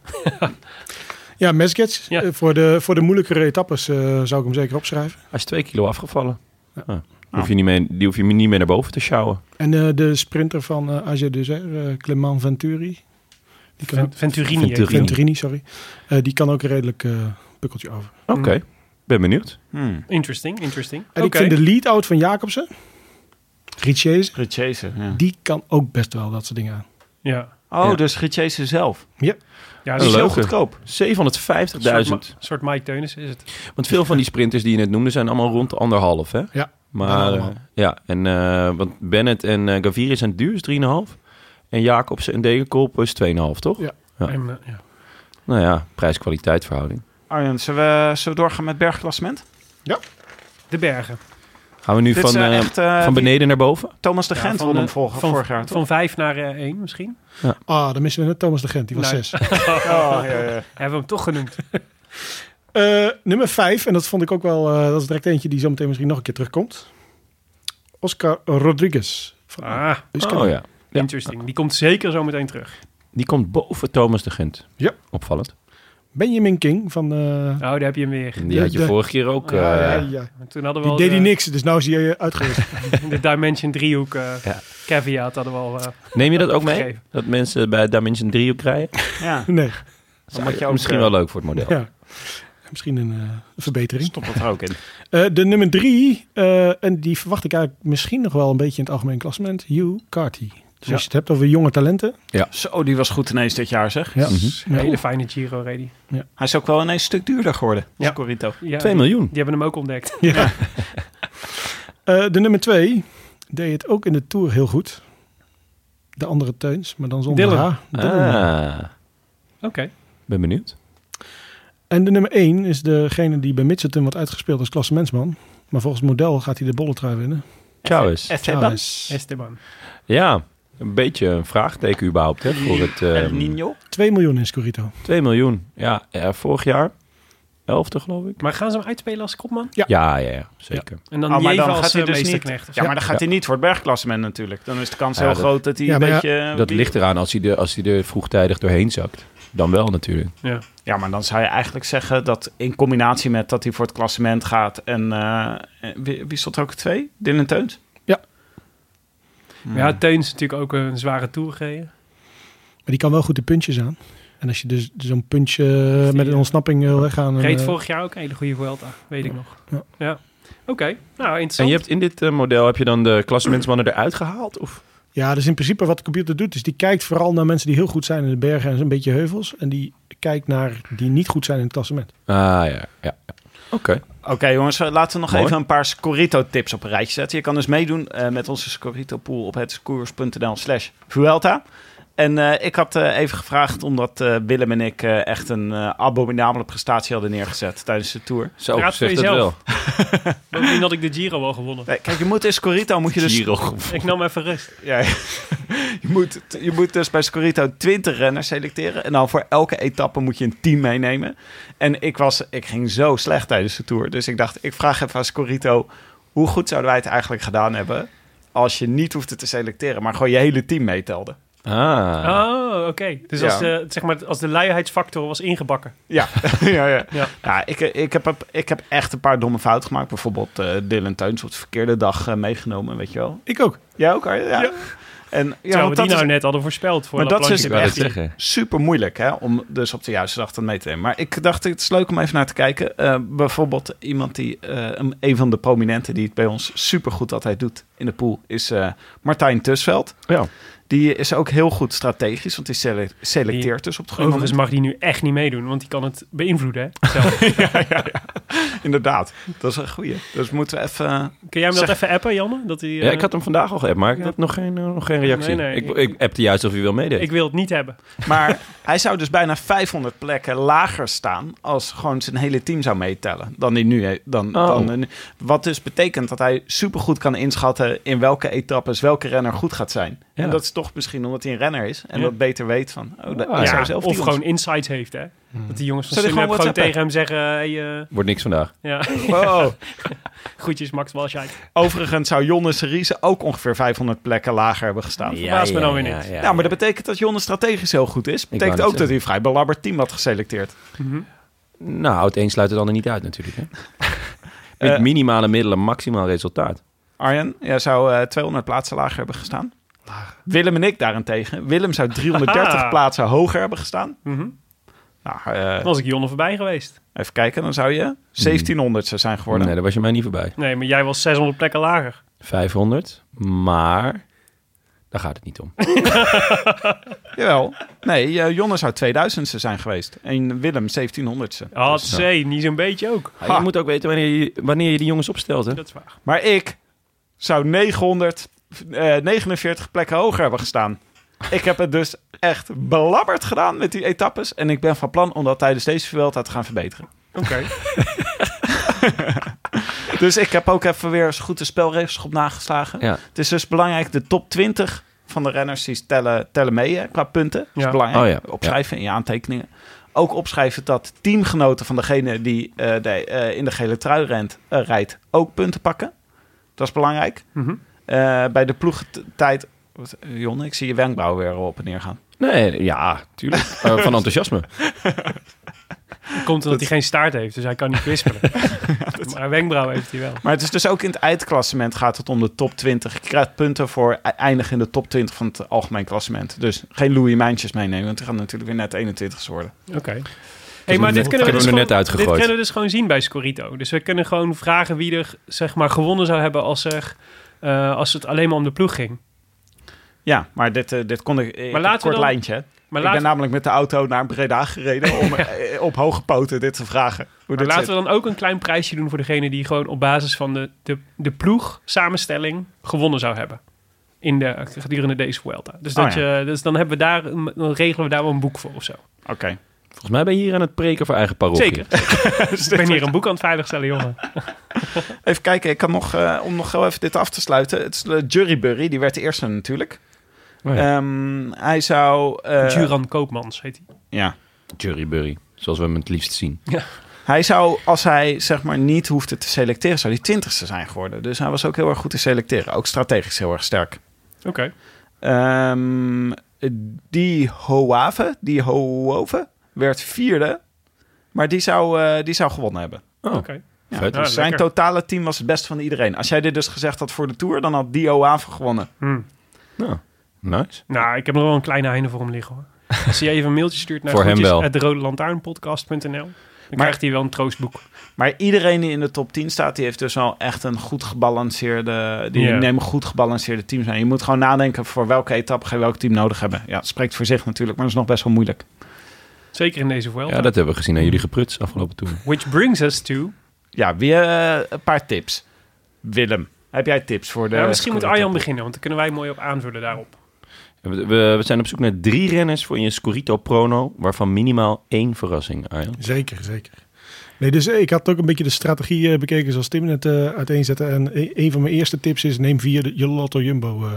S4: Ja, Mesgets.
S2: Ja.
S4: eh, voor, de, voor de moeilijkere etappes eh, zou ik hem zeker opschrijven.
S1: Hij is twee kilo afgevallen. Ja. Ah, Hoef je niet mee, die hoef je niet meer naar boven te sjouwen.
S4: En eh, de sprinter van eh AG Desert, eh Clement Venturi. Die kan,
S2: Ven- Venturini. heet
S1: Venturini.
S4: Venturini, sorry. Eh, die kan ook een redelijk eh, pukkeltje over.
S1: Oké, ben benieuwd.
S3: Hmm.
S2: die. Interesting, interesting.
S4: En
S2: Oké.
S4: ik vind de lead-out van Jacobsen, Richese,
S3: Richese, ja.
S4: die kan ook best wel dat soort dingen aan.
S2: Ja,
S3: Oh,
S1: Ja.
S3: dus Richese zelf.
S2: ja
S3: Dat
S2: dus
S3: is heel
S1: leuke.
S3: goedkoop.
S1: 750.000.
S2: Een soort, Ma- soort Mike Teunissen is het.
S1: Want veel van die sprinters die je net noemde zijn allemaal rond de anderhalf, hè?
S4: Ja, bijna
S1: Maar, eh,
S4: allemaal.
S1: ja, en, eh, want Bennett en eh, Gaviri zijn duur, is 3,5. En Jacobsen en Degenkolb is 2,5, toch?
S4: Ja.
S1: Ja.
S2: En, eh, ja.
S1: Nou ja, prijs-kwaliteit verhouding.
S3: Arjen, zullen we, zullen we doorgaan met bergklassement?
S2: De bergen.
S1: Gaan we nu
S3: Dit
S1: van,
S3: zijn
S1: eh,
S3: echt, eh,
S1: van
S3: die-
S1: beneden naar boven?
S3: Thomas de
S2: Ja,
S3: Gent
S2: van,
S3: won hem
S2: eh,
S3: vorig,
S2: van,
S3: vorig jaar, toch?
S2: Van vijf naar eh, één misschien.
S4: Ah, dan missen we net Thomas de Gent, die was
S2: Nee.
S4: zes.
S3: Oh, ja, ja.
S2: Hebben we hem toch genoemd.
S4: Eh, nummer vijf, en dat vond ik ook wel, eh, dat is direct eentje die zometeen misschien nog een keer terugkomt. Oscar Rodriguez. Van
S2: Ah,
S4: Euskadi.
S1: Oh ja, Ja.
S2: interesting. Die komt zeker zo meteen terug.
S1: die komt boven Thomas de Gent.
S4: Ja.
S1: Opvallend.
S4: Benjamin King van... eh,
S2: Oh, daar heb je hem weer.
S1: Die had je
S4: de-
S1: vorige keer ook. eh,
S4: ja, ja, ja.
S2: Toen hadden we
S4: Die
S2: al
S4: deed
S2: de,
S4: hij niks, dus nou is hij eh, uitgerust.
S2: de Dimension driehoek eh
S1: Ja.
S2: caveat hadden we al. eh,
S1: Neem je dat ook mee?
S2: Gegeven.
S1: Dat mensen bij Dimension 3 ook krijgen?
S3: ja.
S4: nee,
S1: Dat
S3: moet je ook,
S1: misschien
S3: eh,
S1: wel leuk voor het model.
S4: ja. Misschien een eh, verbetering.
S3: Stop dat er ook in.
S4: Eh, de nummer drie, eh, en die verwacht ik eigenlijk misschien nog wel een beetje in het algemeen klassement, Hugh Carty. Dus
S3: Ja.
S4: als je het hebt over jonge talenten.
S3: Zo, die was goed ineens dit jaar, zeg.
S4: Ja.
S2: Een
S4: Ja.
S2: Mhm. hele fijne Giro ready.
S3: Hij is ook wel ineens een stuk duurder geworden.
S2: Ja.
S3: Ja. Corito.
S2: Ja,
S1: 2
S2: die
S1: miljoen.
S2: hebben hem ook ontdekt.
S4: Eh, de nummer twee deed het ook in de Tour heel goed. De andere Teuns, maar dan zonder
S2: Dylan.
S4: H. Dylan.
S1: Ah,
S2: Oké.
S1: ben benieuwd.
S4: En de nummer één is degene die bij Mitchelton wordt uitgespeeld als klassementsman. Maar volgens het model gaat hij de bolletrui winnen.
S1: Ciao eens.
S3: Esteban.
S4: Chavez.
S2: Esteban.
S1: Ja, een beetje een vraagteken überhaupt hè, voor het
S3: El
S1: ehm,
S3: Nino.
S4: 2 miljoen in Scorito.
S1: 2 miljoen. Ja, eh, vorig jaar 11e geloof ik.
S2: Maar gaan ze hem uitspelen als kopman?
S1: Ja, ja, ja zeker.
S2: En dan
S3: Oh, maar
S2: Nieva
S3: dan
S2: als
S3: gaat hij
S2: eh,
S3: dus niet.
S2: meesterknecht.
S3: Ja, maar dan gaat hij niet voor het bergklassement natuurlijk. Dan is de kans
S1: Ja,
S3: heel
S1: dat-
S3: groot dat hij
S4: Ja,
S3: een
S4: maar ja,
S3: beetje... eh,
S1: Dat
S3: wie-
S1: ligt eraan als hij, er, als hij er vroegtijdig doorheen zakt. Dan wel natuurlijk.
S2: Ja.
S3: Ja, maar dan zou je eigenlijk zeggen dat in combinatie met dat hij voor het klassement gaat en... eh, eh, wie, wie stond er ook twee? Dylan Teuns?
S4: Ja.
S3: Hmm.
S2: Ja, Teuns is natuurlijk ook een zware tour gereden.
S4: Maar die kan wel goed de puntjes aan. En als je dus zo'n puntje eh, met een
S2: eh,
S4: ontsnapping wil weggaan... dan,
S2: Reed
S4: eh,
S2: vorig jaar ook een hele goede Vuelta, weet ik nog.
S4: Ja.
S2: Ja. Oké, nou
S1: En
S2: interessant.
S1: je hebt in dit eh, model heb je dan de klassementsmannen eruit gehaald? Of?
S4: Ja, dus in principe wat de computer doet, is die kijkt vooral naar mensen die heel goed zijn in de bergen en een beetje heuvels. En die kijkt naar die niet goed zijn in het klassement.
S1: Ah ja, ja. ja. Oké.
S3: Oké jongens, eh, laten we nog
S1: Mooi.
S3: even een paar Scorito-tips op een rijtje zetten. Je kan dus meedoen eh, met onze Scorito-pool op hetskoers.nl slash Vuelta. En eh, ik had eh, even gevraagd omdat eh, Willem en ik eh, echt een eh, abominabele prestatie hadden neergezet tijdens de Tour.
S1: Zo,
S2: Praat voor
S1: zegt het wel.
S2: jezelf. Bovendien had ik de Giro al gewonnen.
S3: Nee, Eh, Kijk, je moet in Scorito moet je dus...
S1: Giro.
S2: Ik nam even rust.
S3: Ja, je, moet, je moet dus bij Scorito 20 renners selecteren. En dan voor elke etappe moet je een team meenemen. En ik, was, ik ging zo slecht tijdens de Tour. Dus ik dacht, ik vraag even aan Scorito... hoe goed zouden wij het eigenlijk gedaan hebben... als je niet hoefde te selecteren... maar gewoon je hele team meetelde.
S1: Ah.
S2: Oh, oké. Dus
S3: Ja.
S2: als, de, zeg maar, als de luiigheidsfactor was ingebakken.
S3: Ja, ja, ja.
S2: Ja.
S3: ja. ik, ik, heb, ik heb echt een paar domme fouten gemaakt. Bijvoorbeeld eh, Dylan Teuns op de verkeerde dag eh, meegenomen, weet je wel.
S4: Ik ook.
S3: Jij ook, Arjen? Ja. En, ja,
S2: Terwijl
S3: want
S2: we die
S3: dat
S2: nou
S3: is
S2: net hadden voorspeld voor
S3: Maar
S2: La
S3: dat is dus
S2: Planche.
S1: Ik wou dat
S3: echt-
S1: zeggen.
S3: super moeilijk hè, om dus op de juiste dag dat mee te nemen. Maar ik dacht, het is leuk om even naar te kijken. Eh, bijvoorbeeld iemand die, eh, een- een van de prominenten die het bij ons super goed altijd doet in de pool, is eh, Martijn Tusveld.
S1: Ja.
S3: Die is ook heel goed strategisch, want die sele- selecteert dus op het goede
S2: Overigens
S3: moment.
S2: mag die nu echt niet meedoen, want die kan het beïnvloeden. Hè? zelf.
S3: Inderdaad, dat is een goeie. Dus moeten we even...
S2: Kun jij hem dat
S3: Zeg-
S2: even appen, Janne? Dat hij, eh,
S1: Ja, ik had hem vandaag al geappt, maar ik had nog geen, eh, nog geen reactie.
S2: Nee, nee,
S1: ik,
S2: ik-
S1: ik appte juist of hij wil meedeed.
S2: ik wil het niet hebben.
S3: Maar hij zou dus bijna 500 plekken lager staan als gewoon zijn hele team zou meetellen dan die nu. he- Dan,
S1: Oh.
S3: dan, nu. wat dus betekent dat hij supergoed kan inschatten in welke etappes welke renner goed gaat zijn.
S1: Ja.
S3: En dat is toch misschien omdat hij een renner is en
S2: Ja. Ah,
S3: dat beter weet van. Oh,
S1: Ja,
S3: dat, ik zou
S2: Ja,
S3: zelf
S2: of
S3: die
S2: gewoon
S3: ons-
S2: insights heeft, hè?
S1: Hmm.
S2: Dat die jongens van
S3: Zou die
S2: Sunweb
S3: gewoon
S2: gewoon
S3: WhatsAppen?
S2: tegen hem zeggen... Hey, eh,
S1: Wordt niks vandaag.
S2: ja,
S3: Wow.
S2: groetjes Max Walscheid.
S3: Oh. Overigens zou Jonne Seriese ook ongeveer 500 plekken lager hebben gestaan. Ja.
S2: verbaast me dan weer niet.
S1: Ja,
S3: Nou, maar dat betekent dat Jonne strategisch heel goed is.
S1: wou
S3: Betekent
S1: net
S3: ook dat
S1: zeggen.
S3: hij een vrij belabberd team had geselecteerd.
S1: Nou, het een sluit het ander niet uit natuurlijk. Hè? Met
S3: Eh,
S1: minimale middelen maximaal resultaat.
S3: Arjen, jij zou eh, 200 plaatsen lager hebben gestaan. Willem en ik daarentegen. Willem zou 330
S2: Haha.
S3: plaatsen hoger hebben gestaan.
S2: Mhm.
S3: Nou, eh,
S2: Dan was ik Jonne voorbij geweest.
S3: even kijken, dan zou je 1700 zou zijn geworden.
S1: Nee, daar was je mij niet voorbij.
S2: Nee, maar jij was 600 plekken lager.
S1: 500, maar daar gaat het niet om.
S3: Jawel. Nee, eh, Jonne zou 2000 zijn geweest. En Willem 1700ste.
S2: Had C, Ah, niet zo'n beetje ook.
S1: Ja, Ah, je moet ook weten wanneer je, wanneer je die jongens opstelt. Hè?
S2: Dat is waar.
S3: Maar ik zou 949 plekken hoger hebben gestaan. Ik heb het dus echt belabberd gedaan met die etappes. En ik ben van plan om dat tijdens deze Vuelta te gaan verbeteren.
S2: Oké.
S3: Dus ik heb ook even weer eens goed de spelregels op nageslagen.
S1: Ja.
S3: Het is dus belangrijk, de top 20 van de renners die tellen, tellen mee hè, qua punten. Dat is
S2: Ja.
S3: belangrijk.
S1: Oh ja,
S3: Opschrijven in je aantekeningen. Ook opschrijven dat teamgenoten van degene die eh, de- eh, in de gele trui rent, eh, rijdt ook punten pakken. Dat is belangrijk.
S2: Mhm.
S3: Eh, bij de ploegtijd... Wat, eh, Jon, ik zie je wenkbrauw weer op en neer gaan.
S1: Nee, ja, tuurlijk. Eh, van enthousiasme.
S2: Dat Komt omdat hij geen staart heeft, dus hij kan niet kwispelen. maar een wenkbrauw heeft hij wel.
S3: Maar het is dus ook in het eindklassement gaat het om de top 20. Je krijgt punten voor e- eindigen in de top 20 van het algemeen klassement. Dus geen Louis Mijntjes meenemen, want die gaan natuurlijk weer net 21 worden.
S2: Oké. Hey, maar dit kunnen
S1: hebben
S2: we, dus
S1: we er
S2: gewoon,
S1: net uitgegooid.
S2: dit kunnen we dus gewoon zien bij Scorito. Dus we kunnen gewoon vragen wie er zeg maar, gewonnen zou hebben als, er, eh, als het alleen maar om de ploeg ging.
S3: Ja, maar dit, eh, dit kon ik,
S2: laten
S3: ik heb
S2: we
S3: een kort
S2: dan-
S3: lijntje. hè.
S2: Maar,
S3: ik
S2: laten,
S3: ben namelijk met de auto naar Breda gereden om eh, op hoge poten dit te vragen. Hoe
S2: maar
S3: dit
S2: laten
S3: zit.
S2: we dan ook een klein prijsje doen voor degene die gewoon op basis van de, de, de ploeg samenstelling gewonnen zou hebben. In de, gedurende deze Vuelta. Dus, dat
S3: Oh ja.
S2: je, dus dan, hebben we daar, een- dan regelen we daar wel een boek voor of zo.
S3: Oké.
S1: Volgens mij ben je hier aan het preken voor eigen parochie.
S2: Zeker. Dus ik ben hier een boek aan het veiligstellen, jongen.
S3: Even kijken, ik kan nog, eh, om nog heel even dit af te sluiten. Het is eh, Jurybury, die werd de eerste natuurlijk.
S1: Oh
S3: Ehm, hij zou... eh,
S2: Juran Koopmans heet hij.
S3: Ja.
S1: Jurybury, zoals we hem het liefst zien.
S3: Hij zou, als hij zeg maar niet hoefde te selecteren, zou hij twintigste zijn geworden. Dus hij was ook heel erg goed in selecteren. Ook strategisch heel erg sterk.
S2: Oké.
S3: Ehm die Hoave, die Hoove, werd vierde. Maar die zou, eh, die zou gewonnen hebben.
S1: Oh,
S2: Oké.
S3: Ja,
S1: Vet.
S3: dus
S2: Ja,
S3: zijn
S2: lekker.
S3: totale team was het beste van iedereen. Als jij dit dus gezegd had voor de Tour, dan had die Hoave gewonnen.
S2: Hmm.
S1: nou, nice.
S2: Nou, ik heb nog wel een kleine heine voor hem liggen hoor. Als hij even een mailtje stuurt naar
S1: Voor hem wel.
S2: het rode lantaarnpodcast.nl, dan krijgt hij wel een troostboek.
S3: Maar iedereen die in de top 10 staat, die heeft dus wel echt een goed gebalanceerde. Die
S2: Ja.
S3: nemen goed gebalanceerde teams aan. Je moet gewoon nadenken voor welke etappe ga je welk team nodig hebben. Ja, het spreekt voor zich natuurlijk, maar dat is nog best wel moeilijk.
S2: Zeker in deze Vuelta.
S1: Ja, dat hebben we gezien aan jullie gepruts afgelopen toer.
S2: Which brings us to...
S3: Ja, weer eh, een paar tips. Willem, heb jij tips voor de.
S2: Ja, misschien moet Arjan
S3: beginnen.
S2: beginnen, want dan kunnen wij mooi op aanvullen daarop.
S1: We, we zijn op zoek naar drie renners voor je Scorito Prono, waarvan minimaal één verrassing, Arjan.
S4: Zeker, zeker. Nee, dus eh, ik had ook een beetje de strategie eh, bekeken zoals Tim net eh, uiteenzette. En e- een van mijn eerste tips is neem via de, je Lotto Jumbo. eh,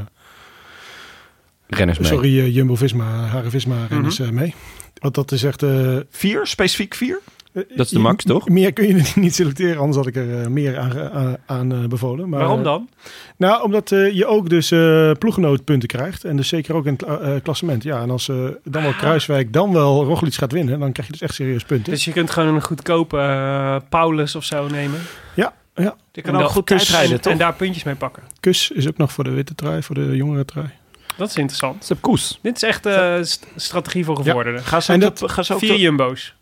S1: Renners mee.
S4: Sorry, eh, Jumbo Visma, Hare Visma renners eh, mee. Want dat is echt... eh,
S3: Vier, specifiek vier?
S1: Dat is de max, toch?
S4: Meer kun je niet selecteren, anders had ik er eh, meer aan, ge- aan, aan, eh, bevolen. Maar,
S2: Waarom
S4: eh,
S2: dan?
S4: Nou, omdat eh, je ook dus eh ploeggenootpunten krijgt. En dus zeker ook in het eh, eh, klassement. Ja, en als eh, dan wel Kruiswijk, dan wel Roglic gaat winnen, dan krijg je dus echt serieus punten.
S2: Dus je kunt gewoon een goedkope eh, Paulus of zo nemen.
S4: Ja, ja.
S2: En
S3: Die kan ook
S2: dan-
S3: goed tijdrijden,
S2: en-
S3: toch?
S2: En daar puntjes mee pakken.
S4: Kus is ook nog voor de witte trui, voor de jongere trui.
S2: Dat is interessant.
S1: Koes.
S2: Dit is echt eh, st- strategie voor gevorderden.
S3: Gaan ze, ook
S4: En
S3: de, gaan, ze ook
S2: Vier
S3: de,
S2: jumbo's.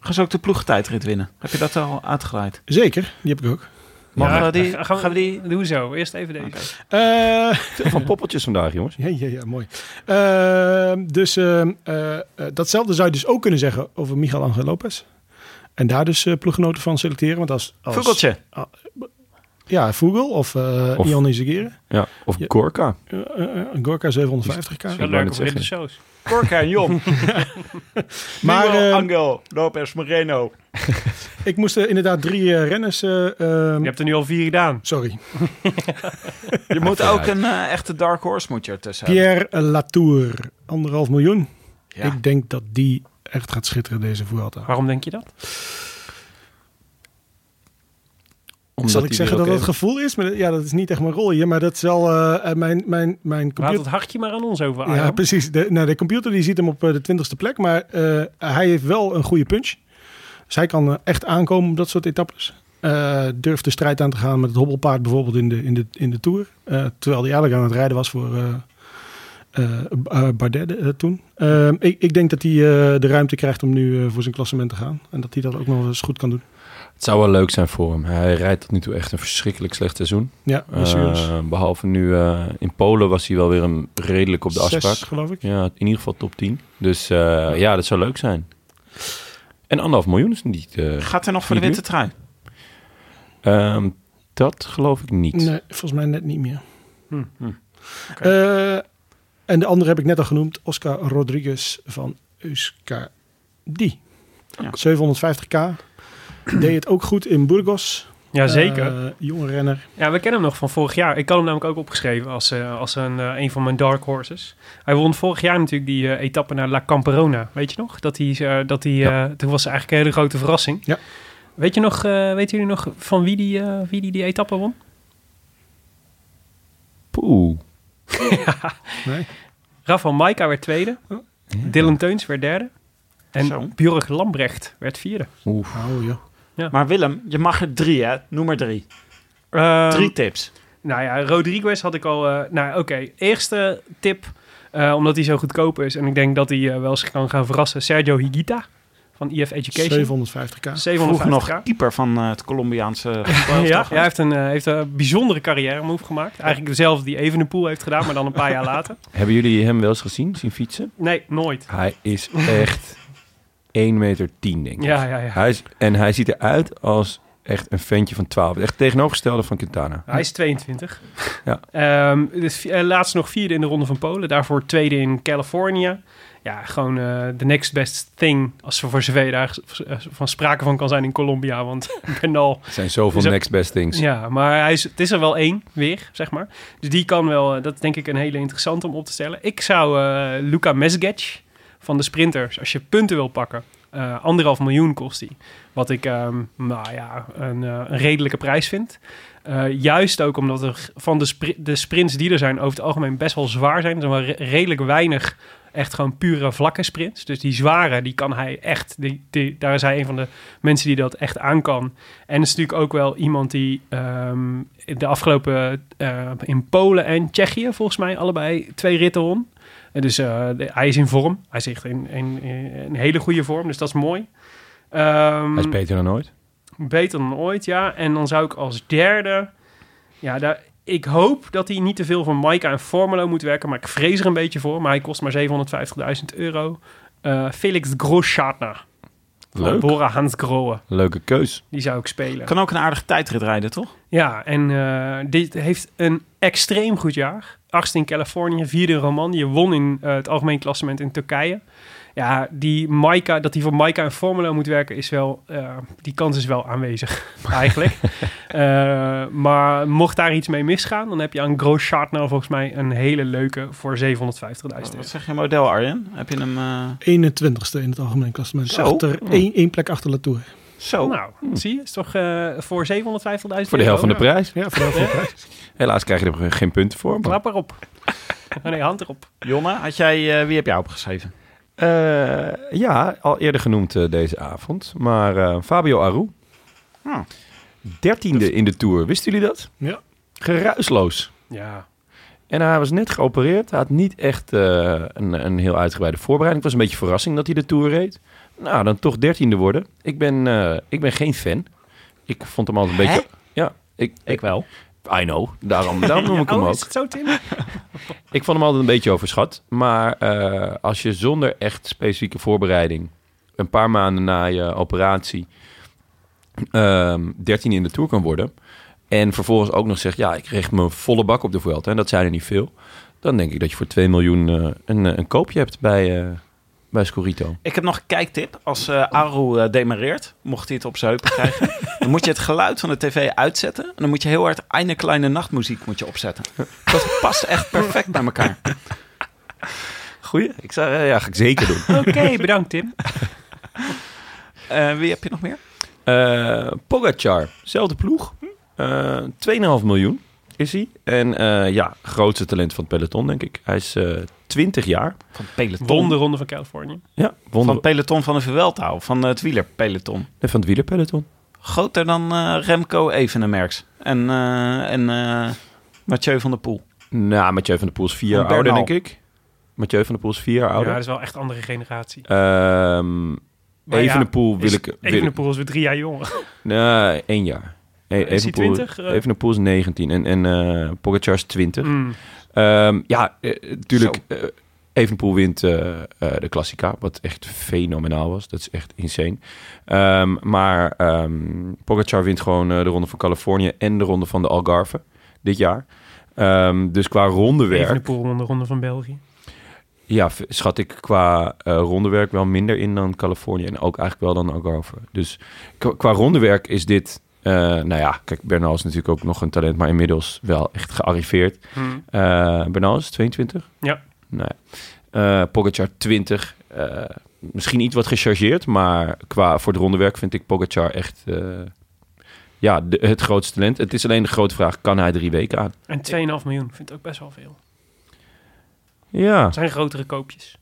S3: gaan ze ook de ploegtijdrit winnen? Heb je dat al uitgeleid?
S4: Zeker, die heb ik ook.
S3: Mag
S2: Ja,
S3: we die,
S2: ga-
S3: gaan we die...
S2: Doe zo. Eerst even deze.
S4: Eh,
S1: Van poppeltjes vandaag, jongens.
S4: Ja, ja, ja, mooi. Ehm, dus ehm, eh, eh, datzelfde zou je dus ook kunnen zeggen over Miguel Angel Lopez. En daar dus eh ploeggenoten van selecteren. Want als, als
S3: Vogeltje.
S4: Ja, Vogel of, eh
S1: Of-
S4: Ion Izagirre.
S1: Ja, of
S4: Ja.
S1: Gorka.
S4: Eh, eh, eh, Gorka 750k.
S2: Wel
S1: wou
S2: leuk
S1: net
S2: voor in de
S1: zeggen.
S2: shows.
S3: Korka en Jong.
S4: Maar
S3: Miguel
S4: eh,
S3: Angel Lopez Moreno.
S4: ik moest er inderdaad drie eh, renners... eh, ehm,
S2: Je hebt er nu al vier gedaan.
S4: Sorry.
S3: Je moet ook
S1: vooruit.
S3: een eh, echte dark horse moet je ertussen hebben.
S4: Pierre Latour, anderhalf miljoen.
S3: Ja.
S4: Ik denk dat die echt gaat schitteren deze Vuelta.
S2: Waarom denk je dat?
S1: Omdat
S4: Zal ik
S1: die
S4: zeggen
S1: weer
S4: dat
S1: ook
S4: dat het
S1: even-
S4: gevoel is? Maar, dat- ja, dat is niet echt mijn rol hier. Maar dat is wel eh, eh, mijn, mijn, mijn
S2: Laat
S4: computer...
S2: het hartje maar aan ons over, Arjan.
S4: Ja, precies. De, nou, de computer die ziet hem op eh, de twintigste plek, maar eh, hij heeft wel een goede punch. Dus hij kan eh, echt aankomen op dat soort etappes. Eh, durft de strijd aan te gaan met het hobbelpaard bijvoorbeeld in de, in de, in de Tour. Eh, terwijl hij eigenlijk aan het rijden was voor eh eh, B- eh, Bardet eh, toen. Eh, ik, ik denk dat hij eh, de ruimte krijgt om nu eh, voor zijn klassement te gaan. En dat hij dat ook nog eens goed kan doen.
S1: Het zou wel leuk zijn voor hem. Hij rijdt tot nu toe echt een verschrikkelijk slecht seizoen.
S4: Ja, blessures.
S1: Eh, behalve nu eh, in Polen was hij wel weer een, redelijk op de
S4: Zes,
S1: afspraak.
S4: geloof ik.
S1: Ja, in ieder geval top 10. Dus eh, ja, dat zou leuk zijn. En anderhalf miljoen is niet... eh,
S3: Gaat er nog voor de
S1: Niet
S3: witte trui?
S1: ehm, dat geloof ik niet.
S4: Nee, volgens mij net niet meer.
S2: Hm.
S1: Hm.
S4: Eh, en de andere heb ik net al genoemd. Oscar Rodriguez van Euskadi.
S3: Ja.
S4: 750k. Deed het ook goed in Burgos.
S2: Jazeker.
S4: Eh, jonge renner.
S2: Ja, we kennen hem nog van vorig jaar. Ik had hem namelijk ook opgeschreven als, eh, als een, eh, een van mijn dark horses. Hij won vorig jaar natuurlijk die eh, etappe naar La Camperona. Weet je nog? Dat hij, eh, dat hij, eh, toen was het eigenlijk een hele grote verrassing.
S4: Ja.
S2: Weet je nog, eh, weten jullie nog van wie die, eh, wie die, die etappe won?
S1: Poeh.
S4: Nee.
S2: Rafael Maika werd tweede. Dylan Teuns werd derde. En
S3: Oh. Zo.
S2: Björg Lambrecht werd vierde.
S1: Oef.
S4: Oh, ja.
S3: Maar Willem, je mag er drie, hè? Noem maar drie.
S2: Ehm,
S3: Drie tips.
S2: Nou ja, Rodriguez had ik al. eh, nou, oké. Eerste tip, eh, omdat hij zo goedkoop is en ik denk dat hij eh, wel eens kan gaan verrassen. Sergio Higuita van EF Education.
S4: 750k.
S2: 750
S3: Vroeger nog
S2: jaar.
S3: keeper van eh, het Colombiaanse voetbal,
S2: Ja,
S3: toch?
S2: hij heeft een, eh, heeft een bijzondere carrière move gemaakt. Eigenlijk dezelfde die Evenepoel heeft gedaan, maar dan een paar jaar later.
S1: Hebben jullie hem wel eens gezien, zien fietsen?
S2: Nee, nooit.
S1: Hij is echt 1 meter 10, denk ik.
S2: Ja, ja, ja.
S1: Hij is, en hij ziet eruit als echt een ventje van 12. Echt tegenovergestelde van Quintana.
S2: Hij is 22.
S1: Ja.
S2: Ehm, dus, eh, laatst nog vierde in de Ronde van Polen. Daarvoor tweede in Californië. Ja, gewoon de next best thing. Als we voor zover je daar s- eh, van sprake van kan zijn in Colombia. Want Bernal.
S1: Er zijn zoveel
S2: Zo-
S1: next best things.
S2: dus Ja, maar hij is, het is er wel één weer, zeg maar. Dus die kan wel, eh, dat is denk ik een hele interessante om op te stellen. Ik zou eh, Luca Mesgetch van de sprinters, als je punten wil pakken, eh, anderhalf miljoen kost die. Wat ik, ehm, nou ja, een, eh, een redelijke prijs vind. Eh, juist ook omdat er van de, spri- de sprints die er zijn over het algemeen best wel zwaar zijn. Er zijn wel re- redelijk weinig echt gewoon pure vlakke sprints. Dus die zware, die kan hij echt, die, die, daar is hij een van de mensen die dat echt aan kan. En het is natuurlijk ook wel iemand die ehm, de afgelopen eh, in Polen en Tsjechië volgens mij allebei twee ritten won. En dus eh, de- hij is in vorm. Hij is echt in, in, in een hele goede vorm, dus dat is mooi. Ehm,
S1: Hij is beter dan ooit.
S2: Beter dan ooit, ja. En dan zou ik als derde... Ja, daar, ik hoop dat hij niet te veel van Maika en Formelo moet werken. Maar ik vrees er een beetje voor. Maar hij kost maar 750.000 euro. Eh, Felix Groschartner. Van
S1: Leuk.
S2: Bora Hans Grohe.
S1: Leuke keus.
S2: Die zou ik spelen.
S3: Kan ook een aardige tijdrit rijden, toch?
S2: Ja, en eh, dit heeft een extreem goed jaar. achtste in Californië, vierde in Romandie. Won in eh, het algemeen klassement in Turkije. Ja, die Maika, dat hij voor Maika en Formula moet werken, is wel, eh, die kans is wel aanwezig eigenlijk. Eh, maar mocht daar iets mee misgaan, dan heb je aan Grosjean nou volgens mij een hele leuke voor 750.000
S1: Ah,
S2: euro.
S3: Wat zeg je model, Arjen? Heb je hem... eh,
S4: 21ste in het algemeen klassement.
S3: Zo.
S4: Achter, één, één plek achter Latour.
S3: Zo.
S2: Nou, zie je, is toch eh, voor 750.000 euro.
S1: oh. Hmm. Voor de helft van de prijs.
S4: Ja, voor de helft van de prijs.
S1: Helaas krijg je er geen punten voor. maar-
S2: Klap erop. Oh nee, hand erop.
S3: Jonne, had jij, eh, wie heb jij opgeschreven?
S1: Eh, ja, al eerder genoemd eh, deze avond. Maar eh, Fabio Aru.
S2: Hm.
S3: Hmm.
S2: Dus-
S1: Dertiende in de Tour. Wisten jullie dat?
S4: Ja.
S1: Geruisloos.
S2: Ja.
S1: En hij was net geopereerd. Hij had niet echt eh, een, een heel uitgebreide voorbereiding. Het was een beetje verrassing dat hij de Tour reed. Nou, dan toch dertiende worden. Ik ben, eh, ik ben geen fan. Ik vond hem altijd een
S3: Hè?
S1: beetje... Ja, ik,
S3: Ik wel.
S1: I know. Daarom, daarom noem ik hem
S2: Oh,
S1: ook.
S2: is het zo, Tim?
S1: Ik vond hem altijd een beetje overschat. Maar eh, als je zonder echt specifieke voorbereiding... een paar maanden na je operatie... ehm 13 in de Tour kan worden... en vervolgens ook nog zegt... ja, ik richt me volle bak op de Vuelta... en dat zijn er niet veel... dan denk ik dat je voor 2 miljoen eh, een, eh, een koopje hebt bij, eh, bij Scorito.
S3: Ik heb nog een kijktip. Als eh Aru eh, demareert, mocht hij het op zijn heupen krijgen... dan moet je het geluid van de tv uitzetten... en dan moet je heel hard Eine Kleine Nachtmuziek moet je opzetten. Dat past echt perfect bij elkaar.
S1: Goeie? Ik zou, eh, ja, ga ik zeker doen.
S2: Oké, bedankt Tim.
S3: Eh, wie heb je nog meer?
S1: Eh Pogacar, zelfde ploeg. Eh 2,5 miljoen is hij. En eh, ja, grootste talent van het peloton, denk ik. Hij is eh 20 jaar.
S3: Van Peloton.
S2: Won de Ronde van Californië.
S1: Ja,
S3: Van
S1: wonder van,
S3: Peloton van de Vuelta, of van eh, het wielerpeloton.
S1: van het wielerpeloton.
S3: Groter dan eh, Remco Evenemerks en, eh, en eh, Mathieu van der Poel.
S1: Nou, Mathieu van der Poel is 4 jaar
S3: Van Bernal.
S1: ouder, denk ik. Mathieu van der Poel is 4 jaar
S2: Ja,
S1: ouder.
S2: dat is wel echt andere generatie.
S1: Ehm,
S2: Maar ja,
S1: Evenepoel wil
S2: is-
S1: ik... Wil ik-
S2: Evenepoel is weer drie jaar jonger.
S1: Nee, één jaar. E-
S2: Is hij
S1: Evenepoel-
S2: 20? Eh.
S1: Evenepoel is 19 en, en eh Pogacar is 20.
S2: Mm.
S1: Ehm, ja, natuurlijk. Evenpoel wint eh, eh, de Klassica, wat echt fenomenaal was. Dat is echt insane. Ehm, maar ehm Pogacar wint gewoon eh, de Ronde van Californië en de Ronde van de Algarve dit jaar. Ehm, dus qua rondewerk,
S2: Evenepoel won de Ronde van België.
S1: ja, v- schat ik qua eh, rondewerk wel minder in dan Californië en ook eigenlijk wel dan Algarve. Dus qua, qua rondewerk is dit, eh, nou ja, kijk, Bernal is natuurlijk ook nog een talent, maar inmiddels wel echt gearriveerd.
S2: Mm.
S1: Eh Bernal is 22?
S2: Ja.
S1: Nou ja. Eh, Pogacar 20. Eh, misschien iets wat gechargeerd, maar qua voor het rondewerk vind ik Pogacar echt eh, ja, de- het grootste talent. Het is alleen de grote vraag, kan hij drie weken aan?
S2: En 2,5 miljoen vind ik ook best wel veel.
S1: Ja,
S2: Het zijn grotere koopjes.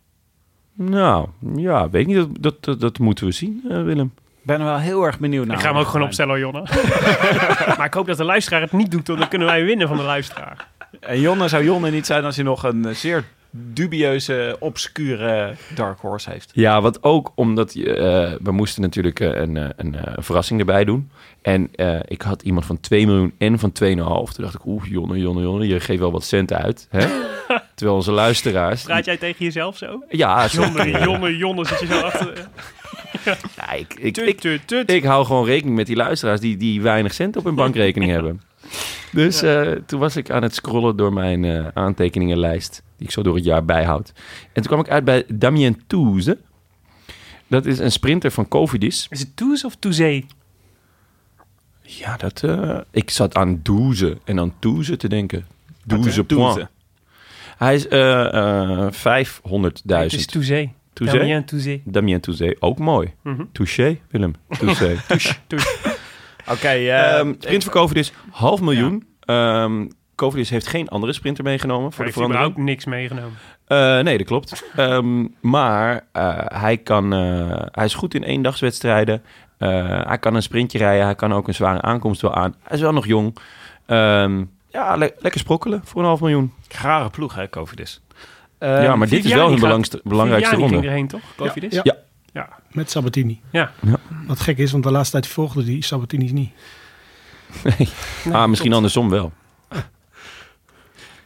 S1: nou, ja, weet ik niet. Dat, dat, dat, dat moeten we zien, eh, Willem.
S3: Ik ben er wel heel erg benieuwd naar. eh,
S2: ik ga hem ook gewoon opstellen, hoor, Jonne. maar ik hoop dat de luisteraar het niet doet, want dan kunnen wij winnen van de luisteraar.
S3: En Jonne zou Jonne niet zijn als hij nog een eh, zeer dubieuze, obscure Dark Horse heeft.
S1: Ja, wat ook omdat je, eh, we moesten natuurlijk eh, een, eh, een, eh, verrassing erbij doen. En eh, ik had iemand van 2 miljoen en van 2,5. Toen dacht ik, oeh, jonne, jonne, jonne, je geeft wel wat cent uit. Hè? Terwijl onze luisteraars...
S2: Praat jij tegen jezelf zo?
S1: Ja, zo-
S2: Jonne, jonne, jonne, zit je zo achter.
S1: Ja, ik, ik,
S2: Tut,
S1: ik,
S2: tut, tut.
S1: ik hou gewoon rekening met die luisteraars die, die weinig cent op hun bankrekening hebben. Dus eh, toen was ik aan het scrollen door mijn eh, aantekeningenlijst, die ik zo door het jaar bijhoud. En toen kwam ik uit bij Damien Touze. Dat is een sprinter van Covidis.
S2: Is het Toes of Toezee?
S1: Ja, dat, eh, ik zat aan Douze en aan Touze te denken. Douze point. Hij is eh, eh, 500.000.
S2: Het is Toezee.
S1: Touzé?
S2: Damien Toezee.
S1: Damien Touze, ook mooi.
S2: Mhm.
S1: Touché, Willem. Touché.
S3: Oké, eh,
S1: Ehm
S2: Eh,
S1: sprint voor Covidis, half miljoen. Ehm Covidis heeft geen andere sprinter meegenomen voor
S2: Voor
S1: de
S2: heeft
S1: verandering.
S2: überhaupt niks meegenomen.
S1: Eh, nee, dat klopt. Ehm, maar eh, hij, kan, eh, hij is goed in eendagswedstrijden. Eh, hij kan een sprintje rijden. Hij kan ook een zware aankomst wel aan. Hij is wel nog jong. Ehm, ja, le- lekker sprokkelen voor een half miljoen.
S3: rare ploeg, hè, Covidis.
S1: ja, maar dit is
S2: Viviani
S1: wel hun
S2: gaat-
S1: belangst- belangrijkste
S2: Viviani
S1: ronde.
S2: ging erheen, toch? Geloof je dit?
S4: Ja.
S1: Ja.
S2: Ja.
S4: Met Sabatini.
S2: Ja.
S1: Ja.
S4: Wat gek is, want de laatste tijd volgde die Sabatini's niet.
S1: Ah, misschien andersom wel.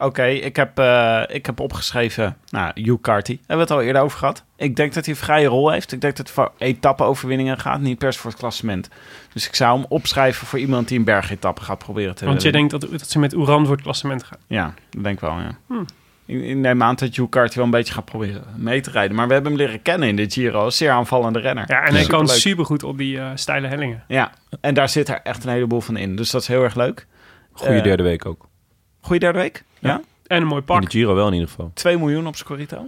S3: Oké, ik, heb, eh, ik heb opgeschreven, nou, Hugh Carty. Hebben we het al eerder over gehad. Ik denk dat hij een vrije rol heeft. Ik denk dat het voor etappe-overwinningen gaat, niet per se voor het klassement. Dus ik zou hem opschrijven voor iemand die een bergetappe gaat proberen te
S2: Want je
S3: winnen.
S2: denkt dat, dat ze met Oeran voor het klassement gaan.
S3: Ja, dat denk ik wel, ja.
S2: Hmm.
S3: Ik, ik neem aan dat Hugh Carty wel een beetje gaat proberen mee te rijden. Maar we hebben hem leren kennen in de Giro. Als zeer aanvallende renner.
S2: Ja, en hij kan
S3: Superleuk.
S2: supergoed op die eh, steile hellingen.
S3: Ja, en daar zit er echt een heleboel van in. Dus dat is heel erg leuk.
S1: Goede
S3: Eh,
S1: derde week ook.
S3: Goeie derde week. Ja.
S2: En een mooi
S1: In
S2: pak.
S1: de Giro wel in ieder geval.
S3: 2 miljoen op Scorito.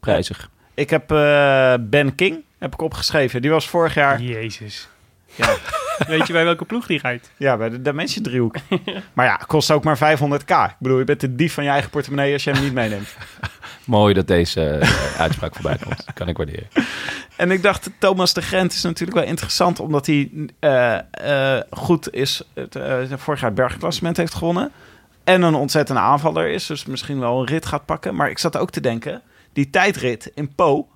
S1: Prijzig.
S3: Ik heb eh, Ben King heb ik opgeschreven. Die was vorig jaar
S2: Jezus.
S3: Ja.
S2: Weet je bij welke ploeg die rijdt?
S3: ja, bij de Dimension driehoek. maar ja, kost ook maar 500k. Ik bedoel, je bent de dief van je eigen portemonnee als je hem niet meeneemt.
S1: Mooi dat deze eh, uitspraak voorbij komt. Kan ik waarderen.
S3: En ik dacht, Thomas de Gent is natuurlijk wel interessant... omdat hij eh, eh, goed is, het, eh, vorig jaar het bergklassement heeft gewonnen... en een ontzettende aanvaller is, dus misschien wel een rit gaat pakken. Maar ik zat ook te denken, die tijdrit in Po...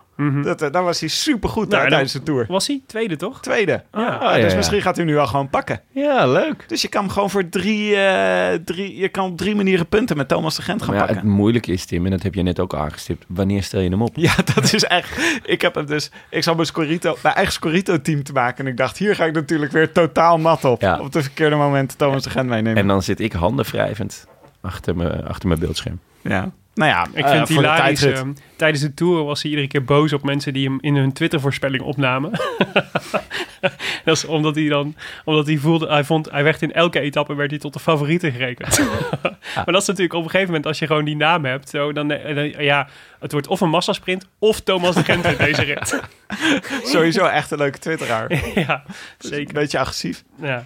S3: Dat, eh, daar was hij supergoed
S2: Nou,
S3: hè,
S2: en
S3: tijdens de Tour.
S2: Was hij? Tweede, toch?
S3: Tweede.
S2: Ja.
S3: Ah,
S1: ja,
S3: dus
S1: ja.
S3: misschien gaat hij hem nu wel gewoon pakken.
S1: Ja, leuk.
S3: Dus je kan hem gewoon voor drie, eh, drie... Je kan op drie manieren punten met Thomas de Gent gaan
S1: Maar ja, het
S3: pakken.
S1: moeilijke is, Tim, en dat heb je net ook aangestipt. Wanneer stel je hem op?
S3: Ja, dat is echt... Ik heb hem dus... Ik zal mijn, Scorito, mijn eigen Scorito-team te maken. En ik dacht, hier ga ik natuurlijk weer totaal nat op.
S1: Ja.
S3: Op de verkeerde moment Thomas de Gent meenemen.
S1: En dan zit ik handen wrijvend achter, me, achter mijn beeldscherm.
S3: ja. Nou ja,
S2: Ik
S3: eh,
S2: vind het
S3: voor de
S2: hilarisch.
S3: tijdrit.
S2: ehm, tijdens de tour was hij iedere keer boos op mensen die hem in hun Twitter-voorspelling opnamen. dat is omdat hij dan, omdat hij voelde, hij vond, hij werd in elke etappe werd hij tot de favoriete gerekend. maar dat is natuurlijk op een gegeven moment als je gewoon die naam hebt, zo, dan, eh, dan- ja, het wordt of een massasprint of Thomas de Gent in deze rit.
S3: Sowieso echt een leuke twitteraar.
S2: ja,
S3: Een
S2: zeker.
S3: beetje agressief.
S2: Ja.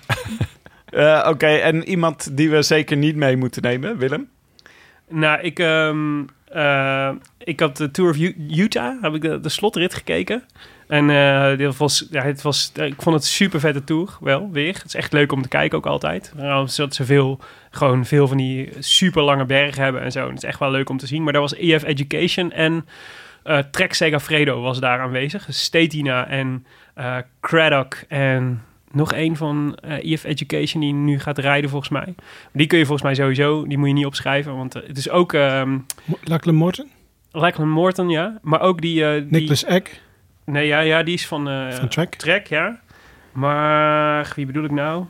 S3: Eh, Oké, en iemand die we zeker niet mee moeten nemen, Willem.
S2: Nou, ik, ehm, eh, ik had de Tour of U- Utah, heb ik de, de slotrit gekeken. En eh, dit was, ja, het was, eh, ik vond het super vette tour, wel, weer. Het is echt leuk om te kijken ook altijd. Nou, Zodat ze veel, gewoon veel van die super lange bergen hebben en zo. En het is echt wel leuk om te zien. Maar daar was EF Education en eh Trek Segafredo was daar aanwezig. Dus Stetina en eh Craddock en nog één van eh EF Education die nu gaat rijden volgens mij. Die kun je volgens mij sowieso, die moet je niet opschrijven. Want eh, het is ook ehm
S4: Lachlan Morton,
S2: Lachlan Morton, ja. Maar ook die... eh, die
S4: Nicholas Eck
S2: Nee, ja, ja, die is van, eh,
S4: van Trek.
S2: Trek, ja. Maar wie bedoel ik nou?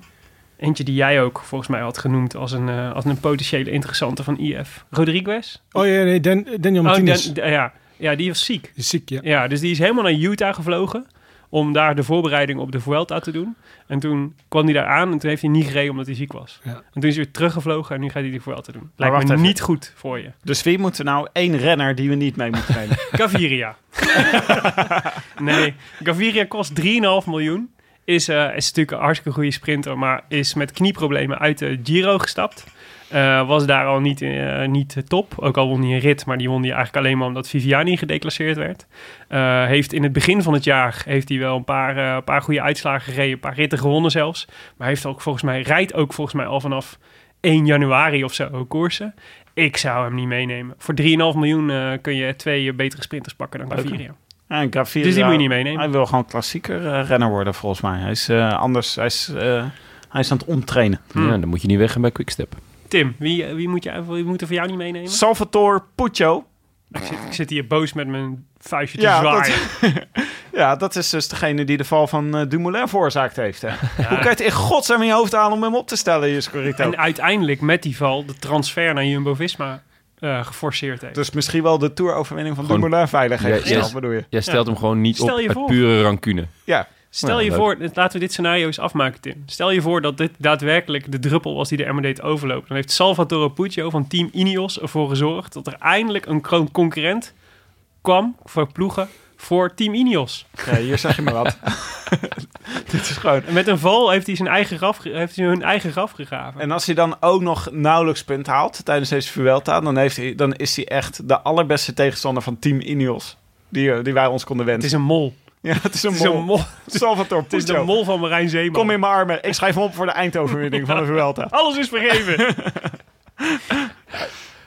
S2: Eentje die jij ook volgens mij had genoemd als een, eh, als een potentiële interessante van IF. Rodriguez?
S4: Oh ja, nee, Dan, Daniel
S2: Oh,
S4: Martinez.
S2: dan- ja. ja, die was ziek.
S4: Die is ziek, ja.
S2: Ja, dus die is helemaal naar Utah gevlogen om daar de voorbereiding op de Vuelta te doen. En toen kwam hij daar aan en toen heeft hij niet gereden omdat hij ziek was.
S4: Ja.
S2: En toen is hij weer teruggevlogen en nu gaat hij de Vuelta doen. Lijkt
S3: wacht
S2: me
S3: even.
S2: niet goed voor je.
S3: Dus wie moeten we nou één renner die we niet mee moeten nemen?
S2: Gaviria. nee, Gaviria kost 3,5 miljoen. Is, eh, is natuurlijk een hartstikke goede sprinter, maar is met knieproblemen uit de Giro gestapt. Eh, was daar al niet, eh, niet top. Ook al won hij een rit, maar die won hij eigenlijk alleen maar omdat Viviani gedeclasseerd werd. Eh, heeft in het begin van het jaar heeft hij wel een paar, eh, een paar goede uitslagen gereden, een paar ritten gewonnen zelfs. Maar heeft ook volgens mij, rijdt ook volgens mij al vanaf 1 januari of zo koersen. Ik zou hem niet meenemen. Voor 3,5 miljoen eh, kun je twee eh, betere sprinters pakken dan
S3: Oké.
S2: Gaviria.
S3: Ja, en Gaviria-
S2: Dus die moet je niet meenemen.
S3: Hij wil gewoon klassieker eh, renner worden, volgens mij. Hij is eh, anders, hij is, eh, hij is aan het omtrainen.
S2: Hmm.
S1: Ja, dan moet je niet weggaan bij Quickstep.
S2: Tim, wie, eh, wie, moet je, wie moet er voor jou niet meenemen?
S3: Salvatore Puccio.
S2: Ik zit, ik zit hier boos met mijn vuistje te
S3: Ja,
S2: zwaaien.
S3: Ja, dat is dus degene die de val van eh, Dumoulin veroorzaakt heeft. Hè. Hoe kan je het in godsnaam in je hoofd halen om hem op te stellen, je Scorito?
S2: En uiteindelijk met die val de transfer naar Jumbo-Visma eh, geforceerd heeft.
S3: Dus misschien wel de Tour-overwinning van
S1: Gewoon-
S3: Dumoulin veilig heeft
S1: Ja,
S3: gesteld,
S1: yes.
S3: bedoel je?
S1: Jij stelt hem gewoon niet
S2: Stel
S1: op
S2: je
S1: uit
S2: voor.
S1: pure rancune.
S3: Ja,
S2: Stel
S1: Ja,
S2: je
S1: leuk.
S2: voor, dit- laten we dit scenario eens afmaken, Tim. Stel je voor dat dit daadwerkelijk de druppel was die de emmer deed overlopen. Dan heeft Salvatore Puccio van Team Ineos ervoor gezorgd dat er eindelijk een kroon- concurrent kwam voor ploegen voor Team Ineos.
S3: Ja, hier zeg je maar wat. Dit is gewoon...
S2: En met een val heeft hij, zijn eigen graf, ge- heeft hij hun eigen graf gegraven.
S3: En als hij dan ook nog nauwelijks punt haalt tijdens deze Vuelta, dan, heeft hij, dan is hij echt de allerbeste tegenstander van Team Ineos. Die, eh, die wij ons konden
S2: het
S3: wensen.
S2: is een mol.
S3: Ja, het is een
S2: Het is een
S3: mol.
S2: mol.
S3: Salvatore
S2: Het is de
S3: Puccio.
S2: mol van Marijn Zeeman.
S3: Kom in mijn armen. Ik schrijf hem op voor de eindoverwinning van de Vuelta.
S2: Alles is vergeven.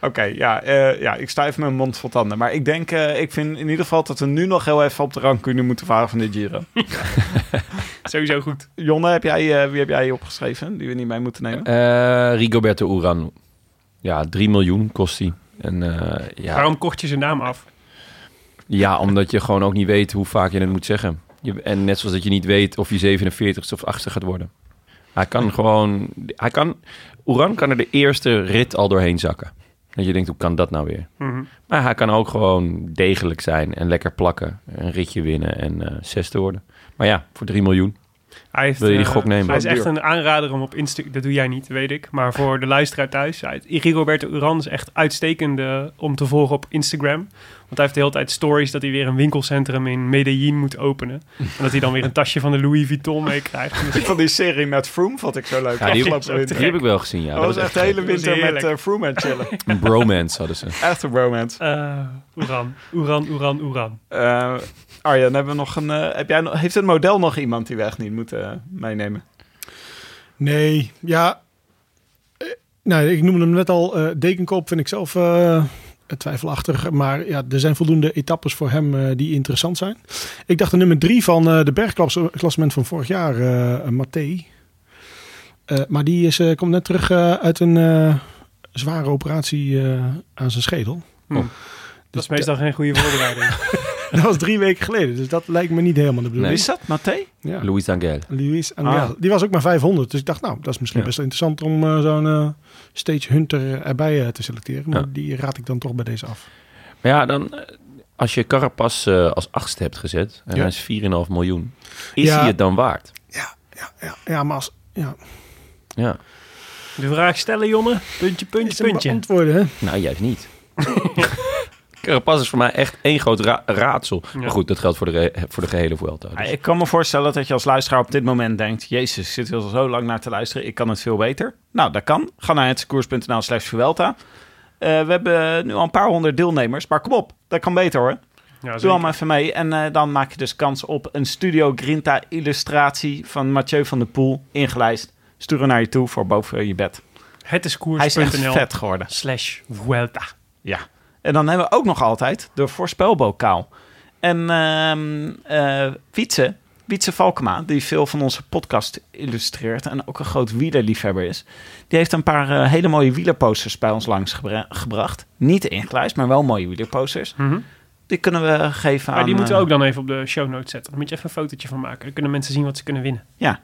S3: Oké, ja, eh, ja, ik sta even mijn mond vol tanden. Maar ik denk, eh, ik vind in ieder geval dat we nu nog heel even op de rancune moeten varen van dit Giro.
S2: Sowieso goed.
S3: Jonne, heb jij, eh, wie heb jij opgeschreven die we niet mee moeten nemen?
S1: Eh Rigoberto Uran. Ja, 3 miljoen kost hij. En eh, ja,
S2: Waarom kocht je zijn naam af?
S1: Ja, omdat je gewoon ook niet weet hoe vaak je het moet zeggen. Je, en net zoals dat je niet weet of je 47ste of 8ste gaat worden. Hij kan gewoon... Hij kan, Oeran kan er de eerste rit al doorheen zakken. Dat je denkt, hoe kan dat nou weer?
S2: Mhm.
S1: Maar hij kan ook gewoon degelijk zijn en lekker plakken. Een ritje winnen en eh zesde worden. Maar ja, voor 3 miljoen.
S2: Hij heeft,
S1: Wil je die
S2: eh,
S1: gok nemen?
S2: Hij is
S1: Duur.
S2: echt een aanrader om op Instagram... Dat doe jij niet, weet ik. Maar voor de luisteraar thuis... hij- Rigoberto Uran is echt uitstekend eh, om te volgen op Instagram. Want hij heeft de hele tijd stories dat hij weer een winkelcentrum in Medellin moet openen. En dat hij dan weer een tasje van de Louis Vuitton meekrijgt. Dus, En dat-
S3: Van die serie met Froome vond ik zo leuk.
S1: Ja, die,
S3: afgelopen winter.
S1: die heb ik wel gezien, ja.
S3: Oh, dat was echt de hele
S2: gek. Dat was
S3: winter met
S2: heerlijk.
S3: eh, Froome en chillen.
S1: Een bromance hadden ze.
S3: echt een romance.
S2: Eh, Uran, Uran, Uran, Uran.
S3: Eh, Arjan, hebben we nog een, eh, heb jij, nog- heeft het model nog iemand die we echt niet moeten eh, meenemen?
S4: Nee, ja. Eh, Nou, ik noemde hem net al. eh, Dekenkop vind ik zelf eh, twijfelachtig. Maar ja, er zijn voldoende etappes voor hem eh, die interessant zijn. Ik dacht de nummer drie van eh, de bergklassement van vorig jaar, eh Mathé. Eh, maar die is, eh, komt net terug eh, uit een eh, zware operatie eh, aan zijn schedel.
S2: Hm.
S1: Dus
S2: Dat is meestal geen goede voorbereiding.
S4: Dat was drie weken geleden, dus dat lijkt me niet helemaal de
S1: Nee.
S4: bedoeling.
S3: Is dat, Matthé?
S4: Ja.
S1: Luis Angel.
S4: Luis Angel.
S3: Ah.
S4: Die was ook maar 500. Dus ik dacht, nou, dat is misschien
S1: Ja.
S4: best wel interessant om eh, zo'n eh, stage hunter eh, erbij eh, te selecteren. Maar
S1: Ja.
S4: die raad ik dan toch bij deze af.
S1: Maar ja, dan, eh, als je Carapaz eh, als achtste hebt gezet en
S4: Ja.
S1: hij is 4,5 miljoen, is
S4: Ja.
S1: hij het dan waard?
S4: Ja, ja, ja maar als... Ja,
S1: Ja.
S2: De vraag stellen, jongen. Puntje,
S4: is
S2: puntje,
S4: hem
S2: puntje.
S4: beantwoorden, hè?
S1: Nou, juist niet. Carapaz is voor mij echt één groot ra- raadsel.
S2: Ja.
S1: Maar goed, dat geldt voor de, re- voor de gehele Vuelta. dus.
S3: Ja, Ik kan me voorstellen dat je als luisteraar op dit moment denkt... Jezus, ik zit er al zo lang naar te luisteren. Ik kan het veel beter. Nou, dat kan. Ga naar hetsecours.nl slash Vuelta. Eh, we hebben nu al een paar honderd deelnemers. Maar kom op, dat kan beter hoor.
S2: Ja,
S3: Doe
S2: zeker.
S3: allemaal even mee. En eh, dan maak je dus kans op een Studio Grinta illustratie van Mathieu van der Poel. Ingelijst. Stuur hem naar je toe voor boven je bed.
S2: Het is
S3: Hij is echt
S2: koers.nl
S3: vet geworden.
S2: slash Vuelta.
S3: Ja. En dan hebben we ook nog altijd de voorspelbokaal. En ehm eh Wietse, Wietse Valkema, die veel van onze podcast illustreert en ook een groot wielerliefhebber is, die heeft een paar eh, hele mooie wielerposters bij ons langs gebra- gebracht. Niet ingelijst, maar wel mooie wielerposters.
S2: Mhm.
S3: Die kunnen we geven aan...
S2: Maar die moeten
S3: eh,
S2: we ook dan even op de show notes zetten. Dan moet je even een fotootje van maken. Dan kunnen mensen zien wat ze kunnen winnen.
S3: Ja,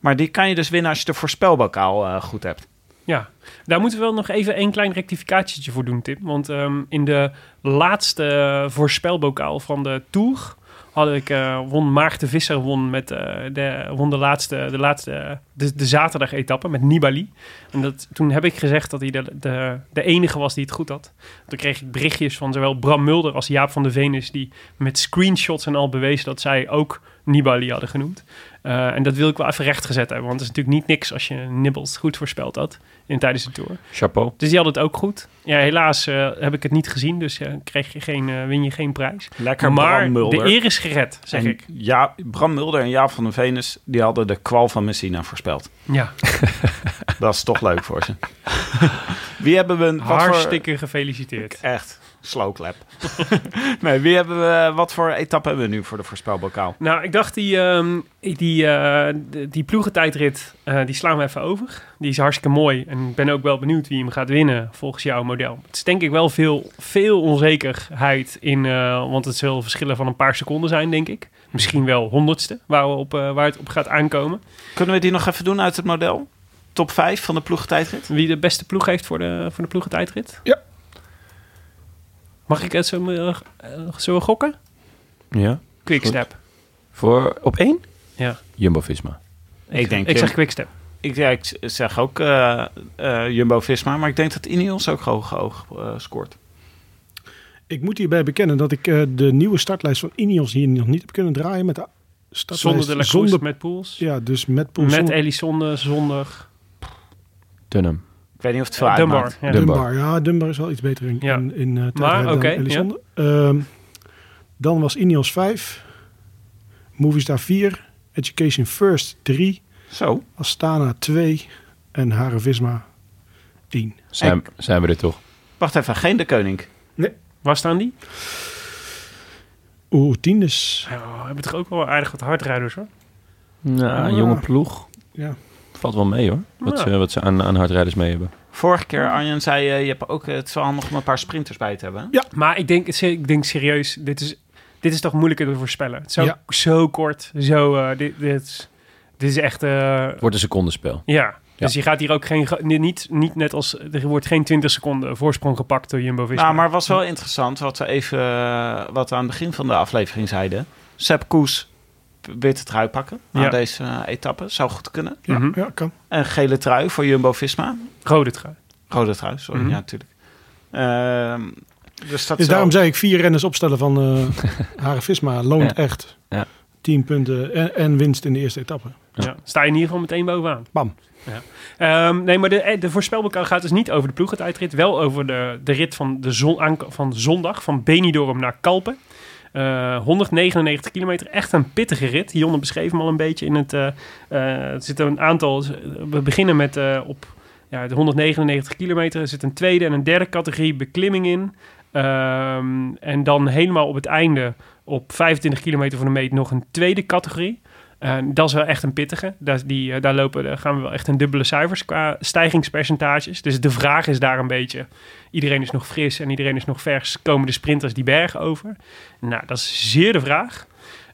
S3: maar die kan je dus winnen als je de voorspelbokaal eh, goed hebt.
S2: Ja, daar moeten we wel nog even één klein rectificatietje voor doen, Tim. Want ehm, in de laatste eh, voorspelbokaal van de Tour had ik, eh, won Maarten Visser won, met, eh, de, won de laatste, de, laatste de, de zaterdag-etappe met Nibali. En dat, toen heb ik gezegd dat hij de, de, de enige was die het goed had. Toen kreeg ik berichtjes van zowel Bram Mulder als Jaap van de Venus... die met screenshots en al bewezen dat zij ook Nibali hadden genoemd. Eh, en dat wil ik wel even rechtgezet hebben. Want het is natuurlijk niet niks als je Nibbles goed voorspeld had in tijdens de tour.
S1: Chapeau.
S2: Dus die had het ook goed. Ja, helaas eh, heb ik het niet gezien, dus eh, kreeg je geen, eh, win je geen prijs.
S3: Lekker
S2: maar de eer is gered, zeg
S3: en
S2: ik.
S3: Ja, Bram Mulder en Jaap van de Venus, die hadden de kwal van Messina voorspeld.
S2: Ja,
S3: Dat is toch leuk voor ze. Wie hebben we... Wat
S2: hartstikke gefeliciteerd.
S3: Voor, echt, slow clap. nee, wie hebben we... Wat voor etappe hebben we nu voor de voorspelbokaal?
S2: Nou, ik dacht die, ehm, die, eh, de- die ploegentijdrit, eh, die slaan we even over. Die is hartstikke mooi en ik ben ook wel benieuwd wie hem gaat winnen volgens jouw model. Het is denk ik wel veel, veel onzekerheid in, eh, want het zullen verschillen van een paar seconden zijn, denk ik. Misschien wel honderdste waar, we op, eh, waar het op gaat aankomen.
S3: Kunnen we die nog even doen uit het model? Top 5 van de ploegtijdrit?
S2: Wie de beste ploeg heeft voor de, voor de ploegentijdrit?
S4: Ja.
S2: Mag ik het zo, eh, eh, zullen we gokken?
S1: Ja.
S2: Quickstep.
S1: Voor op één?
S2: Ja.
S1: Jumbo-Visma.
S3: Ik denk...
S2: Ik zeg Quickstep.
S3: ik, ja, ik zeg ook eh, eh, Jumbo-Visma, maar ik denk dat Ineos ook hoog, hoog eh, scoort.
S4: Ik moet hierbij bekennen dat ik eh, de nieuwe startlijst van Ineos hier nog niet heb kunnen draaien. Met de startlijst
S2: Zonder de Lacroix,
S4: zonder-
S2: met Pools.
S4: Ja, dus met Poel,
S2: Met
S4: zonder
S2: Elisonde, zonder eh,
S1: Dunham.
S3: Ik weet niet of het veel uitmaakt.
S2: Dunbar. Ja.
S1: Dun-
S4: Dunbar.
S1: Dunbar.
S4: Ja, Dunbar is wel iets beter in,
S2: Ja.
S4: in, in eh, tijdrijden
S2: Maar,
S4: dan
S2: oké,
S4: Elizondo. Ehm, dan was Ineos 5. Movistar 4. Education First 3.
S3: Zo.
S4: Astana 2 en Hare Visma 1.
S1: Zijn, zijn we er toch?
S3: Wacht even, geen de koning.
S2: Waar staan die?
S4: Oeh, Oh, tiendes.
S2: Ja, we hebben toch ook wel aardig wat hardrijders hoor.
S1: Nou,
S4: Ja.
S1: jonge ploeg.
S4: Ja.
S1: Valt wel mee hoor. Wat, eh,
S2: Ja. Nou,
S1: ze, wat ze aan, aan hardrijders mee hebben.
S3: Vorige keer, Arjen, zei je, je hebt ook, eh, het is wel handig om een paar sprinters bij te hebben.
S2: Maar ik denk, ik denk serieus, dit is, dit is toch moeilijker te voorspellen. Het is zo,
S4: Ja.
S2: zo kort, zo, eh, dit, dit, is- dit is echt... eh,
S1: wordt een secondenspel.
S2: ja. Dus je gaat hier ook geen... ge- Niet, niet net als... Er wordt geen 20 seconden voorsprong gepakt door Jumbo-Visma.
S3: Nou, maar het was wel interessant wat we even eh, wat we aan het begin van de aflevering zeiden. Sepp Koes p- witte trui pakken na
S2: Ja.
S3: deze eh, etappe. Zou goed kunnen.
S4: Ja,
S2: Mhm.
S4: ja kan.
S3: Een gele trui voor Jumbo-Visma.
S2: Rode trui.
S3: Rode trui, sorry.
S2: Mhm.
S3: Ja, natuurlijk. Ehm, dus dat is
S4: Dus
S3: wel-
S4: daarom zei ik vier renners opstellen van eh Hare Visma. Loont
S1: Ja.
S4: echt.
S1: Ja.
S4: 10 punten en, en winst in de eerste etappe.
S2: Ja. Sta je in ieder geval meteen bovenaan.
S4: Bam.
S2: Ja. Ehm, nee, maar de, eh, de voorspelbokaal gaat dus niet over de ploegentijdrit. Wel over de, de rit van, de zon, aank- van zondag van Benidorm naar Kalpen. Eh, 199 kilometer. Echt een pittige rit. Hieronder beschreef hem al een beetje in het... eh eh, er zitten een aantal... We beginnen met eh, op ja, de 199 kilometer. Er zit een tweede en een derde categorie beklimming in. Ehm, en dan helemaal op het einde... op 25 kilometer van de meet nog een tweede categorie. Eh, dat is wel echt een pittige. Daar, die, eh, daar, lopen, daar gaan we wel echt in dubbele cijfers qua stijgingspercentages. Dus de vraag is daar een beetje... iedereen is nog fris en iedereen is nog vers. Komen de sprinters die berg over? Nou, dat is zeer de vraag.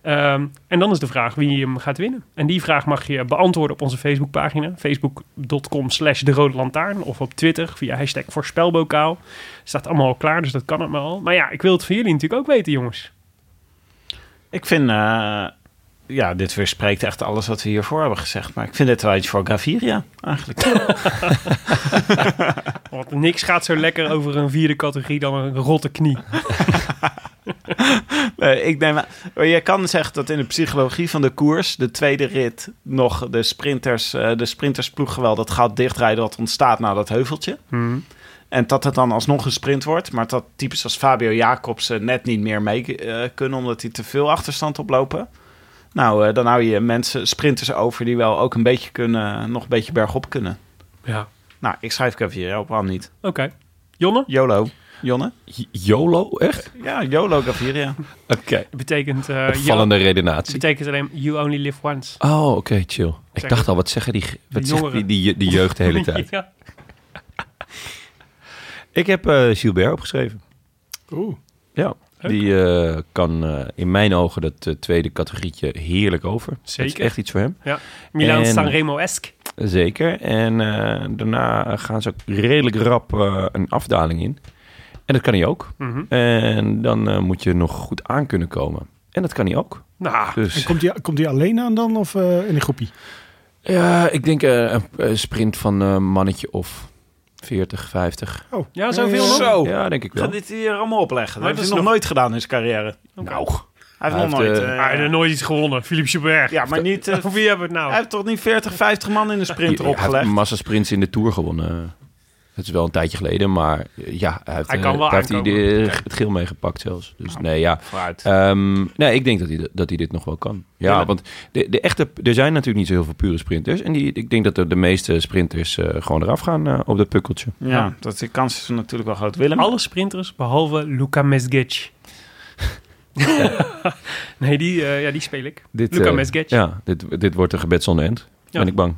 S2: Ehm, en dan is de vraag wie hem gaat winnen. En die vraag mag je beantwoorden op onze Facebookpagina. Facebook.com slash de Rode Lantaarn. Of op Twitter via hashtag voorspelbokaal. Staat allemaal al klaar, dus dat kan het maar al. Maar ja, ik wil het van jullie natuurlijk ook weten, jongens.
S3: Ik vind, eh, ja, dit weerspreekt echt alles wat we hiervoor hebben gezegd. Maar ik vind het wel iets voor Gaviria, eigenlijk.
S2: Want niks gaat zo lekker over een vierde categorie dan een rotte knie.
S3: Nee, Eh, ik neem aan- maar je kan zeggen dat in de psychologie van de koers, de tweede rit, nog de sprinters, eh, de sprintersploeg geweld, dat gaat dichtrijden wat ontstaat na dat heuveltje. En dat het dan alsnog een sprint wordt, maar dat types als Fabio Jacobsen net niet meer mee eh, kunnen, omdat die te veel achterstand oplopen. Nou, eh, dan hou je mensen, sprinters over die wel ook een beetje kunnen, nog een beetje bergop kunnen.
S2: Ja.
S3: Nou, ik schrijf Gaviria op, waarom niet?
S2: Oké. Jonne?
S3: YOLO. Jonne?
S1: YOLO, echt?
S3: Ja, YOLO Gaviria.
S1: Oké,
S2: Het betekent, eh, jou-
S1: opvallende
S2: het
S1: redenatie.
S2: betekent alleen you only live once.
S1: Oh, oké, chill. Ik
S2: Zeg-
S1: dacht al, wat zeggen die, wat zegt die,
S2: jongeren.
S1: die, die jeugd de hele tijd?
S2: Ja.
S1: Ik heb eh Gilbert opgeschreven.
S4: Oeh.
S1: Ja, die eh, kan eh, in mijn ogen dat eh, tweede categorietje heerlijk over. Dat
S2: Zeker.
S1: is echt iets voor hem.
S2: Milaan
S1: En-
S2: Sanremo-esque.
S1: Zeker. En eh, daarna gaan ze ook redelijk rap eh, een afdaling in. En dat kan hij ook.
S2: Mhm.
S1: En dan eh, moet je nog goed aan kunnen komen. En dat kan hij ook.
S2: Nou,
S4: En
S1: Dus
S4: komt die, komt die alleen aan dan of eh, in een groepie?
S1: ja, ik denk eh, een een sprint van een mannetje of 40, 50.
S4: Oh.
S2: Ja, zoveel nog?
S3: Zo,
S1: Ja, denk ik
S3: ga
S1: wel.
S3: dit hier allemaal opleggen.
S2: Maar het
S3: Dat heeft
S2: is
S3: hij nog
S2: nog-
S3: nooit gedaan in zijn carrière.
S1: Nou,
S3: Hij heeft
S1: Hij
S3: nog
S1: heeft,
S3: nooit.
S1: eh,
S3: eh,
S2: Hij heeft nog nooit iets gewonnen. Philippe Gilbert.
S3: ja, maar niet. eh,
S2: Voor wie hebben we het
S3: hij
S2: nou?
S3: heeft toch niet 40, 50 man in de sprinter
S1: hij heeft
S3: opgelegd?
S1: massasprints in de Tour gewonnen. Dat is wel een tijdje geleden, maar eh, ja, hij heeft,
S2: Hij
S1: eh,
S2: kan wel
S1: daar heeft hij
S2: aankomen. Nou.
S1: de- het geel meegepakt zelfs. Dus nee, ja.
S3: Vooruit.
S1: Ehm, nee, ik denk dat hij, dat hij dit nog wel kan. Ja,
S3: Ja, maar-
S1: want de, de echte, er zijn natuurlijk niet zo heel veel pure sprinters. En die, ik denk dat de, de meeste sprinters eh, gewoon eraf gaan eh, op dat pukkeltje.
S3: ja, dat die kans is natuurlijk wel groot. Willem?
S2: Alle sprinters behalve Luca Mesgic. nee, die, eh, ja, die speel ik.
S1: Dit,
S2: Luca
S1: eh,
S2: Mesgic.
S1: Ja, dit, dit wordt een gebed zonder end.
S2: Ja.
S1: Ben ik bang.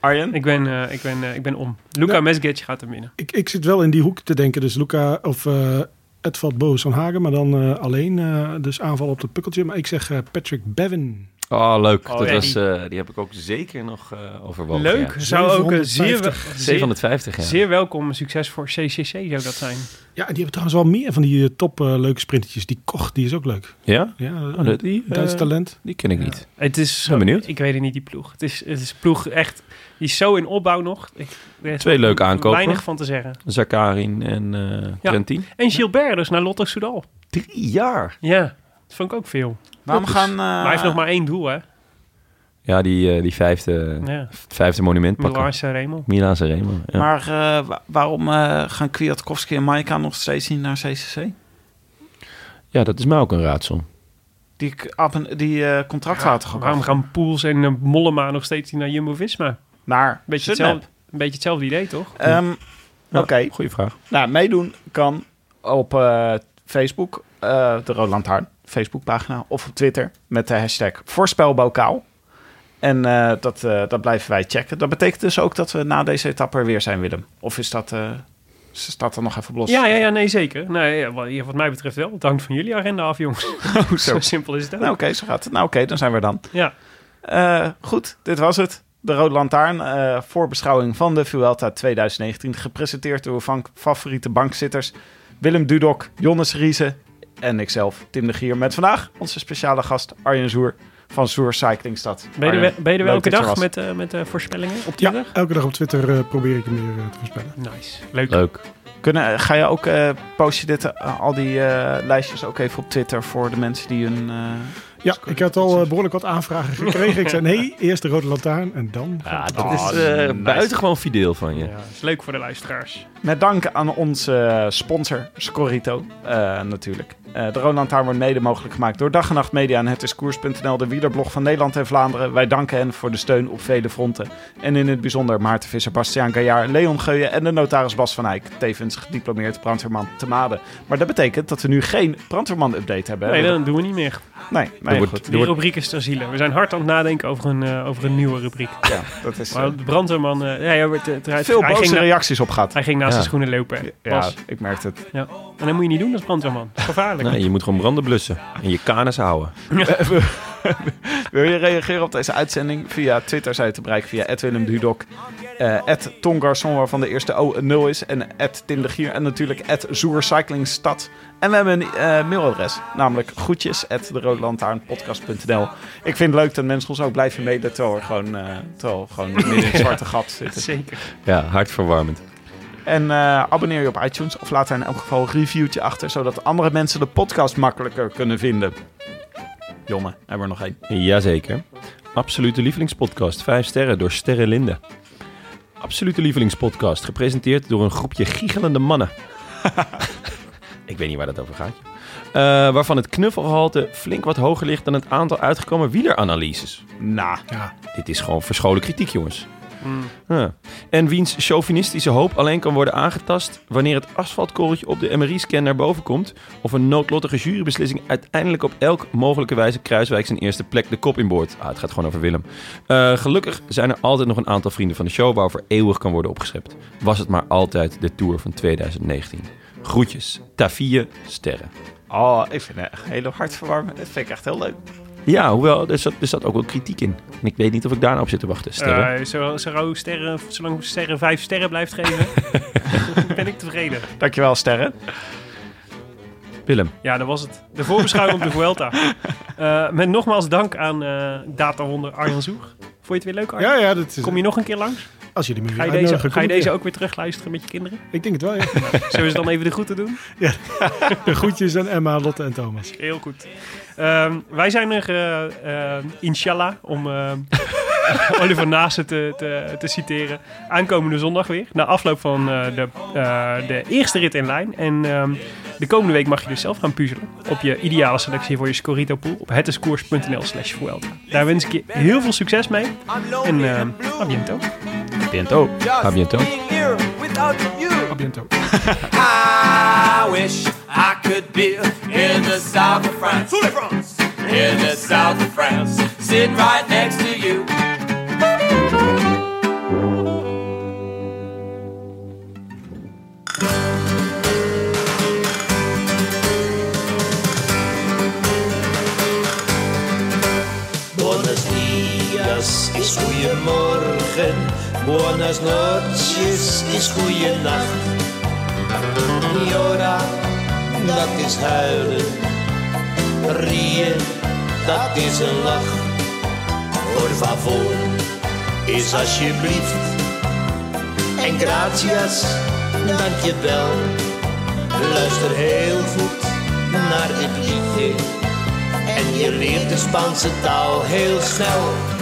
S3: Arjen?
S2: Ik, ben, eh, ik, ben, eh, ik ben om. Luca
S4: Ja.
S2: Mesgic gaat hem winnen.
S4: Ik, ik zit wel in die hoek te denken. Dus Luca of eh Edvald Boos van Hagen, maar dan eh, alleen. eh, dus aanval op dat pukkeltje. Maar ik zeg eh, Patrick Bevin.
S1: Oh, leuk.
S2: Oh,
S1: dat
S2: ja,
S1: was,
S2: die-
S1: eh, die heb ik ook zeker nog eh overwogen.
S2: Leuk. Zou ook een zeer, wel- zeer,
S1: 750, ja.
S2: zeer welkom succes voor CCC zou dat zijn.
S4: Ja, en die hebben trouwens wel meer van die eh, top eh, leuke sprintertjes. Die Koch, die is ook leuk.
S1: Ja?
S4: Ja,
S1: Oh, dat- die, eh,
S4: Duits talent.
S1: die ken ik niet.
S2: Het is
S1: Ben benieuwd.
S2: Ik weet het niet, die ploeg. Het is, het is ploeg echt... Die is zo in opbouw nog. Ik, er is
S1: Twee leuke aankopen.
S2: Weinig van te zeggen.
S1: Zakarin en eh
S2: Ja.
S1: Trentin.
S2: En Gilbert dus naar Lotto Soudal.
S1: Drie jaar.
S2: Ja, dat vond ik ook veel.
S3: Waarom gaan. eh,
S2: maar hij heeft nog maar één doel, hè?
S1: Ja, die, eh, die vijfde,
S2: Ja.
S1: vijfde monument
S2: Milan
S1: pakken.
S2: Sanremo.
S1: Milaan Sanremo. Ja.
S3: Maar eh, wa- waarom eh, gaan Kwiatkowski en Maika nog steeds niet naar CCC?
S1: ja, dat is mij ook een raadsel.
S3: Die, k- appen- die eh, contract laten gewoon
S2: Waarom
S3: af.
S2: gaan Poels en eh, Mollema nog steeds niet naar Jumbo-Visma?
S3: Naar
S2: Beetje
S3: Sunweb.
S2: hetzelfde, een beetje hetzelfde idee, toch?
S3: Ehm,
S1: Ja,
S3: Oké.
S1: Goeie vraag.
S3: Nou, meedoen kan op eh, Facebook, eh, de Roland Lantaarn Facebookpagina, of op Twitter met de hashtag voorspelbokaal. En eh, dat, eh, dat blijven wij checken. Dat betekent dus ook dat we na deze etappe er weer zijn, Willem. Of is dat, eh staat er nog even los?
S2: Ja, ja, ja, nee, zeker. Nee, ja, wat, ja, wat mij betreft wel. Het hangt van jullie agenda af, jongens.
S3: zo.
S2: zo simpel is het ook.
S3: Nou, oké, zo gaat het. Nou, oké, dan zijn we er dan.
S2: ja.
S3: Eh, goed, dit was het. De Rode Lantaarn, eh, voorbeschouwing van de Vuelta 2019. Gepresenteerd door van favoriete bankzitters Willem Dudok, Jonas Riese en ikzelf, Tim de Gier. Met vandaag onze speciale gast Arjen Zoer van Zoer Cyclingstad.
S2: Ben je er,
S3: Arjen,
S2: wel- ben je er wel
S3: leuk
S2: elke
S3: dat je
S2: dag
S3: was.
S2: met, eh, met eh, voorspellingen op
S4: Ja,
S2: Twitter?
S4: elke dag op Twitter eh, probeer ik hem weer eh, te voorspellen.
S2: Nice. Leuk.
S1: Leuk.
S3: Kunnen, ga je ook, eh, post je dit, eh, al die eh, lijstjes ook even op Twitter voor de mensen die hun... eh,
S4: Ja, ik had al eh, behoorlijk wat aanvragen gekregen. Ik zei nee, eerst de rode lantaarn en dan...
S1: Ah, dat
S3: Oh,
S1: is eh,
S3: nice.
S1: buitengewoon fideel van je.
S2: Ja, is leuk voor de luisteraars.
S3: Met dank aan onze eh, sponsor, Scorrito, eh, natuurlijk. Eh, de Roland Taarn wordt mede mogelijk gemaakt door Dag en Nacht Media en Het is Koers.nl, de wielerblog van Nederland en Vlaanderen. Wij danken hen voor de steun op vele fronten. En in het bijzonder Maarten Visser, Bastiaan Gaillard, Leon Geuyen en de notaris Bas van Eyck. Tevens gediplomeerd brandweerman te Maden. Maar dat betekent dat we nu geen brandweerman-update hebben. hè?
S2: Nee, dat doen we niet meer.
S3: nee, nee,
S1: wordt-
S3: goed.
S1: er
S2: Die
S1: wordt-
S2: rubriek is ter ziele. We zijn hard aan het nadenken over een, eh, over een nieuwe rubriek.
S3: Ja, dat is, eh,
S2: Maar de brandweerman... eh, ja, ja, wordt, eh, eruit-
S3: veel
S2: hij, ging
S3: boze
S2: na-
S3: reacties op gehad.
S2: hij ging naast
S1: Ja.
S2: de schoenen lopen. hè.
S3: Ja,
S2: Bas.
S3: ik merkte het.
S2: En dat moet je niet doen als brandweerman. Dat is Gevaarlijk.
S1: Nee, je moet gewoon branden blussen. En je kanus houden.
S3: Wil je reageren op deze uitzending? Via Twitter zijn we te bereiken via Willem Dudok, eh, Tom Garçon, waarvan de eerste O een 0 is, en Tim de Gier en natuurlijk Zoer Cyclingstad. En we hebben een eh, mailadres, namelijk groetjes de Ik vind het leuk dat mensen ons ook blijven mailen terwijl we gewoon, eh, terwijl we gewoon midden in het zwarte gat zitten.
S2: Zeker.
S1: Ja, hartverwarmend.
S3: En eh, abonneer je op iTunes of laat daar in elk geval een reviewtje achter, zodat andere mensen de podcast makkelijker kunnen vinden. Jonne, hebben we er nog één.
S1: Jazeker. Absolute Lievelingspodcast. Vijf sterren door Sterre Linde. Absolute Lievelingspodcast. Gepresenteerd door een groepje giechelende mannen. Ik weet niet waar dat over gaat. joh. Eh, waarvan het knuffelgehalte flink wat hoger ligt dan het aantal uitgekomen wieleranalyses.
S3: Nou,
S1: Dit is gewoon verscholen kritiek, jongens.
S2: Mm.
S1: Ja. En wiens chauvinistische hoop alleen kan worden aangetast wanneer het asfaltkorreltje op de MRI-scan naar boven komt of een noodlottige jurybeslissing uiteindelijk op elk mogelijke wijze Kruiswijk zijn eerste plek de kop inboort. Ah, het gaat gewoon over Willem. Eh, gelukkig zijn er altijd nog een aantal vrienden van de show waarover eeuwig kan worden opgeschept. Was het maar altijd de Tour van 2019. Groetjes, Tafie Sterren.
S3: Oh, ik vind het echt heel hartverwarmend. Dat vind ik echt heel leuk.
S1: Ja, hoewel, er zat, er zat ook wel kritiek in. En ik weet niet of ik daarna op zit te wachten. Sterren.
S2: Eh, zo- zo- sterren, zolang sterren vijf sterren blijft geven, ben ik tevreden.
S3: Dankjewel, Sterren.
S1: Willem,
S2: Ja, dat was het. De voorbeschouwing op de Vuelta. Eh, met nogmaals dank aan eh datawonder Arjan Zoer. Vond je het weer leuk, Arjan?
S4: Ja, ja, dat is, eh,
S2: Kom je nog een keer langs?
S4: als jullie me weer
S2: Ga je,
S4: uitnodigen,
S2: deze, ga je
S4: kom ik
S2: deze
S4: weer.
S2: ook weer terugluisteren met je kinderen?
S4: Ik denk het wel, ja.
S2: Zullen ze dan even de groeten doen?
S4: De groetjes aan Emma, Lotte en Thomas.
S2: Heel goed. Ehm, wij zijn er, eh, eh, inshallah, om eh, Oliver Nase te, te, te citeren. Aankomende zondag weer. Na afloop van eh, de, eh, de eerste rit in lijn. En ehm, de komende week mag je dus zelf gaan puzzelen. Op je ideale selectie voor je Scorito pool. Op hetiskoers.nl slash Vuelta. Daar wens ik je heel veel succes mee. En ehm a biento.
S1: bientôt. A bientôt.
S4: A bientôt.
S5: I wish I could be in the south of France. In the south of France. Sitting right next to you.
S6: Buenos días is goeiemorgen, buenas noches is goeienacht. Jora, dat is huilen, rieën, dat is een lach. Por favor is alsjeblieft, en gratias, dankjewel. Luister heel goed naar dit liedje en je leert de Spaanse taal heel snel.